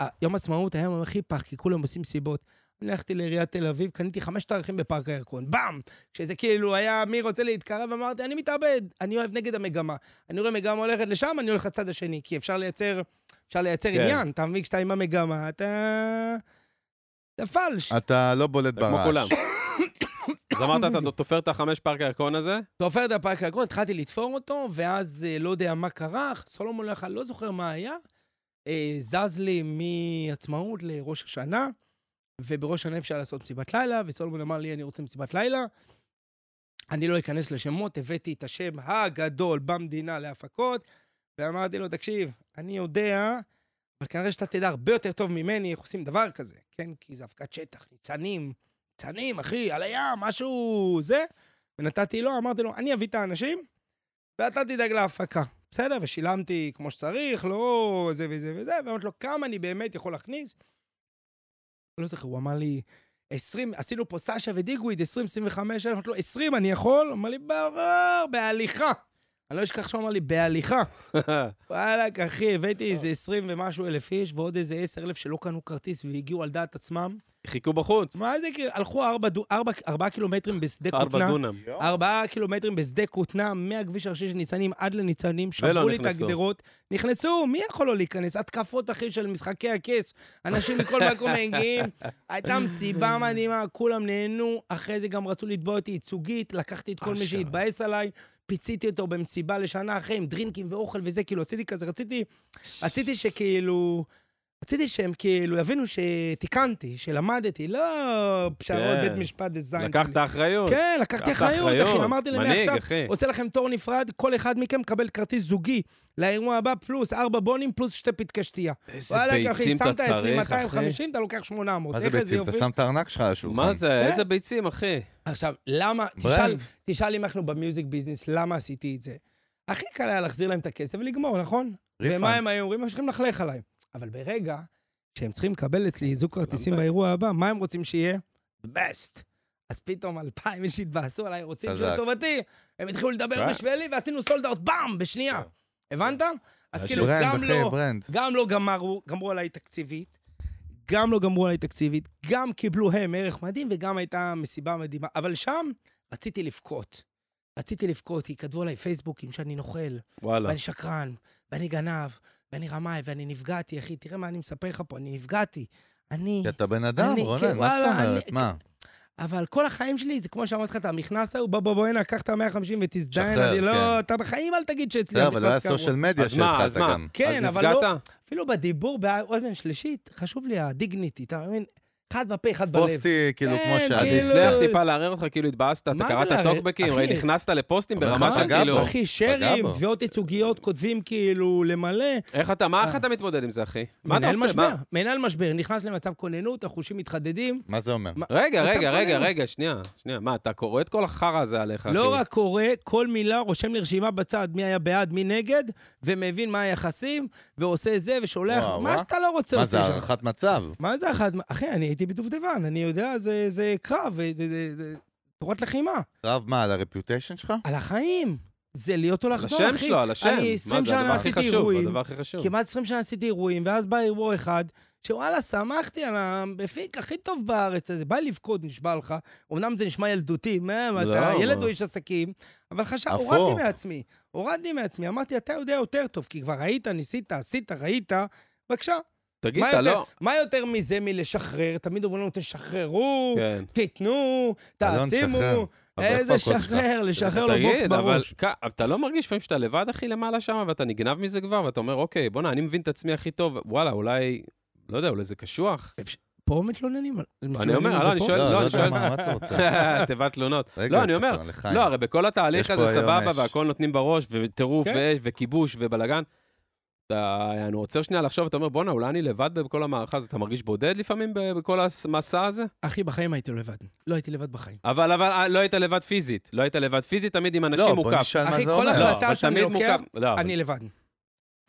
B: אה, יום עצמאות היום הכי פח, כי כולם עושים סיבות. אני הלכתי לעיריית תל אביב, קניתי חמשת ערכים בפארק הירקון, באם! כשזה כאילו היה מי רוצה להתקרב, אמרתי, אני מתאבד, אני אוהב נגד המגמה. אני רואה מגמה הולכת לשם, אני הולך לצד השני, כי אפשר לייצר, אפשר לייצר
A: כן.
B: עניין, אתה מבין? כשאתה עם המגמה, אתה... אתה פלש.
C: אתה לא בולט
A: אתה כמו כולם.
C: ברעש.
A: אז אמרת, אתה תופר את החמש פארק הירקון הזה?
B: תופר את הפארק האגרון, התחלתי לתפור אותו, ואז אה, לא יודע מה קרה, סולומון לא יכל, לא זוכר מה היה. אה, זז לי מעצמאות לראש השנה, ובראש השנה אפשר לעשות מסיבת לילה, וסולומון אמר לי, אני רוצה מסיבת לילה. אני לא אכנס לשמות, הבאתי את השם הגדול במדינה להפקות, ואמרתי לו, תקשיב, אני יודע, אבל כנראה שאתה תדע הרבה יותר טוב ממני איך עושים דבר כזה, כן? כי זה הפקת שטח, ניצנים, ניצנים, אחי, על הים, משהו זה. ונתתי לו, אמרתי לו, אני אביא את האנשים, ואתה תדאג להפקה. בסדר, ושילמתי כמו שצריך, לא זה וזה וזה, ואמרתי לו, כמה אני באמת יכול להכניס? לא זוכר, הוא אמר לי, 20, עשינו פה סאשה ודיגוויד, 20, 25 אלף, אמרתי לו, 20 אני יכול? הוא אמר לי, ברור, בהליכה. אני לא אשכח שהוא אמר לי, בהליכה. וואלכ, אחי, הבאתי איזה 20 ומשהו אלף איש, ועוד איזה 10 אלף שלא קנו כרטיס והגיעו על דעת עצמם.
A: חיכו בחוץ.
B: מה זה, כאילו, הלכו 4 קילומטרים בשדה
A: ארבע
B: כותנה.
A: דונם.
B: ארבעה קילומטרים בשדה כותנה, מהכביש הראשי של ניצנים עד לניצנים,
A: ולא
B: שברו לי את
A: נכנסו.
B: הגדרות. נכנסו, מי יכול לא להיכנס? התקפות, אחי, של משחקי הכס. אנשים מכל מקום מגיעים. הייתה מסיבה מדהימה, כולם נהנו. אחרי זה גם רצו לתבוע אותי ייצוגית, לקחתי את כל מי
A: אשכרה.
B: שהתבאס עליי. פיציתי אותו במסיבה לשנה אחרי, עם דרינקים ואוכל וזה, כאילו, עשיתי כזה, רציתי, רציתי שכאילו, רציתי שהם כאילו יבינו שתיקנתי, שלמדתי, לא פשרות
A: כן.
B: בית משפט דזיין. שלי.
A: לקחת אחריות.
B: כן, לקחתי
A: לקחת
B: אחריות,
A: אחריות.
B: אחי. אמרתי להם,
A: מנהיג,
B: עכשיו,
A: אחי."
B: עושה לכם תור נפרד, כל אחד מכם מקבל כרטיס זוגי לאירוע הבא, פלוס ארבע בונים, פלוס שתי פתקי שתייה.
A: איזה
B: וואלכ, אחי,
A: ביצים אתה
B: שמת 20,
A: צריך, אחי.
B: 250, אתה לוקח 800.
C: מה זה
B: איך איזה
C: ביצים? אתה
B: יופי?
C: שם את הארנק שלך על השולחן.
A: מה זה?
B: כן.
A: איזה ביצים, אחי?
B: עכשיו, למה, תשאל,
C: ברנד.
B: תשאל אם אנחנו במיוזיק ביזנס, למה עשיתי את זה? הכי קל היה להחזיר להם את הכסף ולגמור, נכון?
C: ריפאנד.
B: ומה הם היו אומרים? ממשיכים ללכלך עליי. אבל ברגע שהם צריכים לקבל אצלי זוג כרטיסים
A: למה?
B: באירוע הבא, מה הם רוצים שיהיה? בסט. אז פתאום אלפיים איש התבאסו עליי, רוצים
C: חזק. אה?
B: שזה לטובתי, הם התחילו לדבר
A: כן.
B: בשבילי ועשינו סולד אאוט באם, בשנייה. הבנת? אז כאילו,
C: ברנד,
B: גם
C: אחי,
B: לא,
C: ברנד.
B: גם לא גמרו, גמרו עליי תקציבית, גם לא גמרו עליי תקציבית, גם קיבלו הם ערך מדהים וגם הייתה מסיבה מדהימה. אבל שם רציתי לבכות. רציתי לבכות, כי כתבו עליי פייסבוקים שאני נוכל,
C: לא.
A: וואלה.
B: ואני שקרן, ואני גנב, ואני רמאי, ואני נפגעתי, אחי, תראה מה אני מספר לך פה, אני נפגעתי. אני...
C: כי אתה בן אדם,
B: אני-
C: רונן,
B: כן,
C: מה זאת
B: וואלה,
C: אומרת?
B: אני- כן,
C: מה?
B: אבל כל החיים שלי, זה כמו שאמרתי לך, אתה המכנס ההוא, בוא בוא בוא הנה, קח את ה-150 ותזדיין,
C: שחרר,
B: אני
C: כן.
B: לא, אתה בחיים אל תגיד שאצלי
C: בסדר, אבל לא היה
B: המכנס קרוע.
C: סושיאל מדיה
A: אז מה,
C: שהתחלת
A: אז מה?
C: גם.
B: כן,
A: אז
B: אבל לא,
A: נפגעת?
B: אפילו בדיבור באוזן שלישית, חשוב לי הדיגניטי, אתה מבין? אחד בפה, אחד בלב.
C: פוסטי, כאילו,
B: כן,
C: כמו
A: אז
B: כאילו-
C: שאני.
A: הצליח טיפה לערער אותך, כאילו התבאסת, אתה
B: מה זה
A: קראת
B: לערער?
A: טוקבקים,
B: אחי.
A: ראי, נכנסת לפוסטים
C: אבל
A: ברמה
C: מה
A: של
C: פגע
A: כאילו...
C: בו?
B: אחי, שרים,
C: בו.
B: תביעות ייצוגיות, כותבים כאילו למלא.
A: איך אתה, מה איך אתה מתמודד עם זה, אחי? מה אתה
B: אה. מנהל
A: עושה?
B: משבר,
A: מה?
B: מנהל משבר, נכנס למצב כוננות, החושים מתחדדים.
C: מה זה אומר?
B: מה-
A: רגע,
B: מצב
A: רגע, רגע,
B: כוננות.
A: רגע, שנייה, שנייה. מה, אתה קורא את כל החרא הזה עליך, אחי?
B: לא רק קורא, כל מילה רושם לי רשימה בצד, מי היה בעד, מי נגד, ומבין מה היחסים, ועושה זה, ושולח,
C: וואו, וואו.
B: מה שאתה לא רוצה
C: מה
B: עושה
C: זה,
B: שם.
C: הערכת מצב?
B: מה זה אחת? אחי, אני הייתי בדובדבן, אני יודע, זה, זה קרב, זה, זה, זה, תורת לחימה,
C: קרב מה, על הרפיוטיישן שלך?
B: על החיים. זה להיות או
A: על
B: לחדור,
A: השם
B: אחי.
A: שלו, על השם.
B: אני
A: מה,
B: 20
A: זה הדבר
B: שנה
A: הכי
B: עשיתי
A: חשוב,
B: אירועים.
A: הדבר הכי חשוב.
B: כמעט 20 שנה עשיתי אירועים, ואז בא אירוע אחד, שוואלה, שמחתי על המפיק הכי טוב בארץ הזה. בא לי לבכות, נשבע לך. אמנם זה נשמע ילדותי, מה, מה, אתה
A: לא.
B: ילד או איש עסקים, אבל חשב,
C: הפוך.
B: הורדתי מעצמי. הורדתי מעצמי, אמרתי, אתה יודע יותר טוב, כי כבר היית, ניסית, עשית, ראית, בבקשה.
A: תגיד,
B: מה
A: אתה
B: יותר-
A: לא...
B: מה יותר מזה מלשחרר? תמיד אומרים לנו, תשחררו,
A: כן. לא
B: תיתנו,
C: אלון, שחרר.
B: תעצימו.
C: אבל איפה
B: איזה
C: הקול שלך?
B: שחרר, לשחרר לו בוקס
A: תגיד, אבל
B: בראש.
A: כ- אתה לא מרגיש לפעמים שאתה לבד, אחי, למעלה שם, ואתה נגנב מזה כבר, ואתה אומר, אוקיי, בואנה, אני מבין את עצמי הכי טוב, וואלה, אולי, לא יודע, אולי זה קשוח.
B: פה מתלוננים על
A: אני אומר,
B: מתלוננים על
A: לא,
B: זה
A: אני
B: פה?
A: שואל,
C: לא,
A: לא,
C: לא
A: אני
C: יודע
A: שואל...
C: מה מה אתה רוצה.
A: תיבת תלונות.
C: רגע,
A: לא, אני
C: אתה
A: אומר,
C: כבר לחיים.
A: לא, הרי בכל התהליך
C: יש
A: הזה
C: פה היום
A: סבבה,
C: אש.
A: והכל נותנים בראש, וטירוף,
B: כן.
A: ואש, וכיבוש, ובלאגן. אתה אני עוצר שנייה לחשוב, אתה אומר, בואנה, אולי אני לבד בכל המערכה הזאת, אתה מרגיש בודד לפעמים ב- בכל המסע הזה?
B: אחי, בחיים הייתי לבד. לא הייתי לבד בחיים.
A: אבל אבל, אה, לא היית לבד פיזית, לא היית לבד פיזית, תמיד עם
C: לא,
A: אנשים
C: בוא
A: מוקף.
C: נשאל מה
B: אחי,
C: זה
B: כל
A: לא,
C: אומר.
B: החלטה
A: אבל
B: שאני
A: תמיד
B: לוקח,
A: מוקף- לא, אבל-
B: אני לבד.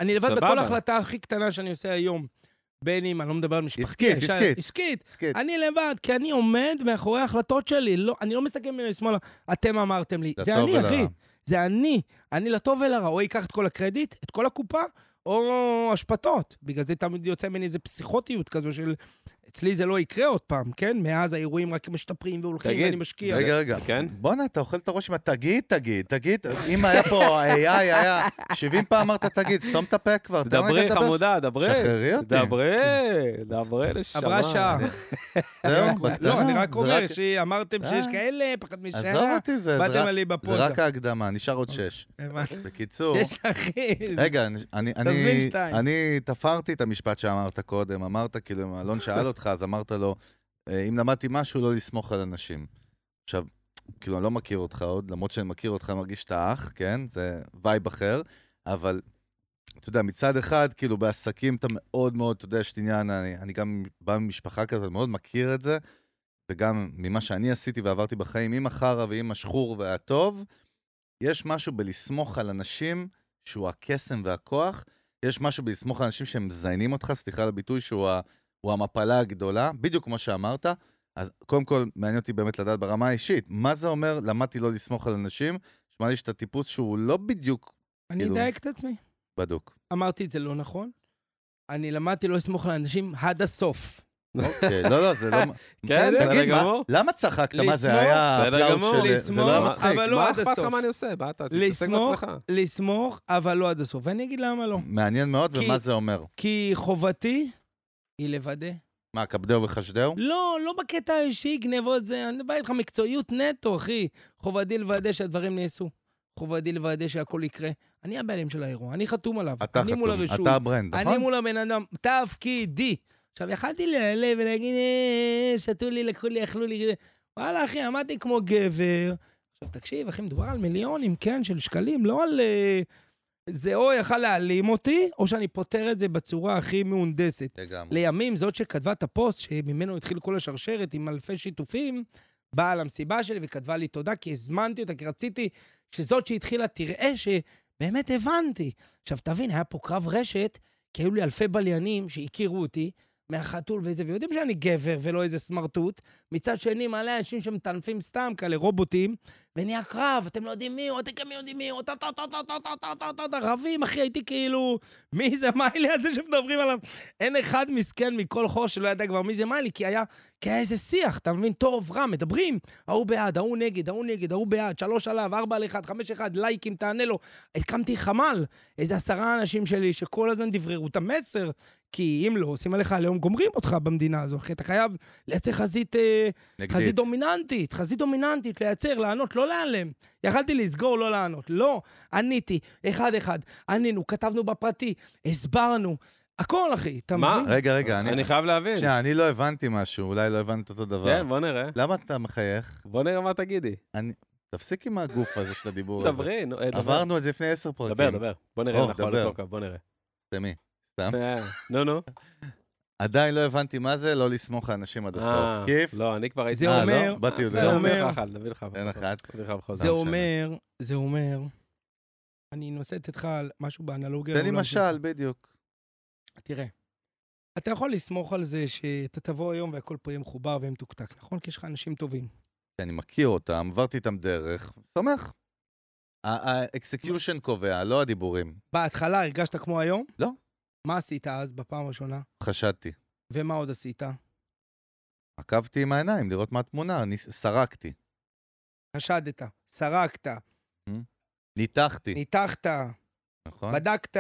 B: אני לבד
A: סבבה.
B: בכל החלטה הכי קטנה שאני עושה היום. בין אם, אני לא מדבר על משפחתי.
C: עסקית,
B: האישה-
C: עסקית.
B: עסקית.
C: עסקית.
B: אני לבד, כי אני עומד מאחורי ההחלטות שלי. לא, אני לא מסתכל ממנו לשמאלה. אתם אמרתם לי. זה
C: לטוב
B: אני,
C: ולרע.
B: אחי. זה אני. אני לטוב ולרע. או אקח את כל הקרדיט, את כל הקופה, או השפתות. בגלל זה תמיד יוצא ממני איזו פסיכוטיות כזו של... אצלי זה לא יקרה עוד פעם, כן? מאז האירועים רק משתפרים והולכים,
A: תגיד,
B: ואני משקיע.
C: רגע, רגע.
A: כן?
C: בואנה, אתה אוכל את הראש עם התגיד, תגיד, תגיד. אם היה פה AI, היה 70 פעם אמרת תגיד, סתום את הפה כבר. תן רגע
A: דברי,
C: לדבר.
A: חמודה, דברי.
C: שחררי אותי.
A: דברי, דברי נשמה.
B: עברה שעה.
C: זהו,
B: לא,
C: בקטנה.
B: אני רק
C: זה
B: אומר שאמרתם
C: די.
B: שיש כאלה, פחד
C: עזוב
B: משנה,
C: אותי, זה- זה
B: באתם
C: רק-
B: עלי
C: זה
B: בפוזה.
C: רק ההקדמה, נשאר עוד שש.
B: הבנתי.
C: בקיצור...
B: יש אחי.
C: רגע, אני- אני,
B: תזמין
C: אני,
B: שתיים.
C: אני תפרתי את המשפט שאמרת קודם. אמרת, כאילו, אם אלון שאל אותך, אז אמרת לו, "אה, אם למדתי משהו, לא לסמוך על אנשים. עכשיו, כאילו, אני לא מכיר אותך עוד, למרות שאני מכיר אותך, אני מרגיש שאתה אח, כן? זה וייב אחר, אבל, אתה יודע, מצד אחד, כאילו, בעסקים אתה מאוד מאוד, אתה יודע, יש את עניין, אני, אני גם בא ממשפחה כזאת, אני מאוד מכיר את זה, וגם ממה שאני עשיתי ועברתי בחיים, עם החרא ועם השחור והטוב, יש משהו בלסמוך על אנשים שהוא הקסם והכוח, יש משהו בלסמוך על אנשים שמזיינים אותך, סליחה על הביטוי, שהוא ה, הוא המפלה הגדולה, בדיוק כמו שאמרת. אז קודם כל, מעניין אותי באמת לדעת ברמה האישית, מה זה אומר למדתי לא לסמוך על אנשים? נשמע לי שאתה טיפוס שהוא לא בדיוק
B: אני
C: כאילו-
B: אדייק את עצמי.
C: בדוק.
B: אמרתי את זה לא נכון. אני למדתי לא לסמוך על אנשים עד הסוף.
C: אוקיי, לא, לא, זה לא...
A: כן,
C: תגיד,
A: בסדר
C: מה-
A: גמור.
C: למה צחקת? מה זה
B: לסמוך,
C: היה
A: בסדר
C: אפלאוס
A: גמור,
C: של... זה לא היה
A: לסמוך,
C: מצחיק.
B: אבל לא
A: מה
B: עד
A: אכפת לך
B: הסוף.
A: מה אני עושה? באת, תתעסק
B: לסמוך,
A: בעצמך.
B: לסמוך, אבל לא עד הסוף. ואני אגיד למה לא.
C: מעניין מאוד,
B: כי-
C: ומה זה אומר?
B: כי חובתי היא לוודא.
C: מה, כבדהו וחשדהו?
B: לא, לא בקטע האישי, גנבות זה, אני בא איתך מקצועיות נטו, אחי. חובתי לוודא שהדברים נעשו. חובתי לוודא שהכל יקרה. אני הבעלים של האירוע, אני חתום עליו.
C: אתה
B: אני
C: חתום,
B: מול הרישוי.
C: אתה הברנד,
B: אני
C: נכון?
B: מול הבן אדם, תפקידי. עכשיו, יכלתי להיעלב ולהגיד, "אה, שתו לי, לקחו לי, אכלו לי. אה." וואלה, אחי, עמדתי כמו גבר. עכשיו, תקשיב, אחי, מדובר על מיליונים, כן, של שקלים, לא על... אה, זה או יכל להעלים אותי, או שאני פותר את זה בצורה הכי מהונדסת.
C: לגמרי.
B: לימים, זאת שכתבה את הפוסט, שממנו התחיל כל השרשרת עם אלפי שיתופים, באה למסיבה שלי וכתבה לי תודה, כי הזמנתי אותה, כי רציתי שזאת שהתחילה תראה שבאמת הבנתי. עכשיו, תבין, היה פה קרב רשת, כי היו לי אלפי בליינים שהכירו אותי. מהחתול וזה, ויודעים שאני גבר ולא איזה סמרטוט. מצד שני, מלא אנשים שמטנפים סתם כאלה רובוטים, ונהיה קרב, אתם לא יודעים מי הוא, אתם גם יודעים מי הוא, טה טה טה טה טה טה טה טה טה טה, רבים, אחי, הייתי כאילו, מי זה מיילי הזה שמדברים עליו? אין אחד מסכן מכל חור שלא ידע כבר מי זה מיילי, כי היה, כי היה איזה שיח, אתה מבין? טוב, רע, מדברים. ההוא בעד, ההוא נגד, ההוא נגד, ההוא בעד, שלוש עליו, ארבע על אחד, חמש אחד, לייקים, תענה לו. הקמתי חמ"ל, איזה עשרה אנשים שלי שכל הזמן דבררו את המסר, כי אם לא, עושים עליך עליהום, גומרים אותך במדינה הזו, אחי, אתה חייב לייצר חזית... אה, חזית
C: נגדית.
B: דומיננטית, חזית דומיננטית, לייצר, לענות, לא להיעלם. יכלתי לסגור, לא לענות. לא, עניתי, אחד-אחד, ענינו, כתבנו בפרטי, הסברנו. הכל, אחי, אתה
A: מה?
B: מבין?
C: רגע, רגע, אני...
A: אני חייב להבין.
C: שנייה, אני לא הבנתי משהו, אולי לא הבנת אותו דבר.
A: כן, בוא נראה.
C: למה אתה מחייך?
A: בוא נראה מה תגידי.
C: תפסיק עם הגוף הזה של הדיבור הזה.
A: דברי, נו, אה, דבר.
C: עברנו את זה לפני עשר פרקים.
A: דבר, דבר. בוא נראה,
C: או,
A: אנחנו על
C: דבר.
A: הקוקה, בוא נראה.
C: סתמי, סתם.
A: אה, נו, נו.
C: עדיין לא הבנתי מה זה לא לסמוך על אנשים עד
A: אה,
C: הסוף. כיף.
A: לא, אני כבר הייתי...
B: זה
A: אה,
C: אה,
B: אומר-
C: לא? באתי
B: זה
C: יודע.
A: נביא
B: אומר-
A: לך אחד, נביא לך.
C: אין
A: אחד.
C: אחד.
A: נביא לך בכל
B: זה
A: זאת.
C: לא משנה.
B: אומר, זה אומר, אני נושאת איתך על משהו באנלוגיה.
C: תן לי
B: לעולם
C: משל, בדיוק.
B: שלך. תראה, אתה יכול לסמוך על זה שאתה תבוא היום והכל פה יהיה מחובר ויהיה מתוקתק, נכון? כי יש לך אנשים טובים.
C: שאני מכיר אותם, עברתי איתם דרך, שמח. האקסקיושן קובע, לא הדיבורים.
B: בהתחלה הרגשת כמו היום?
C: לא.
B: מה עשית אז בפעם הראשונה?
C: חשדתי.
B: ומה עוד עשית?
C: עקבתי עם העיניים לראות מה התמונה, אני ס- סרקתי,
B: חשדת, סרקת,
C: ניתחתי,
B: ניתחת,
C: נכון?
B: בדקת,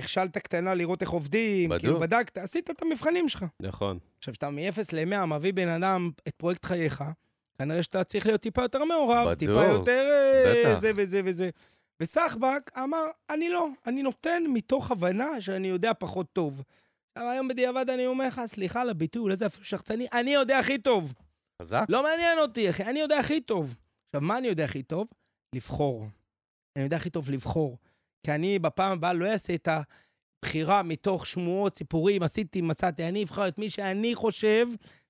B: הכשלת קטנה לראות איך עובדים,
C: בדוק.
B: כאילו בדקת, עשית את המבחנים שלך.
A: נכון.
B: עכשיו, אתה מ-0 ל-100 מביא בן אדם את פרויקט חייך, כנראה שאתה צריך להיות טיפה יותר מעורב,
C: בדוק,
B: טיפה יותר אה,
C: בטח.
B: זה וזה וזה. וסחבק אמר, אני לא, אני נותן מתוך הבנה שאני יודע פחות טוב. אבל היום בדיעבד אני אומר לך, סליחה על הביטוי, אולי זה אפילו שחצני, אני יודע הכי טוב.
C: חזק?
B: לא מעניין אותי, אחי, אני יודע הכי טוב. עכשיו, מה אני יודע הכי טוב? לבחור. אני יודע הכי טוב לבחור. כי אני בפעם הבאה לא אעשה את הבחירה מתוך שמועות, סיפורים, עשיתי, מצאתי. אני אבחר את מי שאני חושב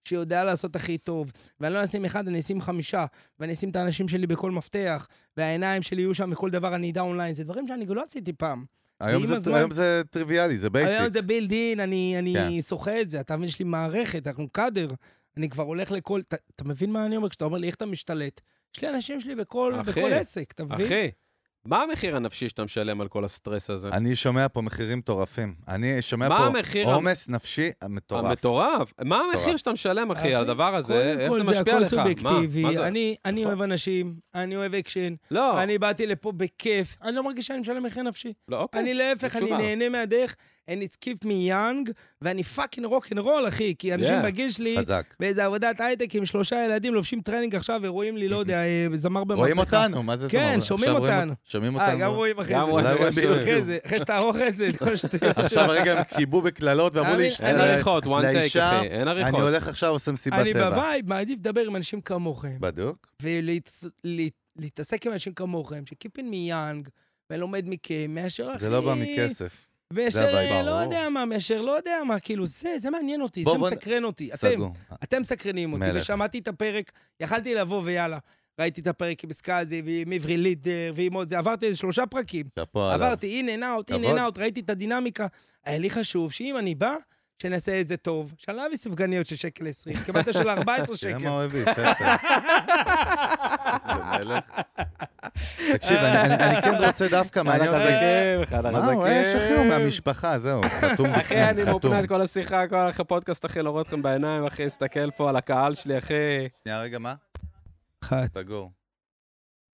B: שיודע לעשות הכי טוב. ואני לא אשים אחד, אני אשים חמישה. ואני אשים את האנשים שלי בכל מפתח. והעיניים שלי יהיו שם בכל דבר, אני אדע אונליין. זה דברים שאני לא עשיתי פעם.
C: היום
B: ועם
C: זה-
B: הזמן-
C: היום זה טריוויאלי, זה
B: היום
C: בייסיק.
B: זה בילד אין, אני, אני
C: כן.
B: שוחה את זה, אתה מבין, יש לי מערכת, אנחנו קאדר, אני כבר הולך לכל... אתה, אתה מבין מה אני אומר? כשאתה אומר לי, איך אתה משתלט? יש לי אנשים שלי בכל,
A: אחי,
B: בכל עסק, אתה מבין?
A: אחי, מה המחיר הנפשי שאתה משלם על כל הסטרס הזה?
C: אני שומע פה מחירים מטורפים. אני שומע
A: מה
C: פה
A: המחיר המ-
C: עומס נפשי מטורף.
A: המטורף. מה המחיר
C: מטורף.
A: שאתה משלם, אחי,
B: אחי,
A: על הדבר הזה? אה, איך
B: קודם כל,
A: זה משפיע
B: הכל
A: עליך? מה? מה
B: סובייקטיבי.
A: זה?
B: אני, אני
A: נכון.
B: אוהב אנשים, אני אוהב אקשן,
A: לא,
B: אני באתי לפה בכיף, אני לא מרגיש שאני משלם מחיר נפשי.
A: לא, אוקיי.
B: אני להפך, אני
A: תשובה.
B: נהנה מהדרך, and it's keep me young, ואני פאקינג רוק אנד רול, אחי, כי אנשים
A: Yeah.
B: בגיל שלי...
C: חזק.
B: באיזה עבודת הייטק עם שלושה ילדים, לובשים טרנינג עכשיו ורואים לי, לא יודע, אה, זמר במסכה.
C: רואים אותנו, מה זה
B: כן,
C: סבבה?
B: שומעים
C: עכשיו רואים
B: אותנו.
C: אות- שומעים
B: אה, גם
C: אותנו.
B: רואים אחרי
A: גם
B: זה.
A: רואים,
C: אולי רואים
A: שומעים.
C: ביוטיוב.
B: אחרי זה, אחרי שאתה אוכל זה, את כל שטויות.
C: עכשיו הרגע הם קיבלו בקללות ואמרו לי,
B: אני-
A: אין
B: אני-
A: עריכות, one take,
C: אה, לאישה,
A: אחי, אין
C: אני
A: עריכות.
C: הולך עכשיו, עושה מסיבת
B: אני
C: טבע.
B: בווייב, מעדיף לדבר עם אנשים כמוכם,
C: בדוק.
B: ולהתעסק עם אנשים כמוכם, שקיפין מיאנג, ולומד מכם, מאשר אחי...
C: זה לא בא מכסף.
B: מאשר,
C: זה הבעיה.
B: אה, לא
C: ברור.
B: יודע מה, מאשר לא יודע מה, כאילו, זה, זה מעניין אותי,
C: בוא,
B: זה
C: בוא נ-
B: מסקרן אותי. אתם,
C: סגור.
B: אתם מסקרנים אותי,
C: מלך.
B: ושמעתי את הפרק, יכלתי לבוא ויאללה. ראיתי את הפרק עם סקאזי, ועם עברי לידר, ועם עוד זה, עברתי איזה שלושה פרקים.
C: שאפו עליו.
B: עברתי אין אין אאוט, אין אין
C: כבוד.
B: אאוט, ראיתי את הדינמיקה. היה לי חשוב שאם אני בא, שנעשה את זה טוב. שאני לא אביא סופגניות של שקל עשרים, קיבלת של 14
C: תראה מה
B: שקל.
C: הוא הביא, שקל. איזה מלך. תקשיב, אני- אני אני כן רוצה דווקא,
A: אחד
C: מעניין אותי.
A: החזקים, אחד
C: מה,
A: החזקים.
C: הוא אה, יש אחי, הוא מהמשפחה, זהו, חתום
A: אחי,
C: בפנים,
A: אני
C: כן, חתום.
A: מאופנת כל השיחה, כל אחרי הפודקאסט, אחי, לא רואה אתכם בעיניים, אחי, אסתכל פה על הקהל שלי, אחי.
C: שנייה, רגע, מה?
B: אחת.
C: סגור.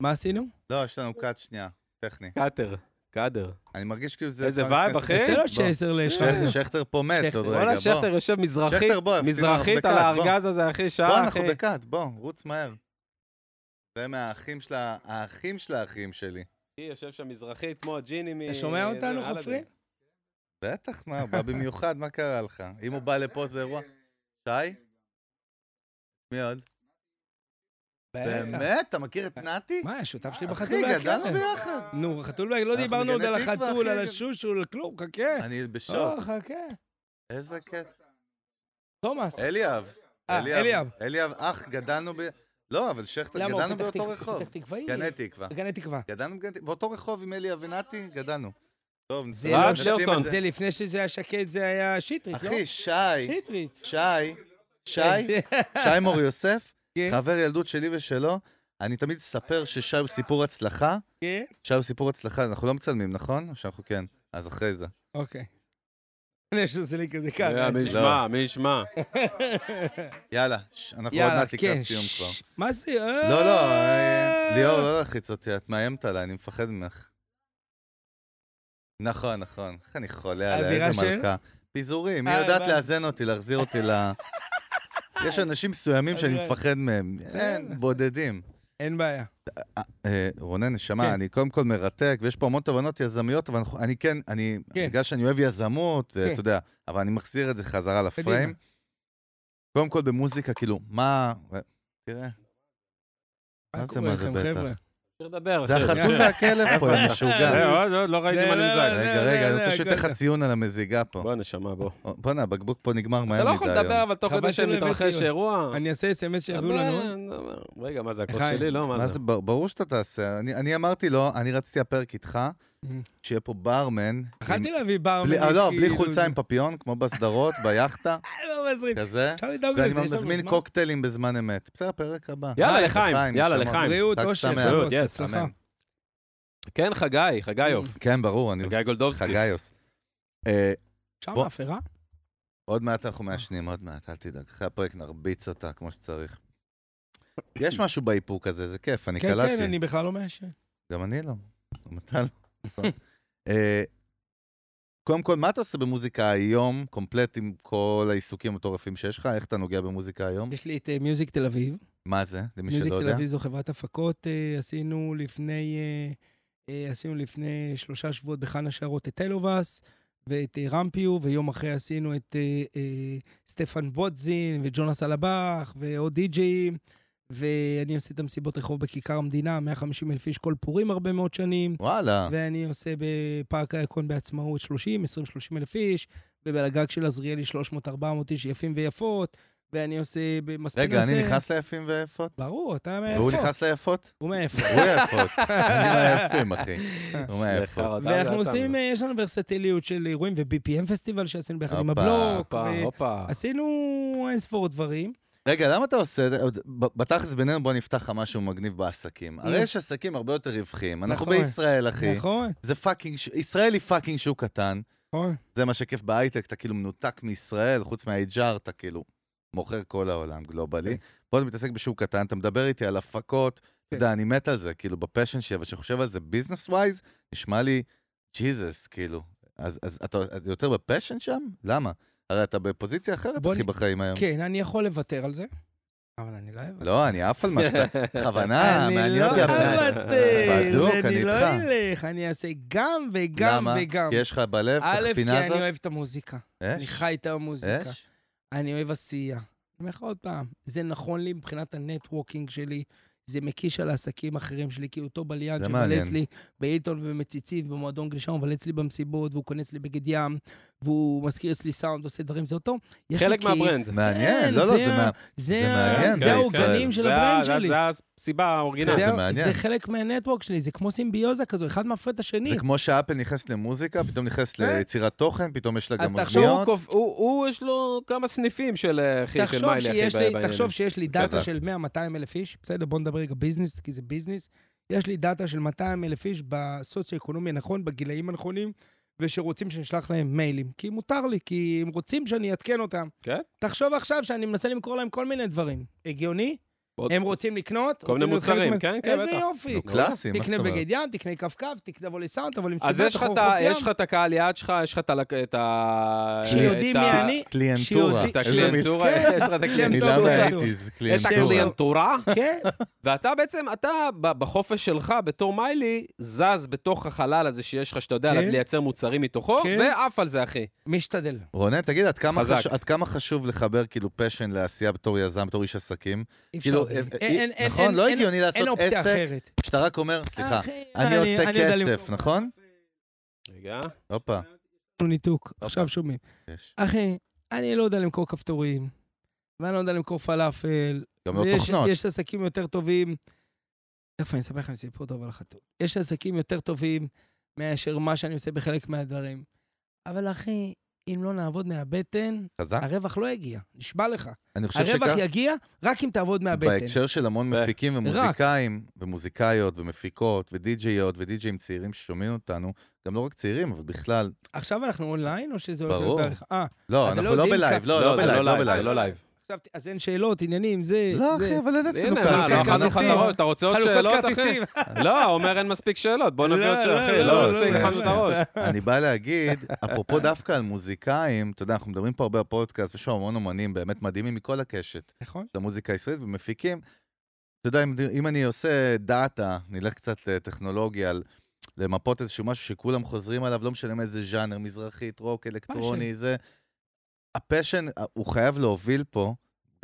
B: מה עשינו?
C: לא, יש לנו קאט שנייה, טכני.
A: קאטר, קאדר.
C: אני מרגיש כאילו זה...
A: איזה
C: פעם
A: וייב, אחי.
C: נכנסת-
B: זה
C: בוא. אה,
B: לא שעשר לשם.
C: שכטר- שכטר פה מת
B: שכטר.
C: עוד
A: וואלה,
C: רגע,
A: שכטר
C: בוא.
A: יושב מזרחי,
C: שכטר, בוא, עשינו
A: מזרחית
C: הרבה
A: על
C: קאט,
A: הארגז הזה, אחי,
C: בוא,
A: שעה,
C: אנחנו
A: אחי.
C: בקאט, בוא, רוץ מהר. זה מהאחים של ה- האחים של האחים שלי.
A: אחי, יושב שם מזרחית, כמו הג'יני מ...
B: אתה שומע אותנו,
A: אלאדין.
B: חופרים?
C: בטח, מה, הוא בא במיוחד, מה קרה לך? אם הוא בא לפה זה אירוע... שי? מי עוד? באמת? אתה מכיר את נתי?
B: אה, מה, השותף שלי
C: אחי,
B: בחתול לא
C: גדלנו
B: יכיר.
C: ביחד.
B: נו, חתול לא- לא
C: אנחנו
B: דיברנו עוד
C: מגני
B: על
C: תקווה,
B: החתול,
C: אחי,
B: על
C: גם.
B: השושו, על כלום, חכה.
C: אני בשוק.
B: לא, חכה.
C: איזה קטע.
B: תומאס.
C: אליאב.
B: אה, אליאב.
C: אליאב, אח, גדלנו ב... לא, אבל שכטר,
B: למה, הוא
C: גדלנו
B: פתח
C: באותו
B: תקווה-
C: רחוב.
B: פתח תקוואי?
C: גני תקווה.
B: גני תקווה.
C: גדלנו בגן תקווה. באותו רחוב עם אליאב ונתי, גדלנו. טוב,
B: זה
A: רב
B: לא
C: נשלים את
A: שלרסון.
C: זה.
B: זה לפני שזה היה שקט, זה היה שטרית, לא?
C: כן. אחי, שי,
B: שטרית.
C: שי, שי, שי מור יוסף,
B: כן.
C: חבר ילדות שלי ושלו, אני תמיד אספר ששי הוא סיפור הצלחה.
B: כן?
C: שי הוא סיפור הצלחה, אנחנו לא מצלמים, נכון? או שאנחנו כן? אז אחרי זה.
B: אוקיי. יש לזה לי כזה ככה.
A: אה, מי ישמע, מי ישמע.
C: יאללה, ש- אנחנו עוד
B: יאללה,
C: מעט
B: כן.
C: לקראת סיום
B: ש-
C: כבר.
B: מה זה?
C: לא, לא, אה, ליאור, לא להלחיץ אותי, את מאיימת עליי, אני מפחד ממך. נכון, נכון. איך אני חולה עליה,
B: האווירה
C: איזה
B: של?
C: מלכה. פיזורים, היא
B: אה,
C: יודעת
B: הבנתי.
C: לאזן אותי, להחזיר אותי ל... יש אנשים מסוימים שאני
B: הבנתי.
C: מפחד מהם,
B: אוקיי. בסדר.
C: אין, בודדים.
B: אין בעיה.
C: אה, רונן,
B: כן.
C: נשמה, אני קודם כל מרתק, ויש פה המון תובנות יזמיות, אבל אנחנו- אני כן, אני,
B: כן.
C: בגלל שאני אוהב יזמות,
B: כן.
C: ואתה יודע, אבל אני מחזיר את זה חזרה
B: קדימה.
C: לפריים. קודם כל במוזיקה, כאילו, מה... תראה, מה זה,
B: קורה
C: מה זה
B: לכם,
C: בטח?
B: חבר'ה?
A: אפשר לדבר,
C: זה
A: אחי.
C: החתול והכלב פה, הם משוגע.
A: אה, עוד, עוד, לא ראיתי
B: לא,
A: מה
B: לא,
A: נמזג.
C: רגע,
B: זה,
C: רגע, אני
B: זה,
C: רוצה שייתן לך
B: הכל.
C: ציון על המזיגה פה.
A: בוא, נשמה, בוא.
C: בואנה, הבקבוק פה נגמר
A: אתה
C: מהר
A: לא
C: מדי
A: יכול לדבר,
C: היום.
A: אבל תוך
B: חבל
A: כדי
B: שלא הבאתי
A: שמתרחש
B: עוד.
A: אירוע.
B: אני אעשה אס.אם.אס שיביאו לנו עוד.
A: עוד. רגע, מה זה, הכוס
B: חיים,
A: שלי? לא,
C: מה
A: מה
C: זה,
A: זה?
C: בר- ברור שאתה תעשה. אני- אני אמרתי לו, אני רצתי הפרק איתך, שיהיה פה ברמן. עם-
B: יכלתי להביא ברמן.
C: בלי- אה, לא, בלי
B: כאילו,
C: חולצה עם פפיון, כמו בסדרות, ביאכטה,
B: אה, לא מזרים.
C: כזה.
B: אפשר לדאוג לזה,
C: ואני
B: יש לנו
C: לא, מזמין
B: זמן.
C: קוקטיילים בזמן אמת. בסדר, פרק הבא.
A: יאללה, לחיים, יאללה,
C: נשמות.
A: לחיים.
B: בריאות,
C: חג
B: אושר,
C: שמח.
B: יס,
A: בריאות, יס,
B: הצלחה.
C: אמן.
A: כן, חגי, חגייוב.
C: כן, ברור, אני...
A: חגי גולדובסקי.
C: חגאיוס. אה,
B: אפשר
C: בוא.
B: מאפרה?
C: עוד מעט אנחנו מעשנים, עוד מעט, אל תדאג. אחרי הפרק נרביץ אותה כמו שצריך. יש משהו באיפוק הזה, זה כיף, אני
B: כן,
C: קלטתי.
B: כן, אני בכלל לא מאשר.
C: גם אני לא. גם אתה לא. אה, קודם כל, מה אתה עושה במוזיקה היום, קומפלט עם כל העיסוקים המטורפים שיש לך? איך אתה נוגע במוזיקה היום?
B: יש לי את אה, מיוזיק תל אביב.
C: מה זה? למי
B: מיוזיק
C: שלא
B: תל
C: יודע.
B: אביב זו חברת הפקות, אה, עשינו לפני, אה, אה, עשינו לפני שלושה שבועות בחאן השערות את טלובאס ואת אה, רמפיו, ויום אחרי עשינו את אה, אה, סטפן בוטזין וג'ונס אלבח ועוד די-ג'אים, ואני עושה את המסיבות רחוב בכיכר המדינה, 150 אלף איש כל פורים הרבה מאוד שנים.
C: וואלה.
B: ואני עושה בפארק הירקון בעצמאות 30, 20, 30 אלף איש, ובלגג של עזריאלי 300, 400 איש יפים ויפות, ואני עושה במספיק...
C: רגע, אני
B: עושה-
C: נכנס ליפים ויפות?
B: ברור, אתה מאיפה?
C: והוא נכנס ליפות?
B: הוא מאיפה.
C: הוא יפות. אני מהיפים, אחי. הוא מהיפות.
A: סליחה, אתה-
B: ואנחנו
A: אתה-
B: עושים, אה, יש לנו ורסטיליות של אירועים ו-BPM פסטיבל שעשינו ביחד עם
C: הופה,
B: הבלוק,
A: הופה, הופה.
B: ועשינו אין ספור דברים.
C: רגע, למה אתה עושה את זה? ב- בתכלס בינינו בוא נפתח לך משהו מגניב בעסקים. הרי יש עסקים הרבה יותר רווחיים. אנחנו
B: נכון.
C: בישראל, אחי.
B: נכון,
C: זה פאקינג... ש- ישראל היא פאקינג שוק קטן.
B: נכון.
C: זה מה שכיף בהייטק, אתה כאילו מנותק מישראל, חוץ מה-HR אתה כאילו מוכר כל העולם גלובלי.
B: כן.
C: פה אתה מתעסק בשוק קטן, אתה מדבר איתי על הפקות, אתה יודע, אני מת על זה, כאילו בפשן שלי, אבל כשאני חושב על זה ביזנס ווייז, נשמע לי ג'יזוס, כאילו. אז, אז אתה אז יותר בפשן שם? למה? הרי אתה בפוזיציה אחרת,
B: בוא
C: אחי,
B: נ-
C: בחיים היום.
B: כן, אני יכול לוותר על זה, אבל אני לא אוותר.
C: לא, אני עף על מה שאתה... בכוונה,
B: אני
C: מעניין
B: לא
C: אותי. אבל-
B: אוותר,
C: בדוק, אני
B: אני לא
C: איתך.
B: אלך, אני אעשה גם וגם
C: למה?
B: וגם.
C: כי יש לך בלב את
B: א', כי
C: החפינה
B: אני
C: הזאת?
B: אוהב את המוזיקה. אני
C: אש?
B: חי את המוזיקה.
C: אש?
B: אני אוהב עשייה. אני אומר לך עוד פעם, זה נכון לי מבחינת הנטוורקינג שלי, זה מקיש על העסקים האחרים שלי, כי אותו בליין
C: זה מעניין.
B: שמבלה אצלי בהילטון ובמציצית ובמועדון גלישה, הוא מבלה אצלי במסיבות, והוא קונה אצלי בגד ים, והוא מזכיר אצלי סאונד, עושה דברים, זה אותו. יש לי
A: חלק
B: קהיל-
A: מהברנד.
C: מעניין,
B: כן,
C: לא, לא,
B: זה
C: זה
B: ה-
C: מה...
B: זה
C: זה
B: ה-
C: מעניין,
B: זה
A: כן,
B: העוגנים
C: ישראל.
B: של
A: זה ה-
B: הברנד
A: זה ה-
B: שלי.
A: זה הסיבה האורגינלית.
B: זה ה-
C: זה מעניין.
B: זה חלק מהנטוורק שלי, זה כמו סימביוזה כזו, אחד מפריד את השני.
C: זה כמו שאפל נכנסת למוזיקה, פתאום נכנסת
B: אה?
C: ליצירת תוכן, פתאום יש לה
B: אז
C: גם
B: תחשוב,
A: הוא,
C: אוזניות.
A: קופ- הוא, הוא, יש לו כמה סניפים של אה, אחי, של
B: תחשוב
A: מיילי, אחי,
B: שיש
A: בעניין.
B: לי, תחשוב שיש לי דאטה
C: חזק.
B: של 100-200 אלף איש, בסדר, בוא נדבר רגע ביזנס, כי זה ביזנס. יש לי דאטה של 200 אלף איש בסוציו-אקונומי הנכון, בגילאים הנכונים, ושרוצים שנשלח להם מיילים. כי מותר לי, כי הם רוצים שאני אעדכן אותם.
A: כן.
B: תחשוב עכשיו שאני מנסה למכור להם כל מיני דברים. הגיוני?
A: עוד-
B: הם רוצים לקנות?
A: כל מיני
B: רוצים להיות חלק
A: מוצרים,
B: מהם.
A: כן, כן,
B: איזה
A: בטח.
B: יופי.
C: נו, קלאסי, מה
B: תקנה
C: זאת אומרת?
B: בגד ים, תקנה קפקף, תקנה- תבוא לסאונד, תבוא למסיבה,
A: אז יש לך את ה- יש לך את הקהל יעד שלך, יש לך את ה... את ה-
B: כשיודעים
A: את ה-
B: מי אני,
C: קליינטורה.
A: את
B: שיודעים-
C: איזה כן. מילה-
A: הקליינטורה,
B: כן.
A: יש לך את
B: שם
A: הקליינטורה.
C: מילה
B: טוב,
C: מהאיטיז,
A: את
C: קליינטורה.
A: הקליינטורה,
B: כן,
A: ואתה בעצם, אתה ב- בחופש שלך בתור מיילי, זז בתוך החלל הזה שיש לך, שאתה יודע
B: כן.
A: לייצר מוצרים מתוכו,
B: כן.
A: ועף על זה, אחי.
B: משתדל.
C: רונן, תגיד, עד כמה
A: חזק.
C: חש- עד כמה חשוב לחבר כאילו פשן לעשייה בתור יזם, בתור איש עסקים?
B: אי אפשר
C: כאילו,
B: בלי.
C: אה,
B: אין- אין-
C: אה,
B: אין-
C: נכון?
B: אין-
C: לא
B: אין-
C: הגיוני
B: אין
C: לעשות
B: אופציה
C: עסק
B: אחרת.
C: שאתה רק אומר, סליחה,
B: אה, אחי,
C: אני עושה
B: יודע למכור.
C: כסף, נכון?
A: רגע.
C: הופה,
B: אנחנו ניתוק,
C: אוקיי.
B: עכשיו שומעים.
C: יש.
B: אחי, אני לא יודע למכור כפתורים, ואני לא יודע למכור פלאפל,
C: גם לא
B: ויש-
C: תוכנות.
B: יש עסקים יותר טובים. תכף אני אספר לכם סיפור טוב על החתול. יש עסקים יותר טובים מאשר מה שאני עושה בחלק מהדברים. אבל אחי, אם לא נעבוד מהבטן,
C: חזק.
B: הרווח לא יגיע, נשבע לך.
C: אה. אני חושב
B: הרווח
C: שכך,
B: יגיע רק אם תעבוד מהבטן.
C: בהקשר של המון
A: ו-
C: מפיקים ומוזיקאים, ומוזיקאיות, ומפיקות, ודי-ג'יות, ודי-ג'אים צעירים ששומעים אותנו, גם לא רק צעירים, אבל בכלל,
B: עכשיו אנחנו אונליין, או שזה הולך
C: ברור.
B: להיות בערך... אה,
C: לא,
B: אז זה
C: אנחנו
B: לא
C: לא
B: יודעים
C: בלייב,
B: כ-
C: לא, לא
A: זה
C: בלייב, לא
A: זה לא
C: בלייב.
A: לייב.
B: עכשיו, אז אין שאלות, עניינים, זה...
C: לא,
B: זה-
C: אחי, אבל אין אצלנו
A: הנה,
C: כאלה.
A: מה, לא
B: חלוקת
A: אכלנו לך את
B: כרטיסים.
A: הראש, אתה רוצה עוד שאלות,
B: חלוקות
A: אחי?
B: כרטיסים.
A: לא, הוא אומר אין מספיק שאלות, בוא נביא
B: לא,
A: עוד שאלות,
B: לא,
A: אחי.
B: לא,
A: לא,
B: לא,
A: מספיק,
B: לא,
A: אכלנו את
C: לא.
A: הראש.
C: אני בא להגיד, אפרופו דווקא על מוזיקאים, אתה יודע, אנחנו מדברים פה הרבה בפודקאסט, יש שם המון אומנים באמת מדהימים מכל הקשת
B: נכון.
C: של המוזיקה הישראלית ומפיקים. אתה יודע, אם, אם אני עושה דאטה, נלך קצת לטכנולוגיה, על, למפות איזשהו משהו שכולם חוזרים עליו, לא משנה מאיזה ז'אנר, מזרחית, רוק, אלקטרוני, זה... הפשן, אה, הוא חייב להוביל פה,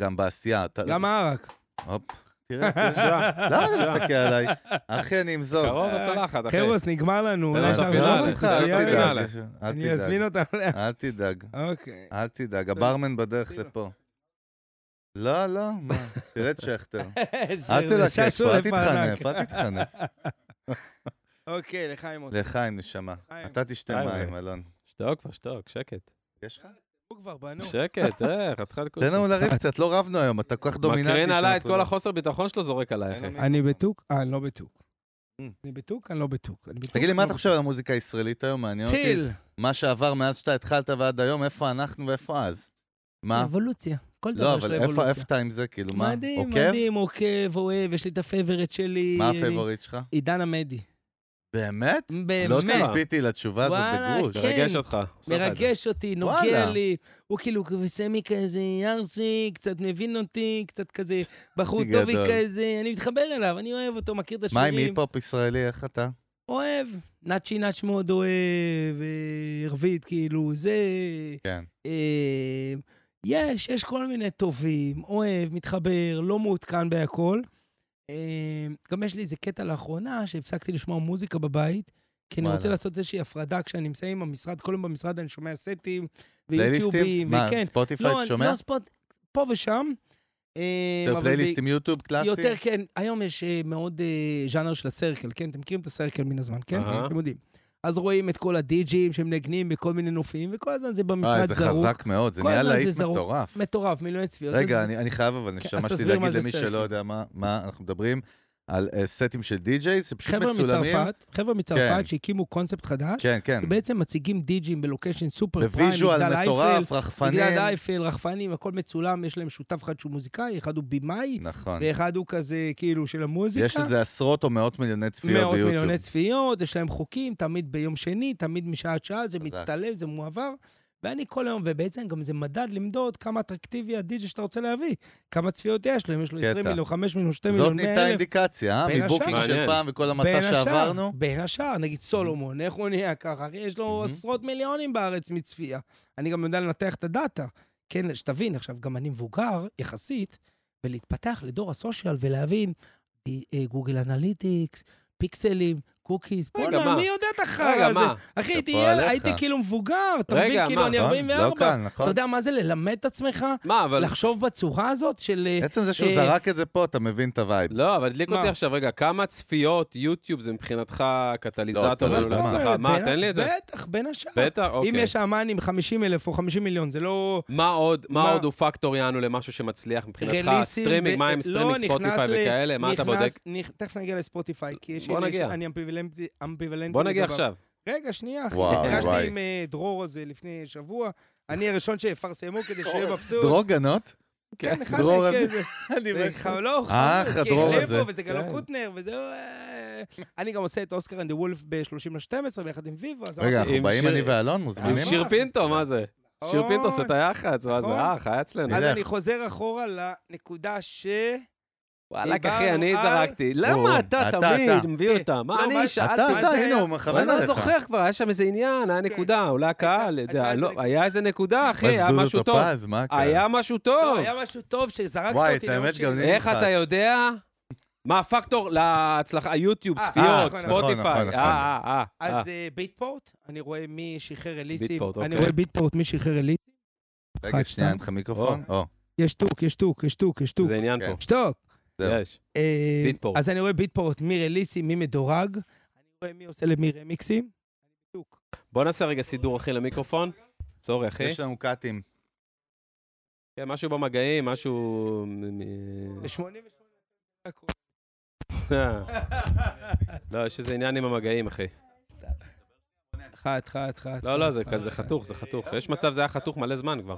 C: גם בעשייה. אתה-
B: גם הערק.
C: הופ, תראה, תראה. למה אתה מסתכל עליי? אחי, אני אמזוג.
A: קרוב הצלחת, אחי.
B: חרוס, נגמר לנו.
A: לא,
B: אולי
A: עזוב
B: תעבירו
A: אותך,
B: אותי,
A: אל
B: תעבירו
A: תדאג.
B: אותי.
A: יאללה.
C: אל
B: אני אזמין
C: תדאג,
B: אותם.
C: אל תדאג,
B: אוקיי.
C: אל תדאג, הברמן בדרך לפה. לא, לא, מה, תראה את שכטר. אל תלקק פה, אל תתחנף, אל תתחנף.
B: אוקיי, לחיים עוד.
C: לחיים, נשמה.
B: לחיים.
C: אתה תשתה
A: חיים,
C: מים,
A: אה.
C: אלון.
A: שתוק כבר, שתוק, שקט.
C: יש לך?
B: הוא כבר בנו.
A: שקט, אה, חתיכת כוס.
C: תן לנו לריב קצת, לא רבנו היום, אתה כל כך דומיננטי.
A: מקרין עליי את
C: שאנחנו
A: כל
C: לא-
A: החוסר ביטחון שלו, זורק עלייך.
C: אין לנו
B: אני בטוק? אה, אני לא בטוק.
C: Mm.
B: אני בטוק? אני לא בטוק. אני בטוק,
C: תגיד לי, מה
B: לא
C: אתה חושב אוקיי, על המוזיקה הישראלית היום? מעניין
B: בטוק.
C: אותי.
B: טיל.
C: מה שעבר מאז שאתה התחלת ועד היום, איפה אנחנו ואיפה אז? מה?
B: אבולוציה. כל
C: לא,
B: דבר של
C: אבל איפה
B: אבולוציה.
C: איפה אתה עם זה? כאילו, מה?
B: מדהים,
C: עוקב?
B: מדהים, עוקב, אוהב, יש לי את הפייבורט שלי.
C: מה לא
B: אני-
C: הפייבוריט שלך?
B: עידן עמדי.
C: באמת?
B: באמת.
C: לא ציפיתי לתשובה הזאת
B: וואלה,
C: בגרוש.
B: כן.
A: מרגש אותך. עושה לך את זה.
B: מרגש אותי, נוגע
C: וואלה.
B: לי. הוא כאילו סמי כזה ארסי, קצת מבין אותי, קצת כזה בחור
C: גדול.
B: טובי כזה. אני מתחבר אליו, אני אוהב אותו, מכיר את
C: מה עם
B: השירים.
C: היפ-הופ ישראלי, איך אתה?
B: אוהב. נאצ'י נאצ' מאוד אוהב, אה, ערבית, כאילו, זה...
C: כן.
B: אה, יש, יש כל מיני טובים, אוהב, מתחבר, לא מעודכן בהכל. אה, גם יש לי איזה קטע לאחרונה שהפסקתי לשמוע מוזיקה בבית, כי אני
C: וואלה.
B: רוצה לעשות איזושהי הפרדה כשאני מסיים עם המשרד, כל יום במשרד אני שומע סטים ויוטיובים,
C: פלייליסטים? מה,
B: וכן.
C: ספוטיפיי
B: לא,
C: אתה שומע?
B: לא ספוט, פה ושם. אה,
C: יותר
B: אבל
C: פלייליסטים יוטיוב קלאסי?
B: יותר, כן. היום יש אה, מאוד אה, ז'אנר של הסרקל, כן? אתם מכירים את הסרקל מן הזמן, כן?
A: אהה.
B: אתם יודעים. אז רואים את כל הדי-ג'ים שמנגנים בכל מיני נופים, וכל הזמן זה במשרד
C: זה
B: זרוק.
C: חזק מאוד, זה
B: כל
C: נהיה
B: הזמן זה
C: להיט
B: זרוק.
C: מטורף.
B: מטורף, מיליוני צפיות.
C: רגע,
B: אז-
C: אני, אני חייב, אבל נשמה שלי
B: תסביר מה
C: להגיד
B: זה
C: למי
B: סרט.
C: שלא יודע מה, מה אנחנו מדברים, על uh, סטים של די-ג'יי, שפשוט
B: חבר'ה
C: מצולמים.
B: מצרפת, חבר'ה
C: כן.
B: מצרפת שהקימו קונספט חדש,
C: כן, כן.
B: שבעצם מציגים די-ג'ים בלוקיישן סופר פריים, מגדל
C: בוויז'ואל
B: אייפל,
C: מטורף, רחפנים.
B: מגדל אייפל, רחפנים, הכל מצולם, יש להם שותף אחד שהוא מוזיקאי, אחד הוא במאי,
C: נכון.
B: ואחד הוא כזה כאילו של המוזיקה.
C: יש לזה עשרות או מאות מיליוני צפיות
B: מאות
C: ביוטיוב.
B: מיליוני צפיות, יש להם חוקים, תמיד ביום שני, תמיד משעה עד שעה, זה
C: חזק.
B: מצטלב, זה מועבר. ואני כל היום, ובעצם גם זה מדד למדוד כמה אטרקטיבי הדי-ג'י שאתה רוצה להביא. כמה צפיות יש לו, אם יש לו
C: קטע.
B: 20 מיליון, 5 מיליון, 2
C: זאת
B: מיליון, 100
C: נהייתה
B: אלף.
C: אינדיקציה, אה?
B: בין
C: מבוקינג
A: השאר.
C: של פעם וכל המסע
B: השאר,
C: שעברנו.
B: בין השאר,
A: Mm-hmm.
B: נגיד סולומון, איך הוא נהיה ככה? אחי, יש לו
C: Mhm.
B: עשרות מיליונים בארץ מצפייה. אני גם יודע לנתח את הדאטה. כן, שתבין, עכשיו, גם אני מבוגר, יחסית, ולהתפתח לדור הסושיאל ולהבין, די- אה, גוגל אנליטיקס, פיקסלים, קוקיס,
A: רגע,
B: בואנה,
A: מה?
B: מי יודע את החרא
A: רגע,
B: הזה?
A: מה?
B: אחי, הייתי
C: שאפו
B: ילד,
C: עליך.
B: הייתי כאילו מבוגר, אתה
A: רגע,
B: מבין? כאילו,
A: מה?
B: אני
C: נכון? לא
B: 44. אתה
C: כאן, נכון?
B: יודע מה זה ללמד את עצמך?
A: מה, אבל...
B: לחשוב בצורה הזאת של... אה,
C: עצם זה שהוא
B: אה,
C: זרק את זה פה, אתה מבין את הווייב.
A: לא, אבל הדליק אותי
B: מה?
A: עכשיו, רגע, כמה צפיות יוטיוב זה מבחינתך
C: לא, אתה
A: קטליזטור
C: לא
A: לנו
C: יודע.
A: להצלחה? מה,
B: בין-
A: תן לי את זה.
B: בטח, בין השאר.
A: בטח,
B: אם
A: אוקיי.
B: יש אמן 50 אלף או 50 מיליון, זה לא...
A: מה עוד, מה
B: מה-
A: עוד הוא פקטור יענו למשהו שמצליח מבחינתך?
B: רליסים
A: סטרימינג,
B: ב-
A: מה עם
B: לא,
A: סטרימינג,
B: נכנס
A: ספוטיפיי
B: ל-
A: וכאלה? אה, מה אתה
B: נכנס-
A: בודק?
B: נכ- תכף נגיע לספוטיפיי, כי יש...
A: בוא
B: יש-
A: נגיע.
B: אני אמביוולנטי אמביוולנטי
A: בוא נגיע
B: לדבר.
A: עכשיו.
B: רגע, שנייה, אחי.
C: וואו, וואי.
B: נפגשתי עם אה, דרור הזה לפני שבוע. אני הראשון שיפרסמו כדי שיהיה מבסוט.
C: דרור גנות?
B: כן, אחד
C: דרור
B: מהם, כן,
C: הזה.
B: זה-
C: אני
B: זה
C: מת.
B: ח- לא,
C: אה,
B: חמוד,
C: הדרור
B: כי החליפו,
C: הזה.
B: וזה גלו
A: כן.
B: קוטנר, וזה... אה, אני גם עושה את אוסקר אנד וולף ב-30 ל-12, ביחד עם ויבה, אז
C: רגע,
B: אמרתי,
C: אנחנו
A: עם
C: באים
A: שיר-
C: אני ואלון,
A: עם
C: מוזמנים?
B: אה,
A: שיר
B: מה?
A: פינטו, מה זה? שיר
B: אוי.
A: פינטו עושה את היח"צ, מה זה?
B: נכון.
A: אה, חיה אצלנו.
B: אז
C: נלך.
B: אני חוזר אחורה לנקודה ש...
A: וואלק, אחי,
B: דיברנו
A: אני
B: על-
A: זרקתי.
C: או,
A: למה אתה
C: אתה,
A: תמיד
C: אתה.
A: מביא אותה? מה,
B: לא,
A: אני
B: מה-
A: שאלתי?
C: אתה,
B: מה אוקיי.
C: אתה,
B: זה
C: הנה,
B: היה?
C: הוא
A: אבל
C: מכוון
A: אני לא
C: עליך.
A: זוכר כבר, היה שם איזה עניין, היה נקודה, אולי הקהל,
B: הייתה-
A: יודע,
B: הייתה
A: לא,
B: איזה
A: היה איזה נקודה, אחי, היה
C: אז
A: משהו
C: דודו
A: טוב.
C: טופז, מה קרה?
A: היה משהו טוב.
B: לא, היה משהו טוב שזרקת
C: וואי,
B: אותי. אה,
C: את האמת
B: לאורך
C: גם
B: שלי.
C: לי-
A: איך
C: אחד.
A: אתה יודע? מה הפקטור להצלחה? היוטיוב,
B: אה,
A: צפיות,
B: נכון,
C: נכון, נכון,
A: ספוטיפיי.
C: נכון.
A: אה, אה, אה, אה.
B: אז אה, ביטפורט, אני רואה מי שחרר אליסים.
A: ביטפורט,
B: אני
A: אוקיי.
B: רואה ביטפורט, מי שחרר אליסים.
C: רגע,
B: אחד,
C: שנייה,
B: שתיים.
C: אין לך מיקרופון? או,
B: יש טוק, יש טוק, יש טוק, יש טוק.
A: זה עניין
C: כן.
A: פה.
B: שתוק.
C: זהו.
A: יש.
B: אה,
A: ביטפורט.
B: אז אני רואה ביטפורט, מי רליסים, מי מדורג. אני רואה מי עושה למי רמיקסים. טוק.
A: בוא נעשה רגע סידור, אחי, למיקרופון. סורי, אחי.
C: יש לנו קאטים.
A: כן, משהו במגעים, משהו... מ- מ- אה,
B: ב-88 דקות.
A: לא, יש איזה עניין עם המגעים, אחי.
B: אחת, אחת, אחת.
A: לא, לא, זה
B: אחת,
A: כזה
B: אחת.
A: חתוך, זה חתוך. יש מצב, זה היה חתוך מלא זמן כבר.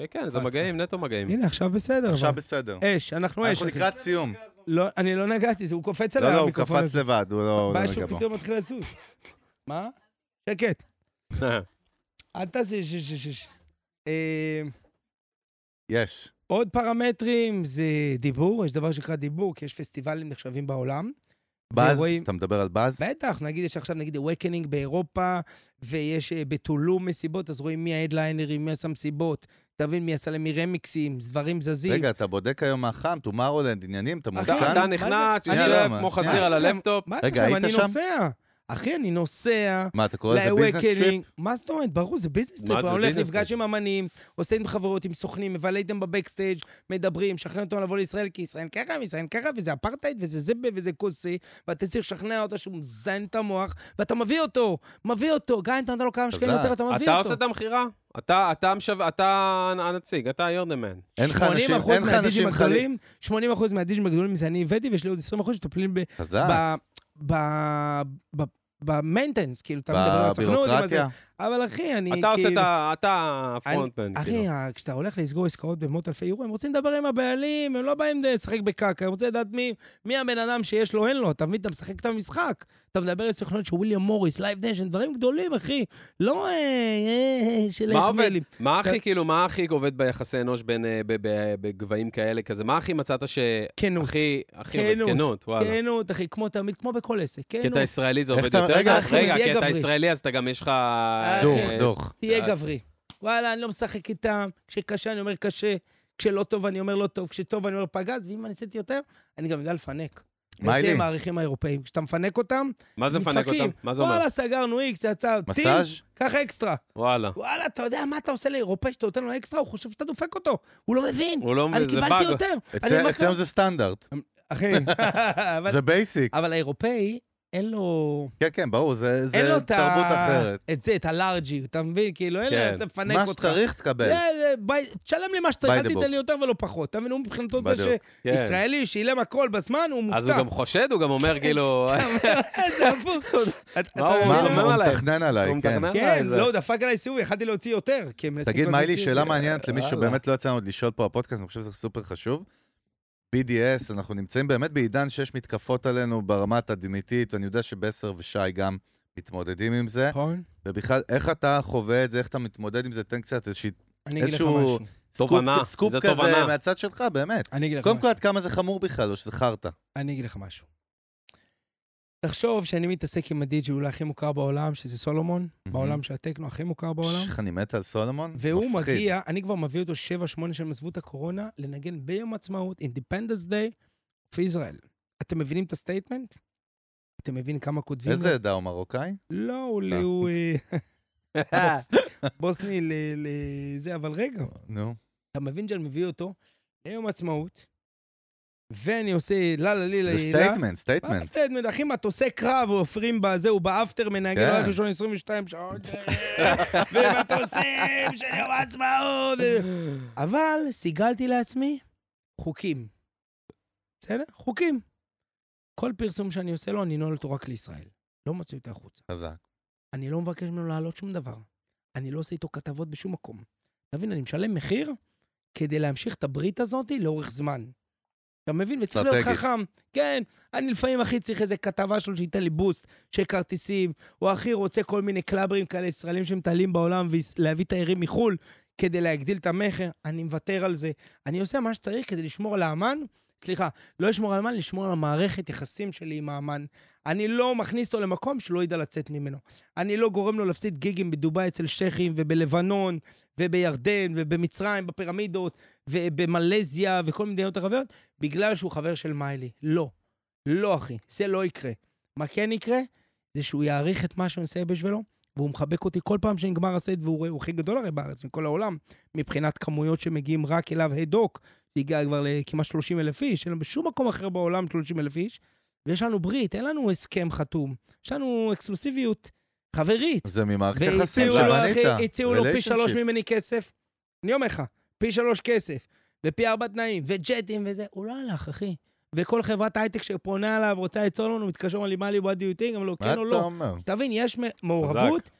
A: כן, כן,
B: אה,
A: זה מגעים, נטו מגעים.
B: הנה, עכשיו בסדר.
C: עכשיו
B: אה, אבל.
C: בסדר.
B: אש, אנחנו אש.
C: אנחנו
B: אחי.
C: לקראת סיום.
B: לא, אני לא נגעתי, זה- הוא קופץ עליי
C: לא, לא, הוא
B: המיקרופון
C: קפץ
B: הזה.
C: לבד, הוא לא לא
B: מה
C: נגע
B: שהוא
C: בו.
B: פתאום מתחיל לזוז? מה? שקט. אל תעשה ש... ש... ש... ש... אה,
C: יש.
B: עוד פרמטרים זה דיבור, יש דבר שנקרא דיבור, כי יש פסטיבלים נחשבים בעולם.
C: באז,
B: ורואים-
C: אתה מדבר על באז?
B: בטח, נגיד יש עכשיו נגיד Awakening באירופה, ויש אה, בטולום מסיבות, אז רואים מי ההדליינרים, מי עשה מסיבות, תבין מי עשה למי רמיקסים, סברים זזים.
C: רגע, אתה בודק היום מה חם, טומארולנד, עניינים, אתה
B: אחי,
A: אתה
C: מותקן?
B: מה
A: אתה
B: זה?
A: נכנס,
B: אני
A: יושב
C: לא,
A: כמו
C: מה-
A: חזיר על
B: מה יש לכם?
A: הלפטופ.
B: מה יש
C: רגע,
B: לכם?
C: היית
B: אני
C: שם?
B: נוסע. אחי, אני נוסע
C: מה, אתה קורא לזה ביזנס טריפ?
B: ל-Awakening. מה זאת אומרת? ברור, זה ביזנס
A: מה
B: טריפ.
A: זה
B: אני הולך,
A: ביזנס
B: נפגש
A: טריפ?
B: עם אמנים, עושה עם חברות, עם סוכנים, מבלה איתם בבקסטייג', מדברים, משכנע אותם לבוא לישראל, כי ישראל ככה, וישראל ככה, וזה אפרטהייד, וזה זבה, וזה כוסי, ואתה צריך לשכנע אותו שהוא מזיין את המוח, ואתה מביא אותו, מביא אותו. גם אם אתה נותן לו כמה שקלים
C: חזק.
B: יותר, אתה מביא
A: אתה
B: אותו.
A: עושה את המכירה? אתה, אתה, המשו... אתה הנציג, אתה היורדמן.
C: אין לך
B: 80%
C: אנשים, אין לך
B: מהדיג'ים
C: אנשים חלילה.
B: הגדולים, 80% מהדיג'ים הגדולים זה אני הבאתי, ויש לי עוד 20% שמטפלים ב-
C: חזק,
B: ב- ב- ב- במיינטנס, כאילו, אתה מדבר על הסוכנות, עם הזה.
C: בבירוקרטיה.
B: אבל אחי, אני
A: אתה עושה את
B: כאילו...
A: ה... אתה כאילו. הפרונטמן.
B: אחי, ה- כשאתה הולך לסגור עסקאות במאות אלפי יורו, הם רוצים לדבר עם הבעלים, הם לא באים לשחק בקקה, הם רוצים לדעת מי, מי הבן אדם שיש לו, אין לו, אתה מבין? אתה משחק את המשחק. אתה מדבר עם סוכנות של וויליאם מוריס, לייב נשן, דברים גדולים, אחי. לא אה, אה, של
A: מה עובד?
B: מילים.
A: מה הכי,
B: אתה-
A: כאילו, מה הכי עובד ביחסי אנוש בין... אה, ב- ב- בגבהים כאלה כזה? מה הכי מצאת ש...
B: כנות.
A: הכי, הכי עובד?
B: כנות.
A: כנות, וואלה.
B: כנות, אחי, כמו תמיד, כמו בכל עסק.
A: כי אתה
B: כנות,
A: ישראלי זה
C: איך
A: עובד
C: אתה-
A: יותר?
C: רגע,
B: אחי,
A: רגע,
B: תהיה
A: כי אתה
B: גברי. כן.
A: ישראלי אז אתה גם יש לך...
C: דוך,
A: אה,
C: דוך.
A: אה,
B: תהיה גברי. וואלה, אני לא משחק איתם. כשקשה, אני אומר קשה. כשלא טוב, אני אומר לא טוב. כשטוב, אני אומר פגז. ואם אני עשיתי יותר, אני גם יודע לפנק.
C: מה
B: זה
C: לי?
B: עם הערכים האירופאים. כשאתה מפנק אותם,
A: מה זה מפנק
B: מתפקים.
A: אותם? מה זה אומר?
B: וואלה, סגרנו איקס, יצא טים,
C: מסאז'?
B: קח אקסטרה.
A: וואלה.
B: וואלה, אתה יודע מה אתה עושה לאירופאי שאתה נותן לו אקסטרה? הוא חושב שאתה דופק אותו. הוא לא מבין.
A: הוא לא
B: אני
A: מבין, זה
B: קיבלתי
A: באג.
B: יותר.
C: אצל-
B: אני אומר לך-
C: אצלם זה סטנדרט,
B: אחי, אבל-
C: זה בייסיק.
B: אבל האירופאי, אין לו...
C: כן, כן, ברור, זה זה
B: אין לו את ה-
C: תרבות אחרת.
B: את זה, את הלארג'י, אתה מבין? כאילו, אין
A: כן.
B: לו, זה מפנק
C: מה
B: אותך. אה,
C: שצריך תקבל.
B: זה- זה- ביי- תשלם לי מה שצריך,
C: by
B: אל
C: the book.
B: תיתן לי יותר ולא פחות. אתה מבין, הוא מבחינתו זה
C: בדיוק.
A: כן.
B: שישראלי שילם הכל בזמן, הוא מופתע.
A: אז הוא גם חושד, הוא גם אומר, כאילו...
B: זה הפוך. אתה- אתה
A: מה הוא
C: מה,
A: אומר
B: מבין?
A: עליי?
C: הוא מתכנן עליי,
A: הוא
C: כן.
A: מתכנן עליי,
B: כן,
A: זה-
B: לא, הוא דפק עליי סיבוב, יכלתי להוציא יותר. כי הם מנסים
C: תגיד,
B: כל הזמן
C: מיילי,
B: להוציא-
C: שאלה מעניינת
B: אה,
C: למי
A: וואלה.
C: שבאמת לא יצא לנו לשאול פה בפודקאסט, אני חושב שזה סופר חשוב. BDS, אנחנו נמצאים באמת בעידן שיש מתקפות עלינו ברמה התדמיתית, ואני יודע שבסר ושי גם מתמודדים עם זה.
B: נכון?
C: ובכלל, איך אתה חווה את זה, איך אתה מתמודד עם זה, תן קצת איזושהי
B: אני אגיד לך
C: איזשהו-
B: משהו.
C: סקופ,
A: תובנה,
C: סקופ
A: זה
C: כזה
A: תובנה.
C: מהצד שלך, באמת.
B: אני אגיד לך
C: קודם
B: משהו.
C: כל, עד כמה זה חמור בכלל, או שזה חרטא.
B: אני אגיד לך משהו. תחשוב שאני מתעסק עם הדי-ג'י אולי הכי מוכר בעולם, שזה סולומון, בעולם של הטכנו הכי מוכר בעולם.
C: איך אני מת על סולומון?
B: והוא
C: מפחיד.
B: מגיע, אני כבר מביא אותו 7-8 שהם עזבו את הקורונה, לנגן ביום עצמאות, Independence Day, בישראל. אתם מבינים את הסטייטמנט? אתם מבינים כמה כותבים? לו?
C: איזה עדה הוא מרוקאי?
B: לא, הוא...
C: אה.
B: הוא, אה, בוס- בוסני ל- לזה, אבל רגע,
C: נו.
B: אתה מבין שאני מביא אותו ליום עצמאות, ואני עושה לה לה לי לה
C: זה סטייטמנט, סטייטמנט.
B: סטייטמנט, אחי, מטוסי קרב עופרים בזה, הוא באפטר מנהגן
C: כן.
B: הולך ראשון 22 שעות, ומטוסים של יום העצמאות. אבל סיגלתי לעצמי חוקים. בסדר? חוקים. כל פרסום שאני עושה לו, אני נועל אותו רק לישראל. לא מוציא אותו החוצה.
C: חזק.
B: אני לא מבקש ממנו להעלות שום דבר. אני לא עושה איתו כתבות בשום מקום. אתה מבין, אני משלם מחיר כדי להמשיך את הברית הזאת לאורך זמן. אתה מבין? וצריך להיות
C: אסטרטגית.
B: חכם. כן, אני לפעמים הכי צריך איזה כתבה שלו שייתן לי בוסט של כרטיסים, או הכי רוצה כל מיני קלאברים כאלה ישראלים שמטיילים בעולם ולהביא תיירים מחו"ל כדי להגדיל את המכר. אני מוותר על זה. אני עושה מה שצריך כדי לשמור על האמן, סליחה, לא לשמור על האמן, לשמור על המערכת יחסים שלי עם האמן. אני לא מכניס אותו למקום שלא ידע לצאת ממנו. אני לא גורם לו להפסיד גיגים בדובאי אצל שכים, ובלבנון, ובירדן, ובמצרים, בפירמידות, ובמלזיה, וכל מדינות ערביות, בגלל שהוא חבר של מיילי. לא. לא, אחי. זה לא יקרה. מה כן יקרה? זה שהוא יעריך את מה שאני עושה בשבילו, והוא מחבק אותי כל פעם שנגמר הסט, והוא ראה- הוא הכי גדול הרי בארץ, מכל העולם, מבחינת כמויות שמגיעים רק אליו הדוק, שהגיע כבר לכמעט 30 אלף איש, אין לנו בשום מקום אחר בעולם 30 אלף איש, ויש לנו ברית, אין לנו הסכם חתום, יש לנו אקסקלוסיביות חברית.
C: זה ממערכת יחסים
B: והציעו לו,
C: שבנית.
B: אחי, הציעו לו פי שלוש
C: Relationship.
B: ממני כסף. אני אומר לך, פי שלוש כסף, ופי ארבע תנאים, וג'טים וזה, הוא לא הלך, אחי. וכל חברת הייטק שפונה אליו, רוצה ליצור לנו, מתקשר, אומר לי, מה לי, what do you think? אמר לו,
C: מה
B: כן
C: אתה
B: או לא.
C: אומר?
B: תבין, יש מ- מעורבות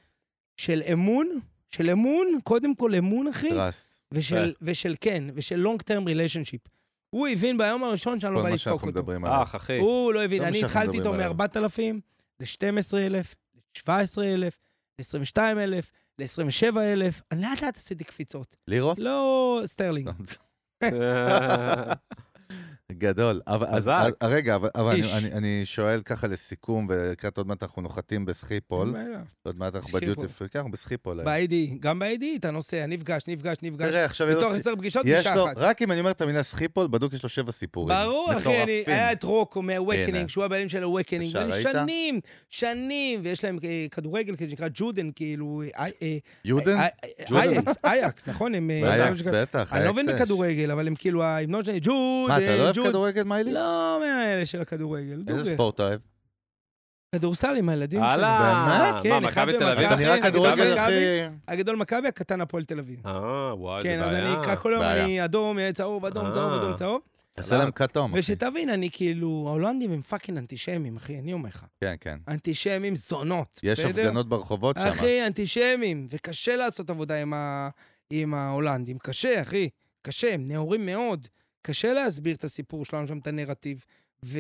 B: של אמון, של אמון, קודם כל אמון, אחי,
C: טראסט.
B: ושל- ושל כן, ושל long term relationship. הוא הבין ביום הראשון שאני
C: כל
B: לא בא
C: מה
B: לדפוק
C: שאנחנו
B: אותו.
C: מדברים עליו.
A: אח, "אה, אחי.
B: הוא לא הבין,
C: לא
B: אני
C: משנה שאנחנו
B: התחלתי איתו
C: מדברים
B: מ-4,000
C: עליו.
B: ל-12,000, ל-17,000, ל-22,000, ל-27,000. אני לאט לא לאט עשיתי קפיצות.
C: לירות?
B: לא סטרלינג.
C: לא. גדול. אבל, אז,
A: חזק.
C: אז, אה, רגע, אבל, אבל
B: איש.
C: אני, אני, אני שואל ככה לסיכום, ולקראת עוד מעט אנחנו נוחתים בסחיפול.
B: אין בעיה.
C: עוד מעט אנחנו
B: סחיפול.
C: בדיוטי פרי, כן, אנחנו בסחיפול היום.
B: ב-ID, גם ב-ID אתה נוסע, נפגש, נפגש, נפגש.
C: תראה, עכשיו יש לו...
B: מתוך
C: סי-
B: עשר פגישות,
C: יש
B: פגישה
C: לו,
B: אחת.
C: רק אם אני אומר את המילה סחיפול, בדוק יש לו שבע סיפורים.
B: ברור, אחי, אני, אה,
C: מטורפים.
B: היה את רוקו מה-Awakening,
C: הנה.
B: שהוא הבעלים של ה-Awakening,
C: ישר, ראית?
B: שנים, שנים, ויש להם אה, כדורגל כזה שנקרא ג'ודן, כאילו, אה, אה,
C: יודן?
B: אה, אה,
C: ג'ודן?
B: אייקס, אייקס, נכון? הם... אה,
C: אייקס,
B: הם-
C: בטח,
B: אני לא מבין
C: אייקס אש.
B: בכדורגל, אבל הם כאילו, ההמנון שלהם,
C: מה, אתה לא
B: ג'ודן,
C: אוהב
B: ג'ודן.
C: כדורגל, מיילי?
B: אה, לא מהאלה של הכדורגל.
C: איזה
B: דוגרי.
C: ספורט אתה אוהב?
B: כדורסל עם הילדים שלי.
A: הלאה.
C: באמת?
B: כן,
A: מה,
B: אחד
A: מכבי תל
B: במכבי.
A: אביב?
C: אתה נראה
A: אחי?
C: כדורגל
B: מכבי?
C: הכי...
B: הגדול מכבי, הקטן הפועל תל אביב.
A: אה, וואי, זה
B: כן,
A: בעיה.
B: אז אני אקרא כל יום,
C: בעיה.
B: אני אדום, אה, צהוב, אדום, צהוב,
A: אה.
B: אדום, צהוב.
C: תעשה להם כתום. אחי.
B: ושתבין, אני כאילו, ההולנדים הם פאקינג אנטישמים, אחי, אני אומר לך.
C: כן, כן.
B: אנטישמים זונות,
C: יש
B: בסדר?
C: הפגנות ברחובות שם.
B: אחי, אנטישמים, וקשה לעשות עבודה עם, ה... עם ההולנדים. קשה, אחי, קשה, הם נאורים מאוד. קשה להסביר את הסיפור שלנו שם, את הנרטיב. ו...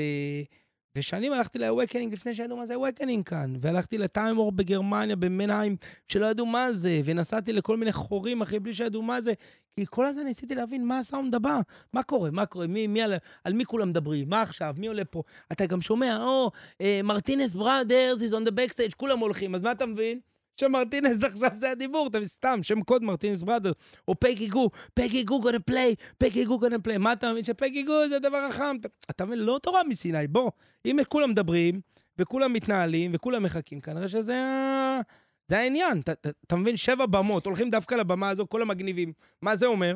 B: ושנים הלכתי ל-Awakening לפני שידעו מה זה Awakening כאן, והלכתי לטיים וור בגרמניה, במנהיים, שלא ידעו מה זה, ונסעתי לכל מיני חורים, אחי, בלי שידעו מה זה. כי כל הזמן ניסיתי להבין מה הסאונד הבא, מה קורה, מה קורה, מי, מי על, על מי כולם מדברים, מה עכשיו, מי עולה פה. אתה גם שומע, או, אה, מרטינס בראדרס is on the backstage, כולם הולכים, אז מה אתה מבין? שמרטינס עכשיו זה הדיבור, אתה סתם, שם קוד מרטינס בראדרס, או פגי גו, פגי גו גונה פליי, פגי גו גונה פליי. מה אתה מבין? שפגי גו זה הדבר החם. אתה- אתה מבין? לא תורה מסיני, בוא. אם כולם מדברים, וכולם מתנהלים, וכולם מחכים, כנראה שזה ה... זה העניין. אתה- אתה- אתה מבין? שבע במות, הולכים דווקא לבמה הזו, כל המגניבים. מה זה אומר?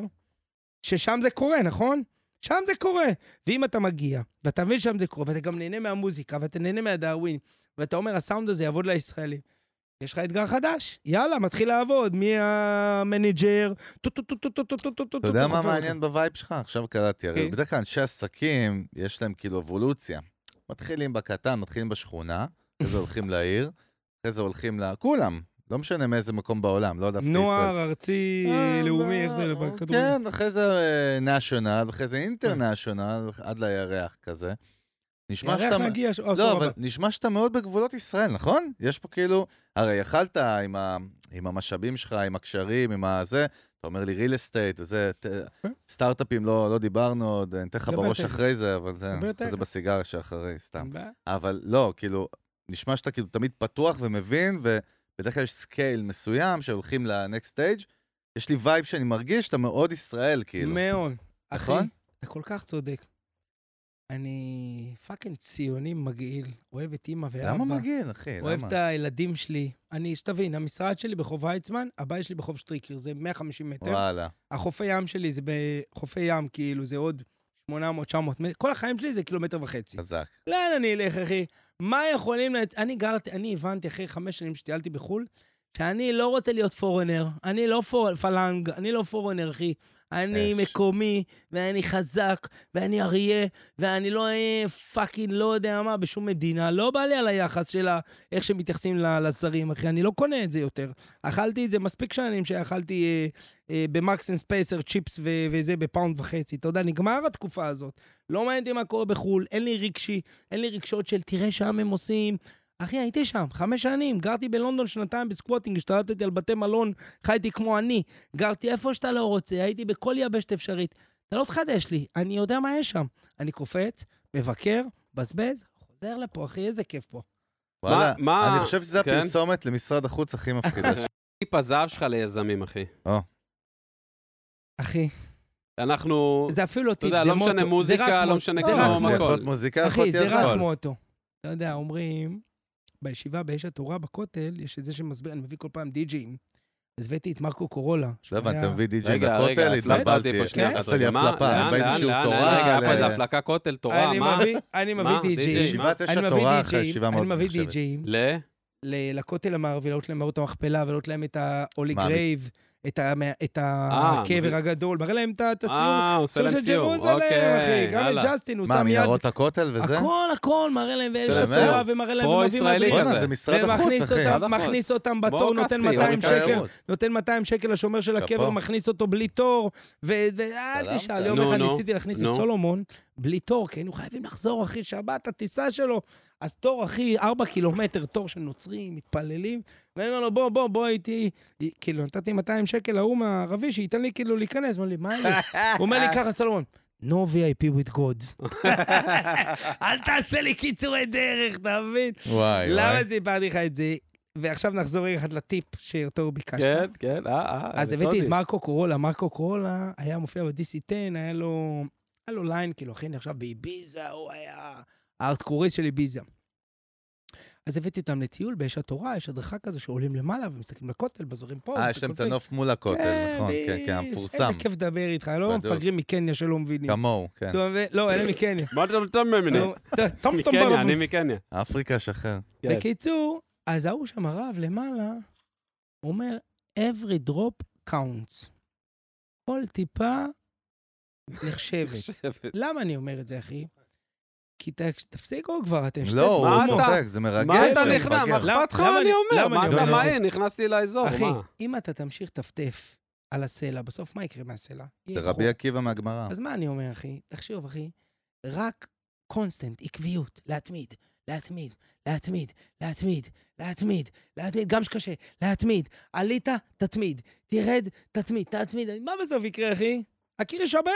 B: ששם זה קורה, נכון? שם זה קורה. ואם אתה מגיע, ואתה מבין שם זה קורה, ואתה גם נהנה מהמוזיקה, ואתה נהנה מהדאווין, ואתה אומר, הסאונד הזה יעבוד לישראלים. יש לך אתגר חדש, יאללה, מתחיל לעבוד, מי המנג'ר, טו טו טו טו טו טו טו טו טו
C: אתה יודע
B: טו,
C: מה
B: חופר
C: מעניין בווייב שלך? עכשיו קלטתי, הרי
B: אוקיי.
C: בדרך כלל אנשי עסקים, יש להם כאילו אבולוציה. מתחילים בקטן, מתחילים בשכונה, אחרי זה הולכים לעיר, אחרי זה הולכים ל... כולם, לא משנה מאיזה מקום בעולם, לא
B: אותו.
C: דווקא ישראל.
B: נוער, ארצי,
C: אה,
B: לאומי,
C: לא,
B: איך זה,
C: אוקיי,
B: בכדורגל. אה.
C: כן, אחרי זה נשיונל, אחרי זה אינטרנשיונל, עד לירח כזה. נשמע שאתה...
B: ירח נגיע, ש- אה,
C: לא,
B: סבבה.
C: אבל נשמע שאתה מאוד בגבולות ישראל, נכון? יש פה כאילו, הרי יכלת עם, ה, עם המשאבים שלך, עם הקשרים, עם הזה, אתה אומר לי real estate וזה, ת, סטארט-אפים לא, לא דיברנו עוד, אני אתן לך
B: כן. דבר
C: בראש
B: תכף.
C: אחרי זה, אבל זה,
B: דבר Mm.
C: אחרי זה
B: תכף.
C: בסיגריה שאחרי, סתם.
B: אין בעיה.
C: אבל לא, כאילו, נשמע שאתה כאילו תמיד פתוח ומבין, ובדרך כלל יש סקייל מסוים שהולכים לנקסט סטייג', יש לי וייב שאני מרגיש שאתה מאוד ישראל, כאילו.
B: מאוד. אחי,
C: נכון?
B: אתה כל כך צודק. אני פאקינג ציוני מגעיל, אוהב את אימא ואבא.
C: למה מגעיל, אחי?
B: אוהב
C: למה?
B: את הילדים שלי. אני, שתבין, המשרד שלי ברחוב ויצמן, הבית שלי ברחוב שטריקר, זה 150 מטר.
C: וואלה.
B: החופי ים שלי זה בחופי ים, כאילו, זה עוד 800-900 מטר. כל החיים שלי זה קילומטר וחצי.
C: חזק.
B: לאן אני אלך, אחי? מה יכולים לצ... אני גרתי, אני הבנתי אחרי חמש שנים שטיילתי בחו"ל, שאני לא רוצה להיות פורנר. אני לא פור... פלנג, אני לא פורנר, אחי. אני
C: אש.
B: מקומי, ואני חזק, ואני אריה, ואני לא אה, פאקינג לא יודע מה בשום מדינה. לא בא לי על היחס של ה... איך שמתייחסים ל- לזרים, אחי. אני לא קונה את זה יותר. אכלתי את זה מספיק שנים שאכלתי אה, אה, במקס אנד ספייסר צ'יפס ו- וזה בפאונד וחצי. אתה יודע, נגמר התקופה הזאת. לא מעניין אותי מה קורה בחו"ל, אין לי רגשי, אין לי רגשות של תראה שם הם עושים. אחי, הייתי שם חמש שנים, גרתי בלונדון שנתיים בסקווטינג, השתלטתי על בתי מלון, חייתי כמו אני. גרתי איפה שאתה לא רוצה, הייתי בכל יבשת אפשרית. אתה לא תחדש לי, אני יודע מה יש שם. אני קופץ, מבקר, בזבז, חוזר לפה, אחי, איזה כיף פה.
C: וואלה,
A: מה-
C: אני חושב שזו
A: כן?
C: הפרסומת למשרד החוץ הכי מפחידה. ש-
A: טיפ הזהב שלך ליזמים, אחי.
B: אחי,
A: אנחנו...
B: זה אפילו לא
A: אתה
B: טיפ,
A: יודע,
B: זה
A: לא משנה
B: מוטו.
A: מוזיקה,
B: זה רק
A: לא
B: מוטו.
A: משנה
B: זה
A: כלום,
B: רק
A: לא,
C: זה
B: מוטו.
A: הכל.
C: יכול להיות מוזיקה, יכול
B: אחי,
C: להיות
B: זה רק
C: יזם.
B: מוטו. אתה יודע, אומרים, בישיבה באש התורה בכותל, יש את זה שמסביר, אני מביא כל פעם די-ג'אים. אז הבאתי את מרקו קורולה.
C: לא
B: שהוא
C: הבנתי,
B: היה-
C: אתה מביא די-ג'י
A: רגע, רגע,
C: לכותל,
A: הפלגת
C: התבלבלתי,
B: כן?
A: אותי פה שנייה.
C: עשת לי
A: מה?
C: הפלפה,
A: לאן,
C: אז באים
A: לאן,
C: לשיעור
A: לאן,
C: תורה,
A: לאן? רגע,
C: ל-
A: פה זה הפלקה כותל, תורה,
B: אני
A: מה?
B: מביא- אני מביא
A: מה? די-ג'יי?
B: די-ג'אים.
A: מה?
C: ישיבת אש
B: אני מביא
C: התורה אחרי
B: די-ג'אים,
C: ישיבה מאוד
B: אני מביא
C: נחשבת.
B: די-ג'אים
A: ל...
B: ל- לכותל המערבי, לעלות להם מהות המכפלה, ולעלות להם את ה-Holy
C: מה,
B: Grave, את ה- מה- את
A: אה,
B: הקבר
A: מביא-
B: הגדול, מראה להם את ה- את הסיור.
A: אה, הוא עושה להם
B: של
A: סיור.
B: ג'רוזלם,
A: אוקיי,
B: אחי. גם
A: יאללה.
B: את ג'סטין, הוא
C: מה,
B: שם יד.
C: מיערות הכותל וזה?
B: הכל, הכל, מראה להם ואלה
A: בסדר,
B: שפסורה,
C: מאוד.
B: ומראה להם ומביא
A: פרו-ישראלי
B: מדריך.
A: כזה.
C: בואנה, זה משרד
B: ומכניס
C: החוץ, אחי.
B: אותם-
A: משרד החוץ.
B: מכניס אותם
A: בואו,
B: בתור, נותן
A: כספי, אורן
B: 200
A: כספי.
B: שקל, נותן 200 שקל לשומר של
C: שאפו.
B: הקבר, מכניס אותו בלי תור, ו- ואל
C: סלמת.
B: תשאל, יום
A: נו,
B: אחד
A: נו,
B: ניסיתי להכניס את
A: נו.
B: סולומון בלי תור, כי היינו חייבים לחזור, אחי, שבת, הטיסה שלו. אז תור, אחי, 4 קילומטר תור של נוצרים, מתפללים, ואני אומר לו, בוא, בוא, בוא איתי.
A: אה.
B: כאילו, נתתי 200 שקל להוא מהערבי, שייתן לי כאילו להיכנס. הוא אומר לי, מה לי? הוא אומר לי ככה, סולומון, No VIP with God. אל תעשה לי קיצורי דרך, אתה מבין?
C: וואי,
B: למה
C: וואי.
B: סיפרתי לך את זה? ועכשיו נחזור רגע אחד לטיפ שאותו ביקשת.
A: כן, כן, אה, אה.
B: אז
A: אני
B: הבאתי
A: טוני.
B: את מרקו קורולה, מרקו קורולה היה מופיע ב-DC10, היה לו, היה לו ליין, כאילו, אחי, אני עכשיו באביזה, הוא היה הארטקוריסט של אביזה. אז הבאתי אותם לטיול באש התורה, יש הדרכה כזו שעולים למעלה ומסתכלים לכותל, בזורים פה.
C: אה, יש להם את
B: מסתכלים-
C: הנוף מול הכותל, נכון,
B: בדיוק.
C: כן, כן, המפורסם.
B: איזה כיף לדבר איתך, לא
C: בדיוק.
B: מפגרים מקניה שלא מבינים.
C: כמוהו, כן.
B: אתה מבין? לא, אלה מקניה.
A: מה אתה אתה ממני?
B: נו, טוב, טום טום
A: מקניה,
B: ברבו.
A: אני מקניה.
C: אפריקה שחרר.
A: כן.
B: בקיצור, אז ההוא שם, הרב למעלה, אומר, every drop counts. כל טיפה נחשבת. למה אני אומר את זה, אחי? כי ת- תפסיקו כבר, אתם שתי
C: לא, הוא
A: מה
B: סתומות.
A: אתה-
C: צוחק, זה מרגש.
A: מה אתה
C: הוא
A: נכנע? מה
C: מפגר.
A: אכפת לך?
B: למה
A: אני
B: אני-
A: אומר,
B: למה
A: מה
C: אני
A: מה-
C: אומר
A: מה
C: את זה?
A: אין? נכנסתי לאזור, לא, מה?
B: אחי, אם אתה תמשיך לטפטף על הסלע, בסוף מה יקרה מהסלע? יהיה
C: זה רבי
B: חור.
C: עקיבא מהגמרא.
B: אז מה אני אומר, אחי? תחשוב, אחי, רק קונסטנט, עקביות, להתמיד, להתמיד, להתמיד, להתמיד, להתמיד, להתמיד, גם שקשה, להתמיד. עלית, תתמיד, תרד, תתמיד, תתמיד. מה בסוף יקרה, אחי? הקיר יישבר.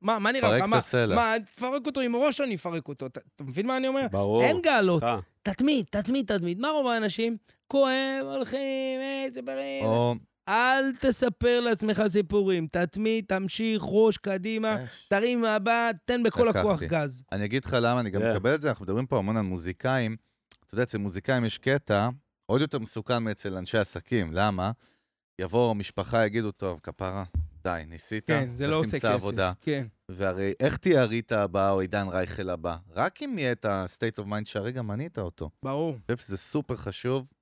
B: מה, מה נראה
C: פרק
B: לך?
C: את
B: מה,
C: הסלע.
B: מה, תפרק אותו עם ראש, אני אפרק אותו. אתה אתה מבין מה אני אומר?
A: ברור.
B: אין גאלות.
A: אה,
B: תתמיד, תתמיד, תתמיד. מה רוב האנשים? כואב, הולכים, איזה בריא.
C: או...
B: אל תספר לעצמך סיפורים. תתמיד, תמשיך, ראש, קדימה. תרים מהבא, תן בכל
C: לקחתי.
B: הכוח גז.
C: כן, אני אגיד לך למה אני גם
A: כן.
C: מקבל את זה, אנחנו מדברים פה המון על מוזיקאים. אתה יודע, אצל מוזיקאים יש קטע עוד יותר מסוכן מאצל אנשי עסקים, למה? יבואו המשפחה, יגידו, טוב, כפרה, די, ניסית, לך תמצא עבודה.
B: לא כן.
C: והרי איך תהיה ריטה הבאה או עידן רייכל הבא? רק אם יהיה את ה-state of mind שהרגע מנית אותו. אני
B: ברור.
C: חושב שזה סופר חשוב,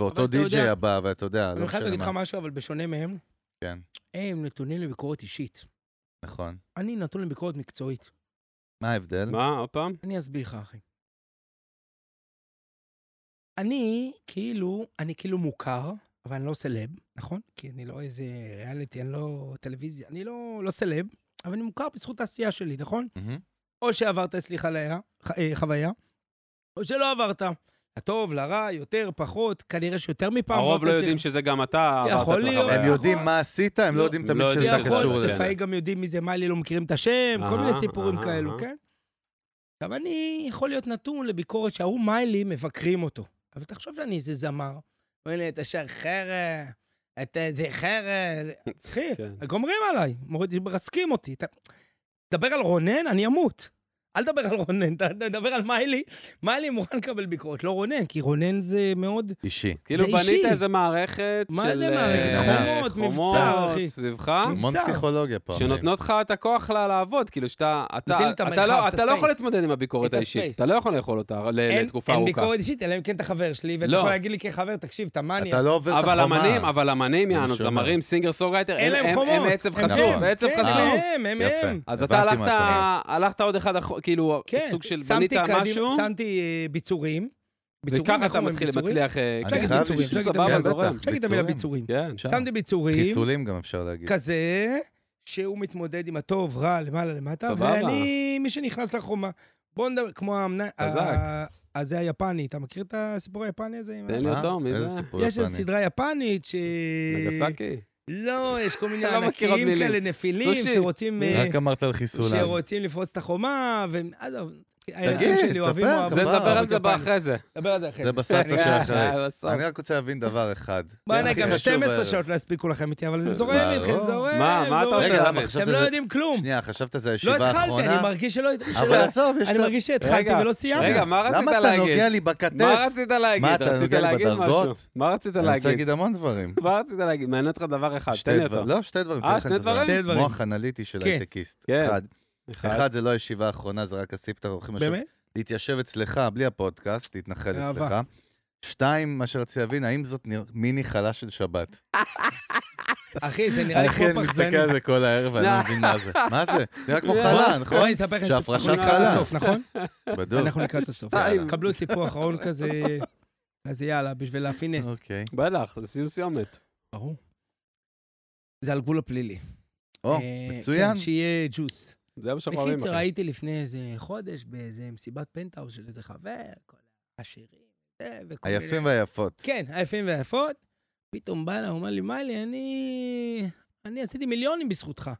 C: ואותו
B: אבל אתה
C: די-ג'יי
B: יודע-
C: הבא, ואתה יודע,
B: אני
C: לא
B: חייב
C: משנה
B: להגיד לך
C: מה.
B: משהו, אבל בשונה מהם,
C: כן,
B: הם נתונים לביקורת אישית.
C: נכון.
B: אני נתון לביקורת מקצועית.
C: מה ההבדל?
A: מה, עוד פעם?
B: אני אסביר לך, אחי. אני כאילו, אני כאילו מוכר, אבל אני לא סלב, נכון? כי אני לא איזה ריאליטי, אני לא טלוויזיה, אני לא, לא סלב, אבל אני מוכר בזכות העשייה שלי, נכון?
C: מהמם.
B: או שעברת אצלי חליה, ח, אה, חוויה, או שלא עברת. לטוב, לרע, יותר, פחות, כנראה שיותר מפעם
A: הרוב
B: עברת
A: לא
B: אצלי
A: יודעים שזה גם אתה עברת
B: יכול
A: את
B: להיות.
A: החוויה.
C: הם יודעים
B: נכון.
C: מה עשית, הם לא
B: לא,
C: יודעים
A: הם
C: תמיד
A: לא
C: שזה
A: יודעים.
C: קשור
A: יכול,
C: לזה.
B: לפעמים גם יודעים מי זה מאלי, לא מכירים את השם, כל מיני
A: אהה,
B: סיפורים
A: אהה,
B: כאלו,
A: אהה.
B: כן? עכשיו, אני יכול להיות נתון לביקורת שההוא מאלי מבקרים אותו. אבל תחשוב שאני איזה זמר. אומר לי, אתה שר חרא, אתה זה חרא. אחי,
A: כן.
B: גומרים עליי, מוריד- מרסקים אותי. אתה- דבר על רונן, אני אמות. אל תדבר על רונן, ת- תדבר על מאלי. מאלי מוכן לקבל ביקורת, לא רונן, כי רונן זה מאוד...
C: אישי.
A: כאילו
B: זה
A: בנית
B: אישי.
A: איזה מערכת של...
B: מה זה מערכת?
A: אה,
B: חומות, מבצר, אחי.
A: סביבך,
C: המון
B: מבצע.
C: פסיכולוגיה פה. אחי.
A: שנותנות לך את הכוח לה- לעבוד, כאילו שאתה... אתה-
B: נותנים לי את
A: אתה
B: המרחב,
A: לא-
B: את
A: אתה לא יכול
B: הספייס.
A: להתמודד עם הביקורת
B: את
A: האישית.
B: הספייס.
A: אתה לא יכול לאכול אותה ל-
B: אין-
A: לתקופה
B: אין
A: ארוכה.
B: ביקורת אישית, אלא אם כן אתה חבר שלי, ואתה
A: לא.
B: יכול להגיד לי כחבר, תקשיב, אתה מאני,
C: אתה לא עובר את
A: אבל
C: החומה.
A: אמנים, אבל אמנים,
C: אני
A: יענו,
C: שומע.
A: זמרים, סינגר, סוגרייטר,
B: אין להם חומות.
A: הם עצב
B: הם
A: חשוף,
C: הם.
A: עצב
B: כן,
A: חשוף.
B: הם, הם,
C: יפה.
B: הם.
A: אז
C: הבנתי
A: אתה
C: מה
A: הלכת,
C: אומר.
A: הלכת עוד אחד, אחו- כאילו,
B: כן.
A: סוג של
B: שמתי
A: בנית
B: קדימה-
A: משהו,
B: שמתי אה, ביצורים. ביצורים,
A: וככה
B: איך
A: אתה
B: אומרים
A: מתחיל,
B: ביצורים?
A: מצליח... אה,
C: אני
A: כן,
C: חייב
A: ביצורים,
C: לשאול-
B: כן,
A: סבבה,
B: בטח.
A: זורם.
B: אפשר להגיד את המילה
C: ביצורים.
B: ביצורים.
A: כן.
C: אפשר.
B: שמתי ביצורים,
C: חיסולים גם אפשר להגיד.
B: כזה, שהוא מתמודד עם הטוב, רע, למעלה, למטה,
A: סבבה.
B: ואני מי שנכנס לחומה. בוא נדבר, כמו האמנה...
A: חזק.
B: ה- הזה היפני, אתה מכיר את הסיפור היפני הזה? עם ה-
A: תן לי
C: מה?
A: אותו, מי
C: אה? איזה
A: זה?
C: סיפור
B: יש איזו
C: יפני.
B: סדרה יפנית ש...
A: נגסקי?
B: לא, יש כל מיני
A: לא מכיר עוד
B: ענקים
A: מילים.
B: כאלה, נפילים,
A: סושי.
B: שרוצים... אה,
C: רק אמרת על חיסולה.
B: שרוצים לפרוץ את החומה, ו... עזוב, הילדים שלי אוהבים
C: תספר,
A: זה
B: אוהבים.
C: כפרה,
A: נדבר על זה
B: יפני.
A: באחרי זה.
B: נדבר על זה אחרי
C: זה
B: זה.
C: בסבתא של אחרי.
A: אה, בסוף.
C: אני רק רוצה להבין דבר אחד.
B: בוא'נה,
C: הכי
B: גם
C: חשוב
B: 12
C: בערב.
B: שעות לא יספיקו לכם איתי, אבל זה זורם
C: ברור.
B: איתכם, זורם.
A: אה, מה, מה אתה
B: זורם.
A: רוצה?
C: רגע, למה
A: להבין.
C: חשבת
B: אתם לא
C: זה...
B: יודעים כלום.
C: שנייה, חשבת זה
B: לא
C: הישיבה
B: התחלתי,
C: האחרונה?
B: אני מרגיש שלא...
C: אבל
B: שלא-
C: עזוב, יש
B: אני
C: את...
B: מרגיש שהתחלתי
A: רגע,
B: ולא סיימתי.
A: רגע, מה רצית
C: למה אתה
A: להגיד?
C: נוגע לי בכתף?
A: מה רצית להגיד?
C: אתה
A: רצית
C: נוגע לי
A: להגיד משהו.
C: בדרגות?
A: מה רצית
C: אני רוצה
A: להגיד?
C: להגיד המון דברים.
A: מה רצית להגיד? מעניין אותך דבר אחד,
C: שתי
A: תן לי
C: דבר-
A: אותו.
C: לא, שתי דברים.
A: אה,
C: תן לך
A: שתי
C: לספר.
A: דברים?
B: שתי דברים.
C: מוח אנליטי של
B: כן.
C: הייטקיסט.
A: כן.
C: אחד.
A: אחד.
C: אחד, זה לא הישיבה האחרונה, זה רק הסיפתח, הולכים לשבת
B: באמת?
C: להתיישב אצלך, בלי הפודקאסט, להתנחל
B: אהבה.
C: אצלך. שתיים, מה שרציתי להבין, האם זאת נרא- מיני חלה של שבת?
B: אחי, זה נראה לי
C: אחי, אני כן
B: כמו
C: מסתכל
B: פחזני.
C: על זה כל הערב, ואני
A: לא.
C: לא מבין מה זה. מה זה? נראה כמו
A: לא.
C: חלה, נכון?
B: בואי, אני אספר לכם סיפור.
C: שהפרשת
B: אנחנו לקראת
A: חלה.
B: הסוף, נכון?
C: בדוק.
B: אנחנו לקראת הסוף.
A: שתיים.
B: קבלו סיפור אחרון כזה, אז יאללה, בשביל להפעיל נס.
C: אוקיי.
A: בטח, זה סיום סיומת.
B: ברור. זה על גבול הפלילי.
C: או,
B: אה,
C: מצוין.
B: כן, שיהיה ג'וס.
A: זה מה שאנחנו אוהבים.
B: בקיצור,
A: אחי.
B: הייתי לפני איזה חודש באיזה מסיבת פנטהאוס של איזה חבר, כל העשירים, זה, וכל מיני-
C: היפים והיפות.
B: כן, היפים והיפות. פתאום בא אליי, הוא אומר לי, מאלי, אני... אני עשיתי מיליונים בזכותך.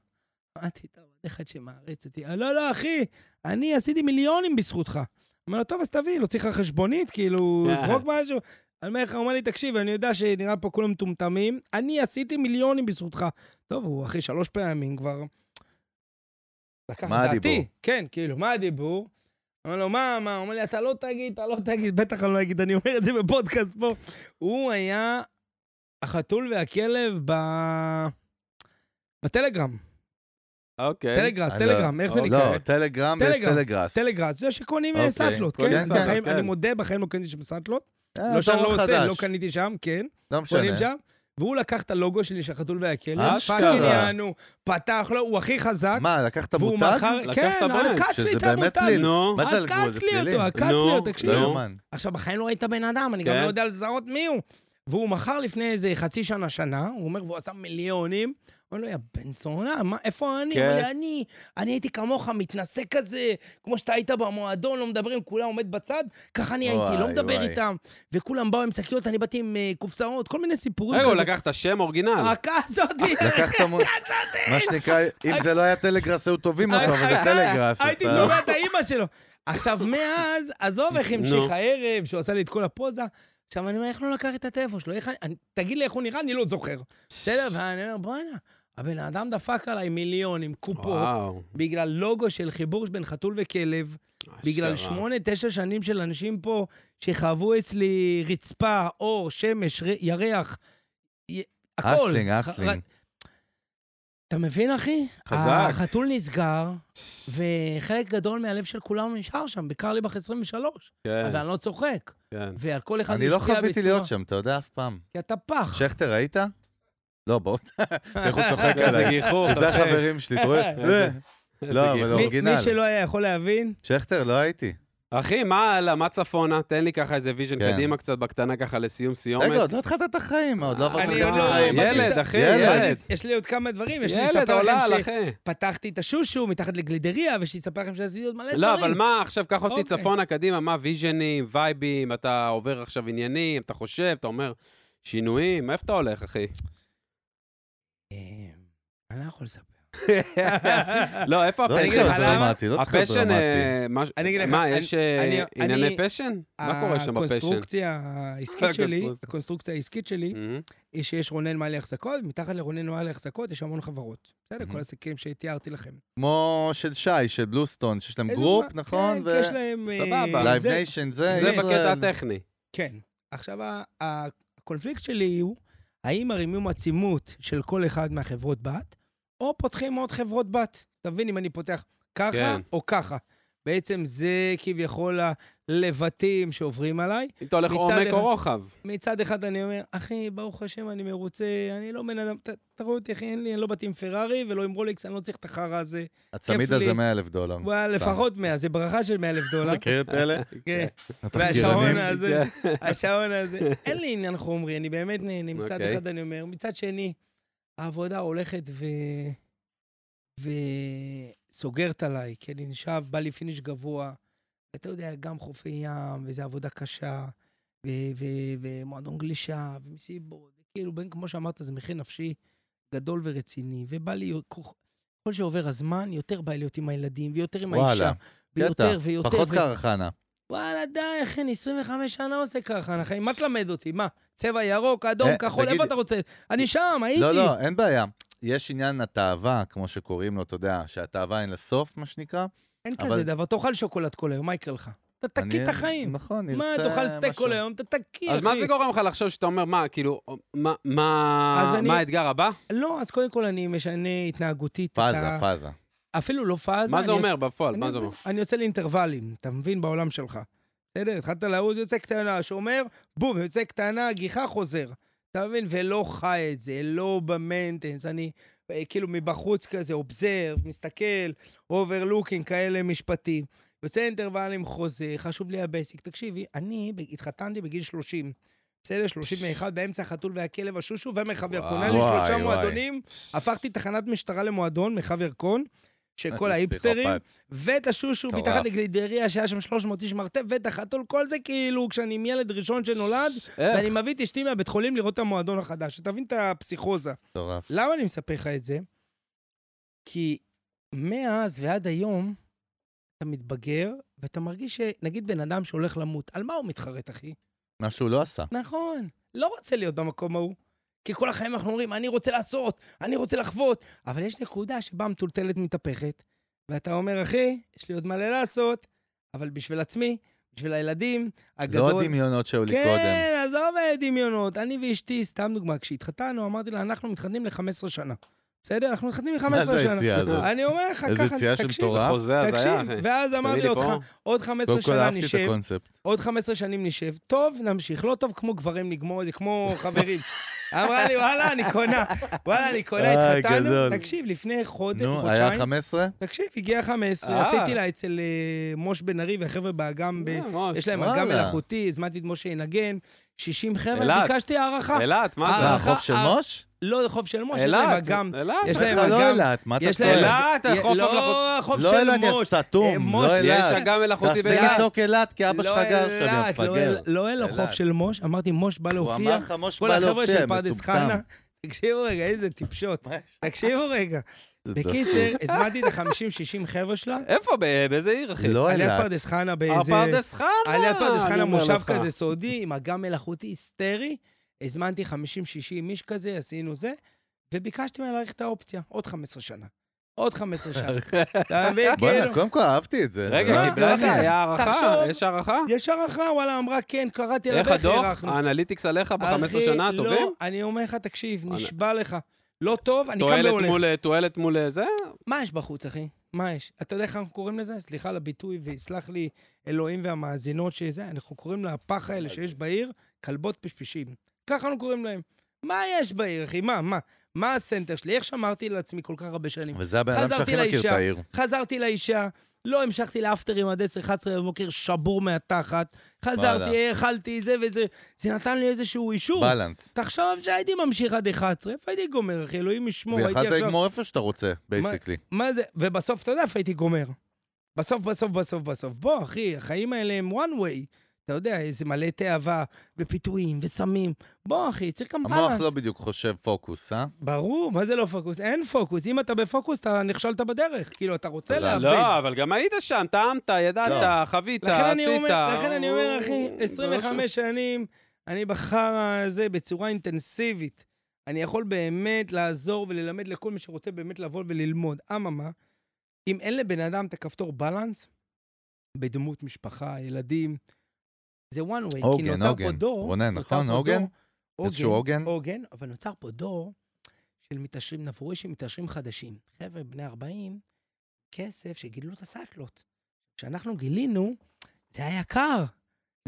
B: שמעתי את העובד אחד שמעריץ אותי, "אה, לא, לא, אחי, אני עשיתי מיליונים בזכותך. אומר לו, טוב, אז תביא, לא צריך לך חשבונית, כאילו, זרוק משהו. אני אומר לך, הוא אומר לי, תקשיב, אני יודע שנראה פה כולם מטומטמים, אני עשיתי מיליונים בזכותך. טוב, הוא אחי שלוש פעמים כבר. לקח
C: מה
B: את דעתי.
C: הדיבור?
B: כן, כאילו, מה הדיבור? אומר לו, מה, מה? הוא אומר לי, אתה לא תגיד, אתה לא תגיד, בטח אני לא אגיד, אני אומר את זה בפודקאסט פה. הוא היה החתול והכלב ב... בטלגרם,
A: אוקיי.
B: טלגראס,
C: אני לא-
B: טלגרם, איך זה
A: לא,
B: נקרא?
C: לא, טלגרם ויש
B: טלגרם,
C: טלגראס.
B: טלגראס, זה שקונים אה,
C: אוקיי,
B: סאטלות,
A: קונים
B: כן?
A: סאטלות,
B: בחיים-
A: כן.
B: אני מודה, בחיים לא קניתי שם סאטלות.
C: אה,
B: לא שאני
C: תור
B: לא עושה,
C: חדש.
B: לא קניתי שם, כן.
C: לא משנה.
B: קונים שם. והוא לקח את הלוגו שלי של החתול והכלב,
A: אשכרה.
B: פאקינג יענו, פתח לו, הוא הכי חזק,
C: מה, לקחת
B: והוא
C: מותג?
B: מכר,
A: לקח
B: כן,
A: את הברנד,
B: עקץ לי
C: שזה
B: את
C: באמת
B: המותג,
C: ליל.
A: אה, נו,
C: מה זה על גבול?
B: עקץ
C: זה
B: לי
C: פלילי?
B: אותו, עקץ לי
A: נו,
B: אותו, תקשיב.
C: לא
A: נו.
C: יאומן.
B: עכשיו, בחיים לא ראית בן אדם, אני גם
A: כן.
B: לא יודע לזהות מי הוא. והוא מכר לפני איזה חצי שנה, שנה, הוא אומר, והוא עשה מיליונים. אומר לו, יא בן זונה, מה- איפה אני?
A: כן.
B: הוא אומר לי, אני, אני הייתי כמוך, מתנשא כזה, כמו שאתה היית במועדון, לא מדבר עם כולם, עומד בצד, ככה אני
C: וואי,
B: הייתי, לא מדבר
C: וואי.
B: איתם. וכולם באו עם שקיות, אני באתי עם אה, קופסאות, כל מיני סיפורים
A: רגע, הוא לקח את השם אורגינל.
B: עקץ אותי,
C: לקחת מותג.
B: עקץ אותי.
C: מה שנקרא, אם זה לא היה טלגראס, היו טובים אותו, אבל זה טלגראס. אז
B: הייתי
C: אתה-
B: תובע את האימא שלו. עכשיו, מאז, עזוב איך המשיך
A: נו.
B: הערב, שהוא עשה לי את כל הפוזה. עכשיו, אני אומר, איך לא לקח את הטלפון שלו? איך אני- אני- תגיד לי איך הוא נראה, אני לא זוכר. בסדר, ואני אומר, בואנה, הבן אדם דפק עליי מיליונים, קופות,
A: וואו.
B: בגלל לוגו של חיבור בין חתול וכלב, בגלל
A: אשכרה.
B: שמונה, תשע שנים של אנשים פה שחוו אצלי רצפה, אור, שמש, ר- ירח, י- הכל.
C: אסלינג,
B: ח-
C: אסלינג.
B: אתה מבין, אחי?
A: חזק.
B: החתול נסגר, וחלק גדול מהלב של כולם נשאר שם, בקרליבך 23,
A: כן,
B: אבל אני לא צוחק.
A: כן.
B: ועל כל אחד
C: אני לא
B: משפיע
C: חוויתי
B: בצורה-
C: להיות שם, אתה יודע, אף פעם.
B: כי אתה פח.
C: שכטר, היית? לא, בואו, איך הוא צוחק
A: איזה
C: עליי.
A: גיחוך,
C: כן, זה
A: אחי.
C: החברים שלי, אתה רואה?
A: איזה- איזה
C: לא,
A: גיחוך.
C: אבל
B: מי-
C: אורגינל.
B: מי שלא היה יכול להבין,
C: שכטר, לא הייתי.
A: אחי, מה הלאה? מה צפונה? תן לי ככה איזה ויז'ן
C: כן.
A: קדימה קצת בקטנה ככה לסיום סיומת.
C: רגע, עוד לא התחלת את החיים, עוד לא עברת
B: אני
C: חצי
B: עוד לא-
C: חיים.
A: ילד, אחי,
C: ילד.
A: ילד.
B: יש לי עוד כמה דברים, יש לי
A: ילד,
B: לספר
A: עולה,
B: לכם ש...
A: אחי.
B: פתחתי את השושו מתחת לגלידריה, ושאספר לכם שעשיתי עוד מלא דברים.
A: לא, אבל מה, עכשיו קח אותי
B: אוקיי.
A: צפונה, קדימה, מה ויז'נים, וייבים, אתה עובר עכשיו עניינים, אתה חושב, אתה אומר, שינויים, איפה אתה הולך, אחי?
B: אה, אני לא יכול לספר.
A: לא, איפה
C: לא צריך
A: הפשן?
B: אגיד לך
C: להיות
B: למה?
C: דרמטי, לא צריך להיות
A: הפשן,
C: דרמטי.
A: אה, מש-
B: אני אגיד לך,
A: מה,
B: אני-
A: יש אה,
B: אני-
A: ענייני
B: אני-
A: פשן? מה קורה שם בפשן?
B: הקונסטרוקציה העסקית שלי,
A: הקונסטרוקציה.
B: הקונסטרוקציה העסקית שלי,
A: מהמם.
B: היא שיש רונן מעלי החזקות, מתחת לרונן מעלי החזקות יש המון חברות. בסדר,
C: Mhm.
B: כל העסקים שתיארתי לכם.
C: כמו של שי, של בלוסטון, שיש להם
B: איזה
C: גרופ,
B: דוגמה?
C: נכון?
B: כן, כי יש להם... אה,
A: סבבה.
C: לייב
B: זה-
C: ניישן, זה
A: זה
C: ישראל.
A: בקטע הטכני.
B: כן. עכשיו, ה- ה- הקונפליקט שלי הוא, האם מרימים עצימות של כל אחד מהחברות בת, או פותחים עוד חברות בת. אתה מבין אם אני פותח ככה
A: כן.
B: או ככה. בעצם זה כביכול הלבטים שעוברים עליי.
A: אם אתה הולך
B: מצד
A: עומק
B: אחד.
A: או רוחב.
B: מצד אחד אני אומר, אחי, ברוך השם, אני מרוצה, אני לא בן אדם, ת- אתה רואה אותי, אחי, אין לי, אני לא באתי עם פרארי ולא עם רולקס, אני לא צריך את החרא הזה.
C: הצמיד
B: כיף לי.
C: הזה 100 אלף דולר.
B: וואלה, לפחות 100, זה ברכה של 100 אלף דולר.
C: מכיר את אלה?
B: כן.
C: התחקירנים?
B: והשעון אה, הזה,
A: כן.
B: השעון הזה. אין לי עניין חומרי, אני באמת נהנה. מצד
A: אוקיי.
B: אחד אני אומר, מצד שני, העבודה הולכת ו... וסוגרת עליי, כי אני נשאב, בא לי פיניש גבוה. אתה יודע, גם חופי ים, וזו עבודה קשה, ו- ו- ומועדון גלישה, ומסיבות, כאילו, בין, כמו שאמרת, זה מחיר נפשי גדול ורציני, ובא לי, כל שעובר הזמן, יותר בא להיות עם הילדים, ויותר עם
C: וואלה,
B: האישה,
C: קטע.
B: ויותר ויותר.
C: פחות
B: ו-
C: קרחנה.
B: וואלה, די, אחי, אני 25 שנה עושה ככה, אחי, מה תלמד אותי? מה, צבע ירוק, אדום,
C: אה,
B: כחול,
C: תגיד-
B: איפה אתה רוצה? אני שם, הייתי.
C: לא, לא, אין בעיה. יש עניין התאווה, כמו שקוראים לו, אתה יודע, שהתאווה אין לה סוף, מה שנקרא.
B: אין
C: אבל-
B: כזה דבר, תאכל שוקולד כל היום, מה יקרה לך? אתה
C: אני-
B: תקיא את החיים.
C: נכון, נרצה
B: מה,
C: משהו.
B: תאכל סטייק כל היום, אתה תקיא, אחי.
A: אז מה זה גורם לך לחשוב שאתה אומר, מה, כאילו, מה- מה
B: אז אני-
A: מה האתגר הבא?
B: לא, אז קודם כל אני משנה התנהגותית. את
C: פאזה,
B: ה-
C: פאזה.
B: אפילו לא פאזה.
A: מה זה
B: אני
A: אומר בפועל?
B: אני-
A: מה זה אומר?
B: אני יוצא לאינטרוולים, אתה מבין? בעולם שלך. בסדר? התחלת לעוד, יוצא קטנה, שומר, בום, יוצא קטנה, גיחה, חוזר. אתה מבין? ולא חי את זה, לא במיינטנס. אני אה, כאילו מבחוץ כזה, אובזרב, מסתכל, אוברלוקינג, כאלה משפטים. יוצא אינטרוולים, חוזר, חשוב לי הבייסיק. תקשיבי, אני ב- התחתנתי בגיל 30. בסדר, 31, באמצע החתול והכלב, השושו ומרחב
A: וואו.
B: ירקון. היה לי
C: וואי,
B: שלושה
C: וואי.
B: מועדונים, הפכתי תחנת משטרה למועדון, מרחב ירקון,
A: אה,
B: שכל ההיפסטרים,
C: פסיכופת.
B: ואת השושו
C: מטורף.
B: מתחת לגלידריה, שהיה שם 300 איש מרתף, ואת החתול, כל זה כאילו כשאני עם ילד ראשון שנולד,
A: איך?
B: ואני מביא את אשתי מהבית חולים לראות את המועדון החדש. שתבין את הפסיכוזה.
C: מטורף.
B: למה אני מספר לך את זה? כי מאז ועד היום, אתה מתבגר, ואתה מרגיש שנגיד בן אדם שהולך למות, על מה הוא מתחרט, אחי?
C: מה שהוא לא עשה.
B: נכון, לא רוצה להיות במקום ההוא. כי כל החיים אנחנו אומרים, אני רוצה לעשות, אני רוצה לחוות, אבל יש נקודה שבה המטולטלת מתהפכת, ואתה אומר, אחי, יש לי עוד מלא לעשות, אבל בשביל עצמי, בשביל הילדים, הגדול...
C: לא הדמיונות שהיו לי קודם.
B: כן, עזוב דמיונות. אני ואשתי, סתם דוגמה, כשהתחתנו, אמרתי לה, אנחנו מתחתנים ל-15 שנה. בסדר? אנחנו מתחתנים ל-15 שנה.
C: מה זה היציאה הזאת?
B: אני אומר לך, ככה,
C: איזה יציאה של
B: תקשיב,
C: מטורף.
A: חוזה הזיה,
B: תקשיב.
A: אה, אחי.
B: ואז אמרתי
A: לי
B: לו,
A: פה. אה,
B: עוד 15
C: קודם כל
B: שנה
C: אהבתי את
B: נשב,
C: הקונספט.
B: עוד 15 שנים נשב, טוב, נמשיך, לא טוב כמו גברים, נגמור את זה, כמו חברים. אמרה לי, וואלה, אני קונה, וואלה, אני קונה,
C: איי,
B: התחתנו.
C: גדול.
B: תקשיב, לפני חודש,
C: נו, היה
B: חודשיים, אה,
C: 15?
B: תקשיב, הגיע 15,
A: אה.
B: עשיתי לה אצל אה, מוש בן ארי והחבר'ה באגם, ב-
A: אה, מוש.
B: יש להם
C: וואלה.
B: אגם מלאכותי, הזמנתי את משה ינגן, 60 חבר'ה,
A: אלעד.
B: ביקשתי הערכה.
A: אילת, מה
B: אה,
C: מה,
A: זה?
B: אחר-
C: החוף של
B: אה,
C: מוש?
B: לא חוף של מוש, יש להם
A: אילת,
B: אגם. יש
A: אילת.
B: להם
C: בטח לא
B: אגם-
C: אילת, מה אתה
B: יש להם-
A: אילת,
C: צועק?
A: החוף המלאכותי.
B: לא החוף
C: לא
B: של
C: אילת, יא
B: מוש. אה,
C: סתום,
B: מוש,
C: לא
A: יש
C: אילת.
A: אגם מלאכותי
C: תפסיק
A: באילת.
C: לצעוק אילת, כי
B: לא
C: אבא שלך גר שם, יא
B: אילת, לא אל-
C: מפגר.
B: לא אל החוף
C: אילת.
B: של מוש, אמרתי, מוש בא
C: הוא
B: להופיע.
C: אמר לך מוש
B: כל
C: בא
B: החבר'ה
C: להופיע,
B: של פרדס חנה.
C: לא, כן, מטומטם.
B: תקשיבו רגע, איזה טיפשות.
C: מה?
B: תקשיבו רגע. בקיצר, הזמנתי את ה-50-60 חבר'ה שלה,
A: איפה? ב- באיזה עיר, אחי?
C: לא
B: על יד
C: אילת.
B: פרדס חנה באיזה...
A: הפרדס אה, חנה!
B: על יד פרדס
A: אני
B: חנה
A: אומר
B: מושב
A: לך.
B: כזה סודי, עם אגם מלאכותי היסטרי. הזמנתי 50-60 איש כזה, עשינו זה, וביקשתי ממנה להאריך את האופציה, עוד 15 שנה. עוד 15 שנה. אתה מבין? כאילו...
C: בוא'נה, קודם כל אהבתי את זה.
A: רגע,
B: לא,
A: קיבלה
B: לא
A: את זה?
B: יודע.
A: היה הערכה?
B: תחשוב.
A: יש הערכה?
B: יש הערכה, וואלה, אמרה, כן, קראתי לה
A: איך
B: ואיך
A: הדוח? אה,
B: הארכנו.
A: האנליטיקס עליך ב-15
B: אחי,
A: שנה הטובים?
B: לא, אני אומר לך, תקשיב,
A: וואלה.
B: נשבע לך. לא טוב, אני קם
A: תועלת
B: והולך.
A: מול- תועלת מול אה, זה?
B: מה יש בחוץ, אחי? מה יש? אתה יודע איך אנחנו קוראים לזה? סליחה על הביטוי, ויסלח לי אלוהים והמאזינות שזה, אנחנו קוראים לפח האלה שיש בעיר, כלבות פשפשים. ככה אנחנו קוראים להם. מה יש בעיר, אחי? מה, מה? מה הסנטר שלי? איך שמרתי לעצמי כל כך הרבה שנים?
C: וזה הבן אדם
B: חזרתי
C: שהכי מכיר את
B: לאישה.
C: העיר.
B: חזרתי לאישה, לא המשכתי לאפטרים עד 10-11 בבוקר, שבור מהתחת. חזרתי,
C: וואלה.
B: אכלתי זה וזה. זה נתן לי איזשהו אישור.
C: בלנס.
B: תחשוב שהייתי ממשיך עד 11, איפה הייתי גומר, אחי? אלוהים ישמור, הייתי
C: ויכלת
B: עכשיו...
C: לגמור איפה שאתה רוצה, בייסיקלי.
B: מה זה? ובסוף, אתה יודע איפה הייתי גומר. בסוף, בסוף, בסוף, בסוף. בוא, אחי, החיים האלה הם one way. אתה יודע, איזה מלא תאווה, ופיתויים, וסמים. בוא, אחי, צריך גם
C: המוח
B: בלנס.
C: לא בדיוק חושב פוקוס, אה?
B: ברור, מה זה לא פוקוס? אין פוקוס. אם אתה בפוקוס, אתה נכשלת בדרך. כאילו, אתה רוצה
C: תודה.
B: לאבד.
A: לא, אבל גם היית שם, טעמת,
C: לא.
A: ידעת, חווית,
B: לכן אני
A: עשית.
B: אומר, לכן אני אומר,
A: הוא-
B: אחי,
A: הוא-
B: 25 שנים, אני בחרא הזה בצורה אינטנסיבית. אני יכול באמת לעזור וללמד לכל מי שרוצה באמת לבוא וללמוד. אממה, אם אין לבן אדם את הכפתור בלנס, בדמות משפחה, ילדים, זה one way. כי
C: עוגן,
B: נוצר פה
C: עוגן.
B: דור,
C: רונן,
B: נוצר
C: נכון?
B: פה
C: עוגן?
B: דור-
C: איזשהו עוגן?
B: עוגן, אבל נוצר פה דור של מתעשרים, אנחנו רואים שהם מתעשרים חדשים. חבר'ה, בני 40, כסף שגידלו את הסטלות. כשאנחנו גילינו, זה היה יקר.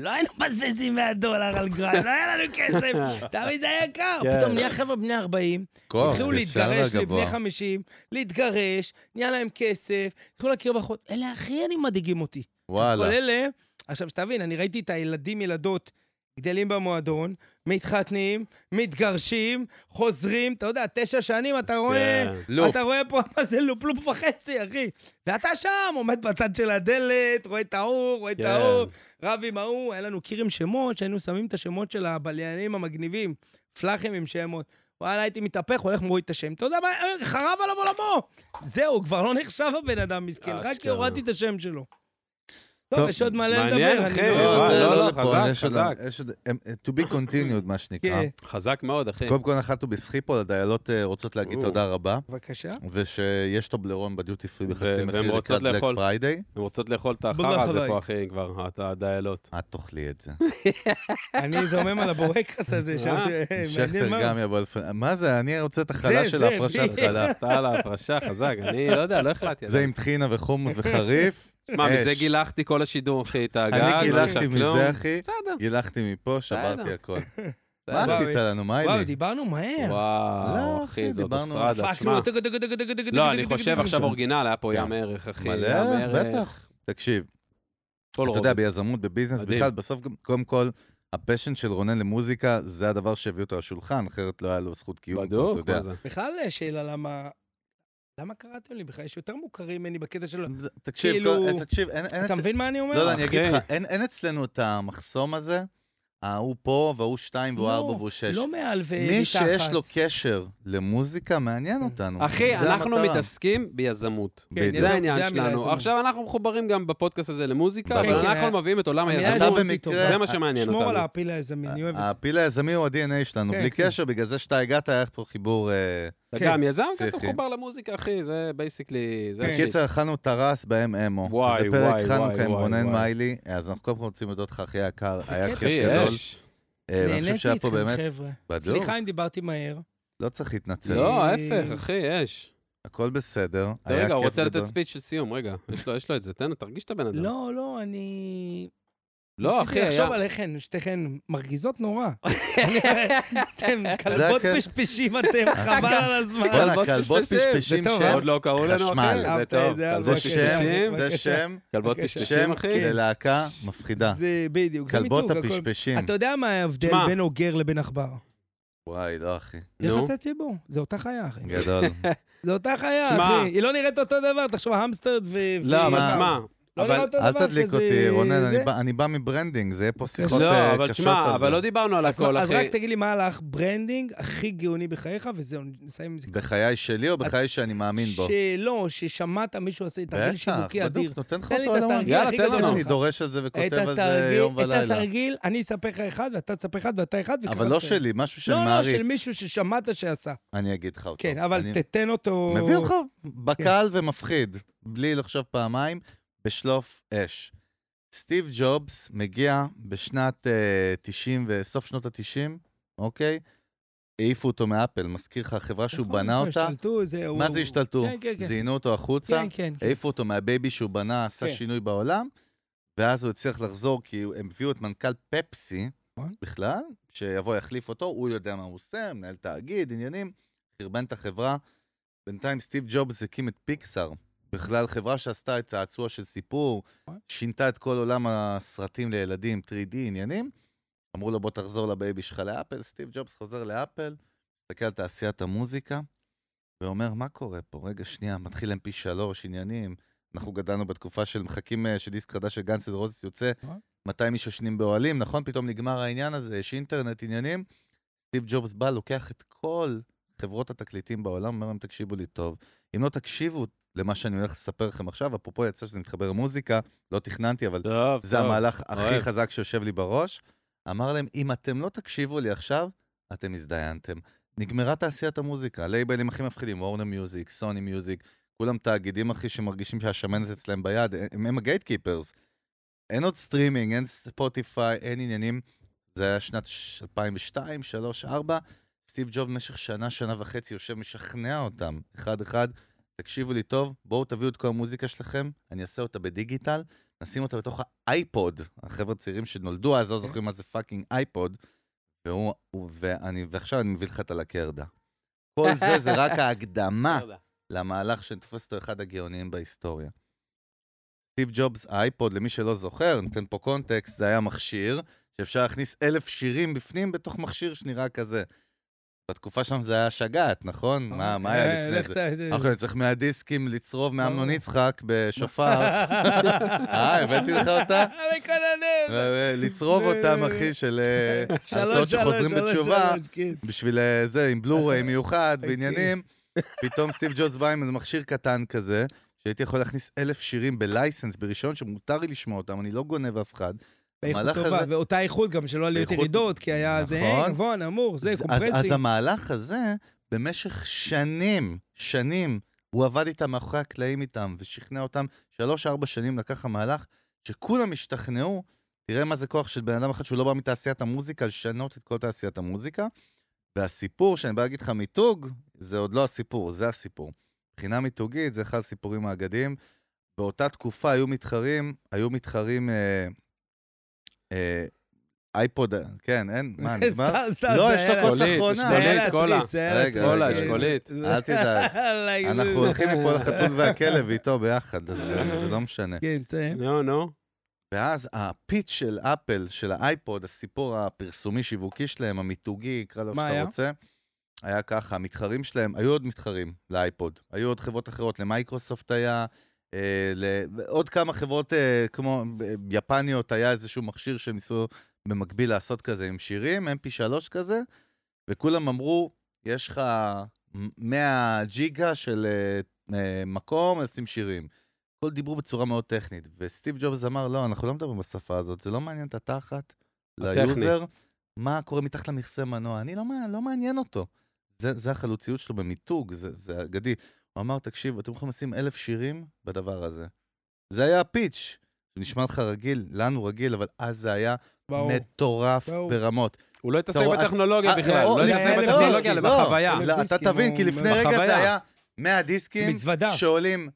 B: לא היינו מבזבזים 100 דולר על גרנד, לא היה לנו כסף, תמיד זה היה יקר.
A: כן.
B: פתאום נהיה חבר'ה בני 40,
C: כוח,
B: התחילו
C: ישר
B: להתגרש לבני
C: לגבוה.
B: 50, להתגרש, נהיה להם כסף, התחילו להכיר בחוץ. אלה הכי אני מדאיגים אותי.
C: וואלה.
B: כל אלה, עכשיו שתבין, אני ראיתי את הילדים, ילדות, גדלים במועדון, מתחתנים, מתגרשים, חוזרים, אתה יודע, תשע שנים אתה רואה...
A: כן.
C: לופ.
B: אתה רואה פה מה זה לופ, לופ וחצי, אחי. ואתה שם, עומד בצד של הדלת, רואה את ההוא, רואה את
A: כן.
B: ההוא, רב עם ההוא, היה לנו קיר עם שמות, שהיינו שמים את השמות של הבליינים המגניבים, פלאחים עם שמות. וואלה, הייתי מתהפך, הולך מוריד את השם. אתה יודע מה, אה, חרב עליו עולמו. זהו, כבר לא נחשב הבן אדם מסכן, רק כי
A: אשכרה.
B: הורדתי את השם שלו.
C: טוב,
B: טוב, יש עוד מלא
A: מעניין,
B: לדבר.
A: אחי,
B: אני
A: וואו,
C: לא,
B: לא...
C: זה
A: לא,
C: לא
A: לא,
C: לפה,
A: חזק,
C: יש עוד-
A: חזק.
C: יש עוד... הם- To be continued, מה שנקרא.
B: כן,
A: חזק מאוד, אחי.
C: אה, קודם כל נחתנו בסחיפול, הדיילות אה, רוצות להגיד
A: או.
C: תודה רבה,
B: בבקשה.
C: ושיש טובלרון בדיוטי פרי בחצי
A: והן
C: מחיר
A: רוצות
C: לקראת בלק
A: לאכול.
C: פריידיי.
A: הן רוצות לאכול את החרא
B: ברח
A: הזה
B: הבית.
A: פה, אחי, כבר, את הדיילות.
C: את תאכלי את זה.
B: אני זומם על הבורקס הזה, שם,
A: אה,
B: מעניין
C: שכטר
B: מאוד.
C: גם יבוא לפני... מה זה, אני רוצה את החלה
B: זה,
C: של
B: זה,
C: ההפרשת
B: בדיוק.
C: חלה.
A: אתה על ההפרשה, חזק, אני לא יודע, לא החלטתי.
C: זה
A: עדיין.
C: עם טחינה וחומוס וחריף.
A: מה, מזה
C: אש.
A: גילחתי כל השידור, אחי, את הגג?
C: אני
A: לא
C: גילחתי
A: נשאר
C: מזה,
A: כלום.
C: אחי.
A: בסדר.
C: גילחתי מפה, שברתי
A: בסדר.
C: הכל. מה
A: בסדר.
C: עשית לנו, מה
B: וואו,
C: אלי?
B: דיברנו מהר.
A: וואו,
C: לא,
A: אחי, זאת
C: דיברנו-
A: אוסטרדה,
B: פאק, נו,
A: תשמע.
B: טק, טק, טק, טק, טק,
A: לא,
B: טק,
A: אני
B: טק,
A: חושב
B: טק,
A: עכשיו
B: טק.
A: אורигинל, היה פה
C: גם.
A: ים ערך, אחי.
C: מלא,
A: ים ערך,
C: בטח. תקשיב,
B: לא,
A: כל
C: אתה
A: רוב.
C: יודע, ביזמות, בביזנס,
A: מדהים.
C: בכלל, בסוף, גם- קודם כל, הפשן של רונן למוזיקה, זה הדבר שהביא אותו לשולחן, אחרת לא היה לו זכות קיום. פה,
A: בדוק,
C: אתה יודע.
A: מה זה?
B: בכלל אה, שאלה למה... למה קראתם לי? בכלל יש יותר מוכרים ממני בקטע של...
C: זה- תקשיב,
B: כאילו-
C: כל- אה, תקשיב, אין אין
B: אתה
C: אצל-
B: מבין מה אני אומר?
C: לא, לא, אני אגיד
A: אחי.
C: לך, אין אין אצלנו את המחסום הזה ההוא פה, וההוא שתיים, והוא
B: לא,
C: ארבע, והוא שש.
B: לא מעל ומתחת.
C: מי שיש לו קשר למוזיקה, מעניין אותנו.
A: אחי,
C: זה
A: אנחנו
C: המטרה.
A: מתעסקים ביזמות.
B: כן,
C: בדיוק.
A: זה העניין
B: זה המילה
A: שלנו.
B: יזמות.
A: עכשיו, אנחנו מחוברים גם בפודקאסט הזה למוזיקה,
C: בדיוק.
A: אבל
B: כן,
A: אנחנו
B: כן,
A: מביאים את עולם
B: המילה
A: היזמות.
C: אתה
B: יזמות היא
C: במקרה...
B: טובה.
A: זה מה שמעניין
B: שמור על
A: אותנו.
B: הפיל היזמי,
C: אה,
B: אני אוהב את זה.
C: הפיל היזמי הוא ה-DNA שלנו,
B: כן,
C: בלי
B: כן.
C: קשר, בגלל זה שאתה הגעת, היה פה חיבור... אה,
A: אתה גם יזם, כן, אתה
C: צריכים.
A: מחובר למוזיקה, אחי, זה בייסיקלי... זה
B: כן.
A: השיט.
C: בקיצר, אכלנו טרס בהם אמו.
A: וואי,
C: זה פרק
A: וואי,
C: חנוכה
A: וואי,
C: עם
A: וואי,
C: רונן
A: וואי.
C: מיילי, אז אנחנו קודם כל רוצים להודות לך, אחי היקר, היה
B: אחי,
A: אחי,
C: כיף גדול.
A: יש.
C: אה, ואני חושב שהיה פה באמת...
B: חבר'ה.
C: בדיוק,
B: סליחה אם דיברתי מהר.
C: לא צריך להתנצל,
A: לא,
B: אה,
A: ההפך, אחי, יש.
C: הכל בסדר. היה
A: רגע, הוא
C: כיף
A: רוצה
C: גדול.
A: לתת ספיץ' של סיום, רגע. יש לו- יש לו את זה, תן, תרגיש את הבן אדם.
B: לא, לא, אני...
A: לא, אחי,
B: ניסיתי
A: היה...
B: לחשוב עליכן, שתיכן מרגיזות נורא. אתם כלבות
C: הכיף.
B: פשפשים, אתם חבל על הזמן.
C: וואלה,
A: כלבות
C: כלבות
A: פשפשים.
C: פשפשים
B: זה טוב,
C: שם,
A: עוד לא קראו לנו, אחי,
C: חשמל.
A: זה
B: אהבת
A: טוב.
B: את זה,
A: כלבות
B: אז
C: זה
B: בבקשה.
A: פשפשים,
C: שם, זה
B: בבקשה.
C: שם,
A: כלבות
B: בבקה,
A: פשפשים,
C: שם
A: אחי.
B: כן.
C: ללהקה מפחידה.
B: זה בדיוק, זה מיתוג.
C: כלבות
B: הכל.
C: הפשפשים.
B: אתה יודע מה ההבדל
A: שמע.
B: בין אוגר לבין עכבר?
C: וואי, לא אחי,
A: נו.
B: יחסי ציבור, זה אותה חיה, אחי.
C: גדול.
B: זה אותה חיה,
A: שמע.
B: אחי. היא לא נראית אותו דבר, תחשוב, המסטרד ו...
A: לא,
B: ו-
A: אבל
C: שמע,
A: תשמע,
B: לא
A: אבל-
B: נראה אותו
C: אל
B: דבר,
C: תדליק
B: כזה-
C: אותי, רונן, אני
B: זה.
C: בא- אני בא מברנדינג, זה יהיה פה שיחות
A: לא,
C: אה,
A: אבל
C: קשות
A: תשמע,
C: על
A: אבל
C: זה.
A: לא דיברנו על
B: אז
A: הכל,
B: מה- אז
A: אחי.
B: רק תגיד לי מה הלך ברנדינג הכי גאוני בחייך, וזהו, נסיים עם זה.
C: בחיי שלי או בחיי שאני מאמין בו?
B: שלא, ששמעת מישהו עושה תרגיל שיווקי אדיר.
C: בדיוק, נותן לך
B: תן לי
C: אותו
B: את
C: על
B: התרגיל
A: יאללה,
B: הכי
A: תן
B: גדול
A: לנו.
C: לא אני
B: שלך.
C: כן, דורש על זה
B: לא, את
C: וכותב על זה
B: התרגיל-
C: יום
B: את
C: ולילה.
B: התרגיל, אני אספר לך אחד, ואתה תספר אחד, ואתה אחד, וככה
C: אבל לא
B: זה.
C: שלי, משהו שאני
B: לא, לא,
C: מעריץ.
B: של מישהו ששמעת שעשה.
C: אני אגיד לך אותו.
B: כן, אבל כן.
C: אני
B: תתן אותו...
C: מביא לך בקל ומפחיד, בלי לחשוב פעמיים, בשלוף אש. סטיב ג'ובס מגיע בשנת אה, 90 וסוף שנות ה-90, אוקיי? העיפו אותו מאפל, מזכיר לך, החברה שהוא
B: נכון,
C: בנה
B: נכון,
C: אותה.
B: השתלטו, זה הוא...
C: מה זה השתלטו?
B: כן, כן, כן.
C: זיינו אותו החוצה,
B: כן, כן, כן.
C: העיפו אותו מהבייבי שהוא בנה, עשה
B: כן.
C: שינוי בעולם, ואז הוא הצליח לחזור, כי הם הביאו את מנכ"ל פפסי
B: נכון.
C: בכלל, שיבוא יחליף אותו, הוא יודע מה הוא עושה, מנהל תאגיד, עניינים, חרבן את החברה. בינתיים סטיב ג'ובס הקים את פיקסאר, בכלל חברה שעשתה את צעצוע של סיפור,
B: נכון.
C: שינתה את כל עולם הסרטים לילדים, 3D, עניינים. אמרו לו, בוא תחזור לבייבי שלך לאפל, סטיב ג'ובס חוזר לאפל, מסתכל על תעשיית המוזיקה, ואומר, מה קורה פה? רגע, שנייה, מתחיל mp3, עניינים. אנחנו גדלנו בתקופה של מחכים אה, שדיסק חדש של גאנס אנד רוזס יוצא,
B: נכון.
C: 200 איש ישנים באוהלים, נכון? פתאום נגמר העניין הזה, יש אינטרנט, עניינים. סטיב ג'ובס בא, לוקח את כל חברות התקליטים בעולם, אומר להם, תקשיבו לי טוב. אם לא תקשיבו למה שאני הולך לספר לכם עכשיו, אפרופו יצא שזה מתחבר למוזיקה, לא תכננתי, אבל
A: טוב, טוב.
C: זה המהלך הכי
A: אוהב.
C: חזק שיושב לי בראש. אמר להם, אם אתם לא תקשיבו לי עכשיו, אתם הזדיינתם. נגמרה תעשיית המוזיקה, לייבלים הכי מפחידים, וורנר מיוזיק, סוני מיוזיק, כולם תאגידים אחי שמרגישים שהשמנת אצלם ביד, הם, הם הגייט קיפרס. אין עוד סטרימינג, אין ספוטיפיי, אין עניינים. זה היה שנת ש- 2002, 3, 4. סטיב ג'וב במשך שנה, שנה וחצי יושב, משכנע אותם, אחד-אחד. תקשיבו לי טוב, בואו תביאו את כל המוזיקה שלכם, אני אעשה אותה בדיגיטל, נשים אותה בתוך האייפוד. החבר'ה הצעירים שנולדו אז לא זוכרים מה זה פאקינג אייפוד. והוא, הוא- ואני, ועכשיו אני מביא לך את הלקרדה. כל זה זה רק ההקדמה
B: לא
A: תודה.
C: למהלך שתופס אותו אחד הגאוניים בהיסטוריה. סטיב ג'ובס, האייפוד, למי שלא זוכר, נותן פה קונטקסט, זה היה מכשיר שאפשר להכניס אלף שירים בפנים בתוך מכשיר שנראה כזה. בתקופה שם זה היה שגעת, נכון? מה, מה היה
B: אה,
C: לפני
B: לך
C: זה?
B: ת- לא.
C: אחי, אני צריך 100 דיסקים לצרוב מאמנון
B: ברור.
C: יצחק בשופר. אה, הבאתי לך אותה?
B: מקנן,
C: אה, לצרוב אותם, אחי, של אה, הרצאות שחוזרים בתשובה,
B: כן.
C: בשביל אה, זה, עם בלוריי מיוחד ועניינים. פתאום סטיב ג'ובס בא עם איזה מכשיר קטן כזה, שהייתי יכול להכניס אלף שירים בלייסנס, ברישיון, שמותר לי לשמוע אותם, אני לא גונב אף אחד. המהלך הזה-
B: ואותה איכות גם, שלא עליות
C: באיכות-
B: ירידות, כי היה זה
C: נכון.
B: הן, גבוה, נמור, זה,
C: אז- אז, אז
B: קומפרסינג.
C: המהלך הזה, במשך שנים, שנים, הוא עבד איתם מאחורי הקלעים איתם, ושכנע אותם, שלוש-ארבע שנים לקח המהלך, שכולם השתכנעו, תראה מה זה כוח של בן אדם אחד שהוא לא בא מתעשיית המוזיקה, לשנות את כל תעשיית המוזיקה. והסיפור שאני בא להגיד לך מיתוג, זה עוד לא הסיפור, זה הסיפור. מבחינה מיתוגית, זה אחד הסיפורים האגדיים. באותה תקופה היו מתחרים, היו מתחרים אה, אה, אייפוד, כן, אין, מה, נגמר?
B: סתם, סתם,
C: לא,
B: זה
C: יש לו
B: היה לה-
C: כוס
A: אשכולית,
C: אחרונה.
B: זה היה
A: אשכולית,
B: לה
A: קולה.
B: תריס, זה היה לה
C: רגע,
B: תריס.
C: קולה,
B: כן.
A: אשכולית.
C: אל תדאג.
B: אללה,
C: אנחנו
B: יואו.
C: הולכים מפה לחתול והכלב איתו ביחד, אז זה- זה לא משנה.
B: כן, תסיים.
A: נו,
C: לא,
A: נו.
C: ואז הפיץ של אפל, של האייפוד, הסיפור הפרסומי-שיווקי שלהם, המיתוגי, קרא לו
B: מה
C: איך
B: היה?
C: שאתה רוצה, היה ככה, המתחרים שלהם, היו עוד מתחרים לאייפוד, היו עוד חברות אחרות, למייקרוסופט היה, אה, לעוד כמה חברות אה, כמו אה, יפניות, היה איזשהו מכשיר שהם ניסו במקביל לעשות כזה עם שירים, mp3 כזה, וכולם אמרו, יש לך 100 ג'יגה של אה, אה, מקום, לשים שירים. הכל דיברו בצורה מאוד טכנית, וסטיב ג'ובס אמר, לא, אנחנו לא מדברים בשפה הזאת, זה לא מעניין את התחת,
A: הטכני.
C: ליוזר, מה קורה מתחת למכסה מנוע, אני לא, מע- לא מעניין אותו. זה, זה החלוציות שלו במיתוג, זה, זה אגדי. הוא אמר, תקשיב, אתם יכולים לשים אלף שירים בדבר הזה. זה היה הפיץ', נשמע לך רגיל, לנו רגיל, אבל אז זה היה
B: ברור.
C: מטורף
B: ברור.
C: ברמות.
A: הוא לא התעסק
C: אתה רואה,
A: בטכנולוגיה
C: אה,
A: בכלל,
C: או,
A: הוא לא
C: לפני-
A: התעסק
B: אלף
C: לא,
A: בטכנולוגיה, אלא
C: לא.
A: בחוויה.
B: אלף
C: לא, אתה
B: דיסקים,
C: תבין, כי
B: הוא-
C: לפני רגע
A: בחוויה.
C: זה היה 100 דיסקים
D: מזוודה.
C: שעולים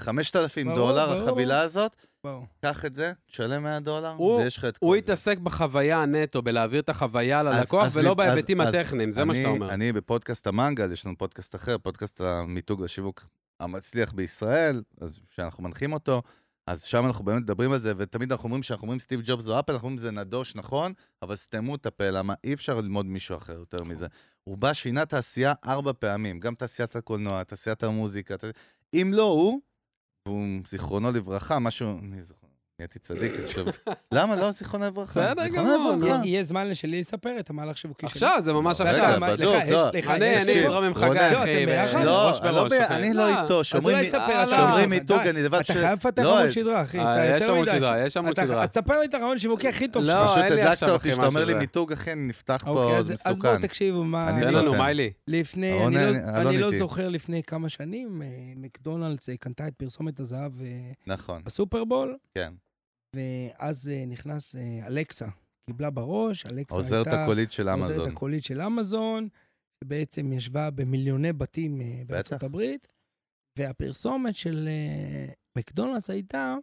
C: 5,000
B: ברור,
C: דולר,
B: ברור.
C: החבילה הזאת,
B: ברור.
C: קח את זה, תשלם 100 דולר,
A: הוא-
C: ויש לך את
A: הוא
C: כל זה.
A: התעסק בחוויה נטו, בלהעביר את החוויה ללקוח,
C: אה. אז-
A: ולא
C: אז-
A: בהיבטים
C: אז-
A: הטכניים, זה מה
C: אני-
A: שאתה אומר.
C: אני בפודקאסט המנגל, יש לנו פודקאסט אחר, פודקאסט המיתוג לשיווק המצליח בישראל, אז שאנחנו מנחים אותו, אז שם אנחנו באמת מדברים על זה, ותמיד אנחנו אומרים, כשאנחנו אומרים סטיב ג'ובס או אפל, אנחנו אומרים זה נדוש, נכון, אבל סתמו את הפה, למה אי אפשר ללמוד מישהו אחר יותר מזה. הוא בא, שינה תעשייה ארבע פעמים, גם תעשיית הקולנוע, תעשיית המוזיקה, תע- אם לא הוא, והוא, זיכרונו לברכה, משהו, אני זיכרונו, נהייתי צדיק עכשיו. למה לא זיכרונו לברכה?
A: בסדר
C: זיכרונו
A: גמור,
C: לברכה.
B: יהיה- יהיה זמן שלי לספר את המהלך שיווקי שלי.
A: עכשיו, זה ממש
C: רגע,
A: עכשיו.
B: מה-
C: בדוק,
B: לך יש-
C: לא.
B: לך
A: אני,
B: יש-
A: אני
C: תקשיב,
A: אדרום עם
C: רונן.
A: חגי,
B: לא, אתם
A: אחי,
B: ביחד? אה,
A: ב-
C: לא,
A: ראש
C: אני
A: בראש.
C: לא ב- אני לא איתו,
B: אז אולי
C: שאומרים לי-
B: תספר אה, עכשיו.
A: שאומרים
C: מיתוג,
B: לא, די.
C: אני לבד
B: אתה
C: ש-
B: חייב לפתח
C: לא,
B: עמוד
C: את-
B: שדרה, אחי.
A: אה,
B: אתה
A: יש
B: יותר
A: עמוד
B: מדי.
A: שדרה, יש עמוד
B: אתה-
A: שדרה.
B: אז תספר לי את הרעיון שיווקי הכי טוב
A: לא,
B: שלך.
C: פשוט
A: אין לי
C: הדלקת
A: עכשיו,
C: אותי
A: אחי,
C: שאתה
A: מה
C: אומר לי
A: שזה.
C: מיתוג, אחי, נפתח
B: אוקיי,
C: פה,
B: אז-
C: זה
B: אז בואו
C: מסוכן.
B: תקשיבו מה...
C: אני
A: תן
C: סותם.
A: לנו, מה לי?
B: לפני,
C: אהרון
B: אני,
C: אלון-
B: לא,
C: אלון
B: אני לא
C: איתי.
B: זוכר לפני כמה שנים, אה, מקדונלדס אה, קנתה את פרסומת הזהב אה,
C: נכון,
B: בסופרבול,
C: כן.
B: ואז אה, נכנס אה, אלכסה, קיבלה בראש, אלכסה הייתה...
C: עוזרת הקולית של
B: העוזרת
C: אמזון.
B: הקולית של אמזון, שבעצם ישבה במיליוני בתים אה, בארצות
C: בטח.
B: הברית, והפרסומת של אה, מקדונלדס הייתה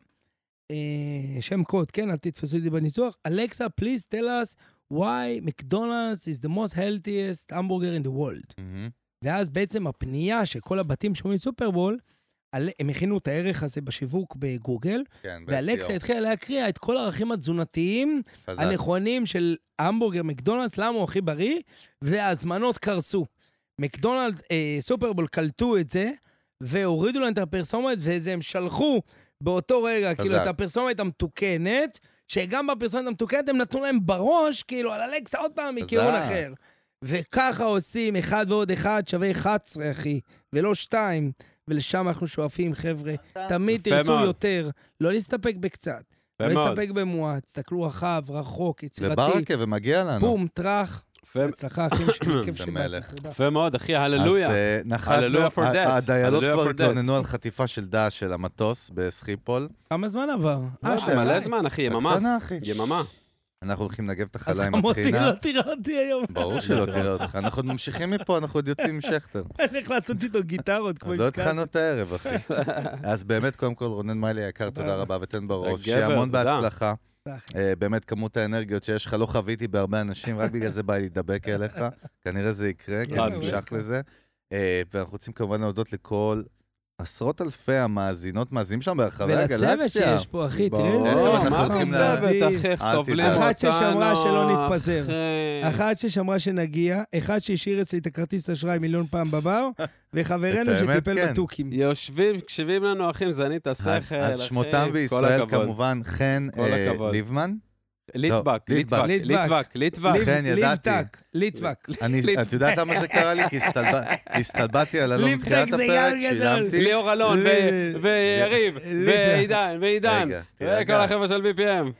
B: אה, שם קוד, כן? אל תתפסו אותי בניסוח. אלכסה, please tell us why McDonald's is the most healthiest hamburger in the world.
C: מהמם.
B: ואז בעצם הפנייה שכל הבתים שאומרים סופרבול, על- הם הכינו את הערך הזה בשיווק בגוגל,
C: כן,
B: ואלכסה התחילה להקריע את כל הערכים התזונתיים
C: התחילה...
B: הנכונים של המבורגר מקדונלדס, למה הוא הכי בריא, וההזמנות קרסו. מקדונלדס, אה, סופרבול קלטו את זה, והורידו להם את הפרסומת, וזה הם שלחו באותו רגע,
C: חזק.
B: כאילו, את הפרסומת המתוקנת, שגם בפרסומת המתוקנת הם נתנו להם בראש, כאילו, על אלכסה עוד פעם מכיוון
C: חזק.
B: אחר. וככה עושים, אחד ועוד אחד שווה 11, אחי, ולא שתיים. ולשם אנחנו שואפים, חבר'ה.
C: אה.
B: תמיד
A: יפה
B: תרצו
A: מאוד.
B: יותר, לא להסתפק בקצת.
A: יפה
B: לא
A: מאוד.
B: להסתפק במועט, תסתכלו רחב, רחוק, יצירתי,
C: לברקה, ומגיע לנו.
B: בום, טרח.
A: יפה-
B: בהצלחה, אחים שלי, כיף
C: אה? זה
B: שבאת.
C: מלך.
B: תודה.
A: יפה מאוד, אחי,
C: אז,
A: הללויה.
C: אה, נחתנו,
A: Hallelujah for
C: ה-
A: death.
C: הדיילות
A: Hallelujah
C: כבר
A: for death.
C: התלוננו על חטיפה של דש של המטוס בסחיפול.
B: כמה זמן עבר?
C: לא
B: אה,
C: יודע,
B: שנתיים.
A: מלא זמן, אחי, יממה.
C: בקטנה, אחי.
A: יממה.
C: אנחנו הולכים לנגב את
B: אז
C: החלה עם
B: חמותי
C: הטחינה.
B: לא תראה אותי היום.
C: ברור שלא תראה אותך. אנחנו עוד ממשיכים מפה, אנחנו עוד יוצאים עם שכטר.
B: אני הולך לעשות איתו גיטרות כמו
C: עוד
B: עם
C: לא
B: סקאסי.
C: התחלנו את הערב, אחי. אז באמת, קודם כל, רונן מיילי היקר,
B: תודה
C: תודה
B: רבה.
C: רבה ותן בראש.
A: אתה
C: שיהיה
A: גבר,
C: המון
A: תודה.
C: בהצלחה.
B: תודה, אחי.
C: אה, באמת, כמות האנרגיות שיש לך, לא חוויתי בהרבה אנשים, רק בגלל זה בא לי להידבק אליך. כנראה זה יקרה, כי
A: אה,
C: אני
A: זה
C: נמשך לזה. אה, ואנחנו רוצים כמובן להודות לכל עשרות אלפי המאזינות, מאזינים שלנו ברחבי הגלקסיה.
B: ולצוות שיש פה, אחי, תראה
A: ברור,
B: איזה...
C: איך
B: חבר'ה,
C: אנחנו
A: מה
C: הולכים
A: זה
C: לה-
A: צוות, אחי, איך
C: אל
A: סובלים
C: תדאג.
A: אותנו.
B: אחת ששמרה שלא נתפזר.
A: אחי.
B: אחת ששמרה שנגיע, אחד שהשאיר אצלי את הכרטיס אשראי מיליון פעם בבר, וחברנו
C: את האמת,
B: שטיפל
C: כן.
B: בתוכים.
A: יושבים, מקשיבים לנו, אחים, זנית השכל,
C: אז-
A: אחי.
C: אז שמותם
A: כל
C: בישראל
A: הכבוד.
C: כמובן חן
A: כל
C: אה,
A: הכבוד.
C: ליבמן.
A: ליטבק,
C: לא,
A: ליטבק,
B: ליטבק.
A: ליטבק, ליטבק.
B: ליב-
C: אכן, ידעתי.
B: ליבטק, ליטבק.
C: אני-
A: ליטבק.
C: את יודעת למה זה קרה לי? כי הסתלבט- הסתלבטתי על אלון
B: ליטבק
C: מתחילת
B: זה
C: הפרק,
B: גל גדול.
C: שילמתי.
A: ליאור אלון, ו-
B: ל-
A: ויריב,
B: ליטבק.
A: ועידן, ועידן.
C: רגע,
A: וכל
C: תירגע.
A: החבר'ה של BPM.
C: למה?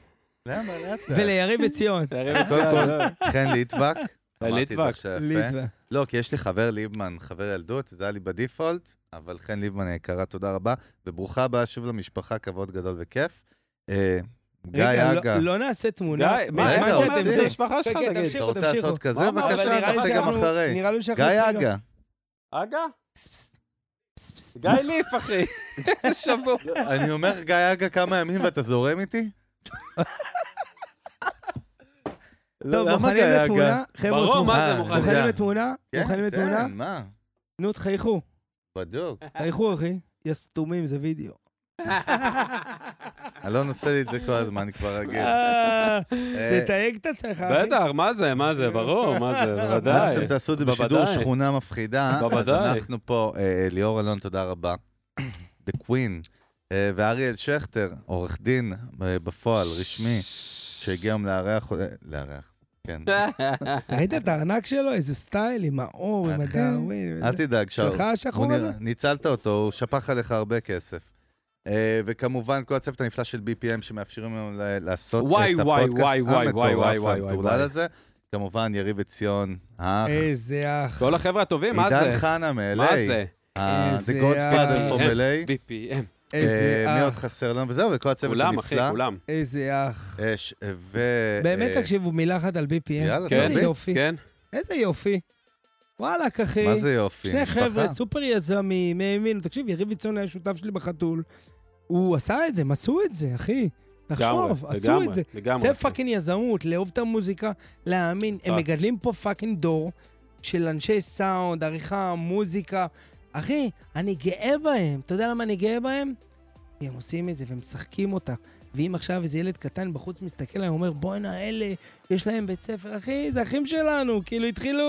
C: לאט לאט.
B: וליריב עציון.
A: יריב,
C: קודם
A: יריב.
C: כל, חן ליטבק. אמרתי את
A: ליטבק.
C: זה עכשיו יפה.
B: אה, ליטבק.
C: לא, כי יש לי חבר ליבמן, חבר ילדות, זה היה לי בדיפולט, אבל חן ליבמן היקרה, תודה רבה, וברוכה הבאה שוב למשפחה, כבוד גדול וכיף. אה, גיא
B: רגע,
C: אגה,
B: לא- לא נעשה תמונה.
A: די,
B: בזמן
A: מה אתה
C: שאתם
A: אומר?
C: זה-
A: זה המשפחה שלך,
B: כן, כן,
A: תגיד.
C: אתה
B: תמשיכו,
C: רוצה
B: תמשיכו.
C: לעשות כזה?
A: למה? אבל
C: בבקשה,
A: נראה לי
C: תעשה גם
B: כאילו-
A: שאנחנו-
C: אחרי.
B: נראה לי שאנחנו...
C: גיא
B: צריכים גם-
C: אגה,
A: אגה?
B: פס, פס, פס, פס.
A: גיא ליף, אחי. איזה שבור.
C: אני אומר גיא אגה כמה ימים ואתה זורם איתי?
B: לא,
A: לא,
B: טוב,
C: למה
B: מוכנים
C: גיא אגה?
B: לתמונה? חבר'ה,
A: ברור, מה
C: אה,
A: זה מוכן?
C: יודע.
B: מוכנים לתמונה? מוכנים
C: כן,
B: לתמונה?
C: כן, מה?
B: נו, תחייכו.
C: בדיוק.
B: תחייכו, אחי. יא סתומים, זה וידאו.
C: אלון עושה לי את זה כל הזמן, אני כבר אגיד.
B: אה, תתייג את עצמך, אחי.
A: בטח, מה זה, מה זה, ברור, מה זה,
C: עד
A: בוודאי.
C: שאתם תעשו את זה בשידור
A: בוודאי.
C: שכונה מפחידה, אז
A: בוודאי.
C: אנחנו פה, אה, ליאור אלון, תודה רבה. The Queen. אה, ואריאל שכטר, עורך דין אה, בפועל, רשמי. שהגיעו לארח, אה, לארח, כן.
A: אה.
B: ראית את הארנק שלו? איזה סטייל, עם האור, עם
C: אחי,
B: הדאווין.
C: אל תדאג, שאול.
B: שלך השחור
C: הוא נרא-
B: הזה?
C: ניצלת אותו, הוא שפך עליך הרבה כסף. אה, וכמובן, כל הצוות הנפלא של BPM שמאפשרים לנו ל- לעשות
A: וואי,
C: את
A: וואי,
C: הפודקאסט
A: וואי, וואי, וואי, וואי,
C: המטורף,
A: וואי, וואי.
C: המטורלל הזה. כמובן, יריב עציון, האח.
B: אה, איזה אח.
A: כל החבר'ה הטובים, מה
C: עידן
A: זה?
C: חנה מ-LA.
A: מה זה?
C: אה,
B: איזה
C: The Godfather
B: אח.
C: from LA.
A: VPM.
B: איזה
C: אה, מי עוד
B: אח.
C: חסר לנו? וזהו, וכל הצוות הנפלא.
A: כולם, אחי, כולם.
B: איזה אח.
C: אה, ש- ו...
B: באמת,
C: אה,
B: תקשיבו, מילה אחת על BPM.
C: יאללה,
A: כן,
B: איזה יופי.
A: כן.
B: איזה יופי. וואלכ, אחי.
C: מה זה יופי?
B: שני
C: משפחה.
B: חבר'ה, סופר יזמים, האמינו. תקשיב, יריב ליצון היה שותף שלי בחתול. הוא עשה את זה, הם עשו את זה, אחי.
A: לגמרי,
B: תחשוב, עשו
A: לגמרי,
B: את זה.
A: לגמרי. כן.
B: זה פאקינג יזמות, לאהוב את המוזיקה, להאמין. הם
A: אה.
B: מגדלים פה פאקינג דור של אנשי סאונד, עריכה, מוזיקה. אחי, אני גאה בהם. אתה יודע למה אני גאה בהם? כי הם עושים את זה והם משחקים אותה. ואם עכשיו איזה ילד קטן בחוץ מסתכל עליהם, אומר, בואנה, אלה, יש להם בית ספר. אחי, זה אחים שלנו, כאילו התחילו...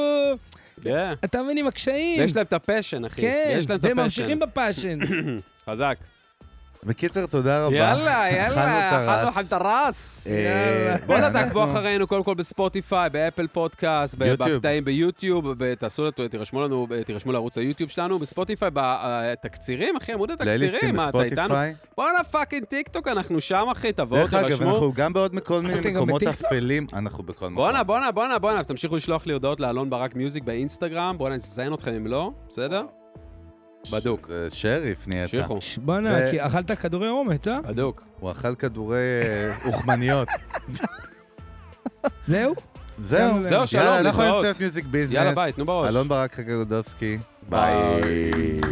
A: כן.
B: אתה מבין עם הקשיים.
A: יש להם את הפשן, אחי.
B: כן,
A: יש להם את
B: והם
A: הפשן.
B: ממשיכים בפאשן.
A: חזק.
C: בקיצר, תודה רבה.
A: יאללה,
C: אכלנו
A: יאללה,
C: את הרס.
A: אכלנו לכם את הרס.
C: אה,
B: יאללה.
A: בואנה,
C: ואנחנו-
A: תעקבו אחרינו קודם כל בספוטיפיי, באפל פודקאסט, ב-
C: יוטיוב.
A: בקטעים ביוטיוב, ב- תעשו, לנו- תירשמו לנו, תירשמו לערוץ היוטיוב שלנו, בספוטיפיי, בתקצירים, אחי, עמוד התקצירים,
C: אה, פלייליסטים
A: מה, אתה איתנו?
C: בספוטיפיי.
A: בואנה פאקינג טיק טוק, אנחנו שם, אחי, תבואו,
C: דרך אגב,
A: תירשמו.
C: אנחנו גם בעוד מכל
B: אתם
C: מיני
B: גם
C: מקומות
B: בטיקטוק?
C: אפלים, אנחנו בכל מקום.
A: בואנה, בואנה, בואנה, בואנה, תמשיכו לשלוח לי הודעות לאלון ברק מיוזיק באינסטגרם, בואנה, אני אזיין אתכם אם לא, בסדר? בדוק.
C: זה שריף נהיית.
A: תמשיכו,
B: בואנה,
C: ו-
B: כי אכלת כדורי אומץ, אה?
A: בדוק.
C: הוא אכל כדורי אה, אוכמניות.
B: זהו?
C: זהו.
A: זהו, שלום,
C: יאללה, אנחנו
A: להתראות.
C: נמצאים את מיוזיק ביזנס.
A: יאללה, ביי, תנו בראש.
C: אלון ברק חגגודובסקי. ביי.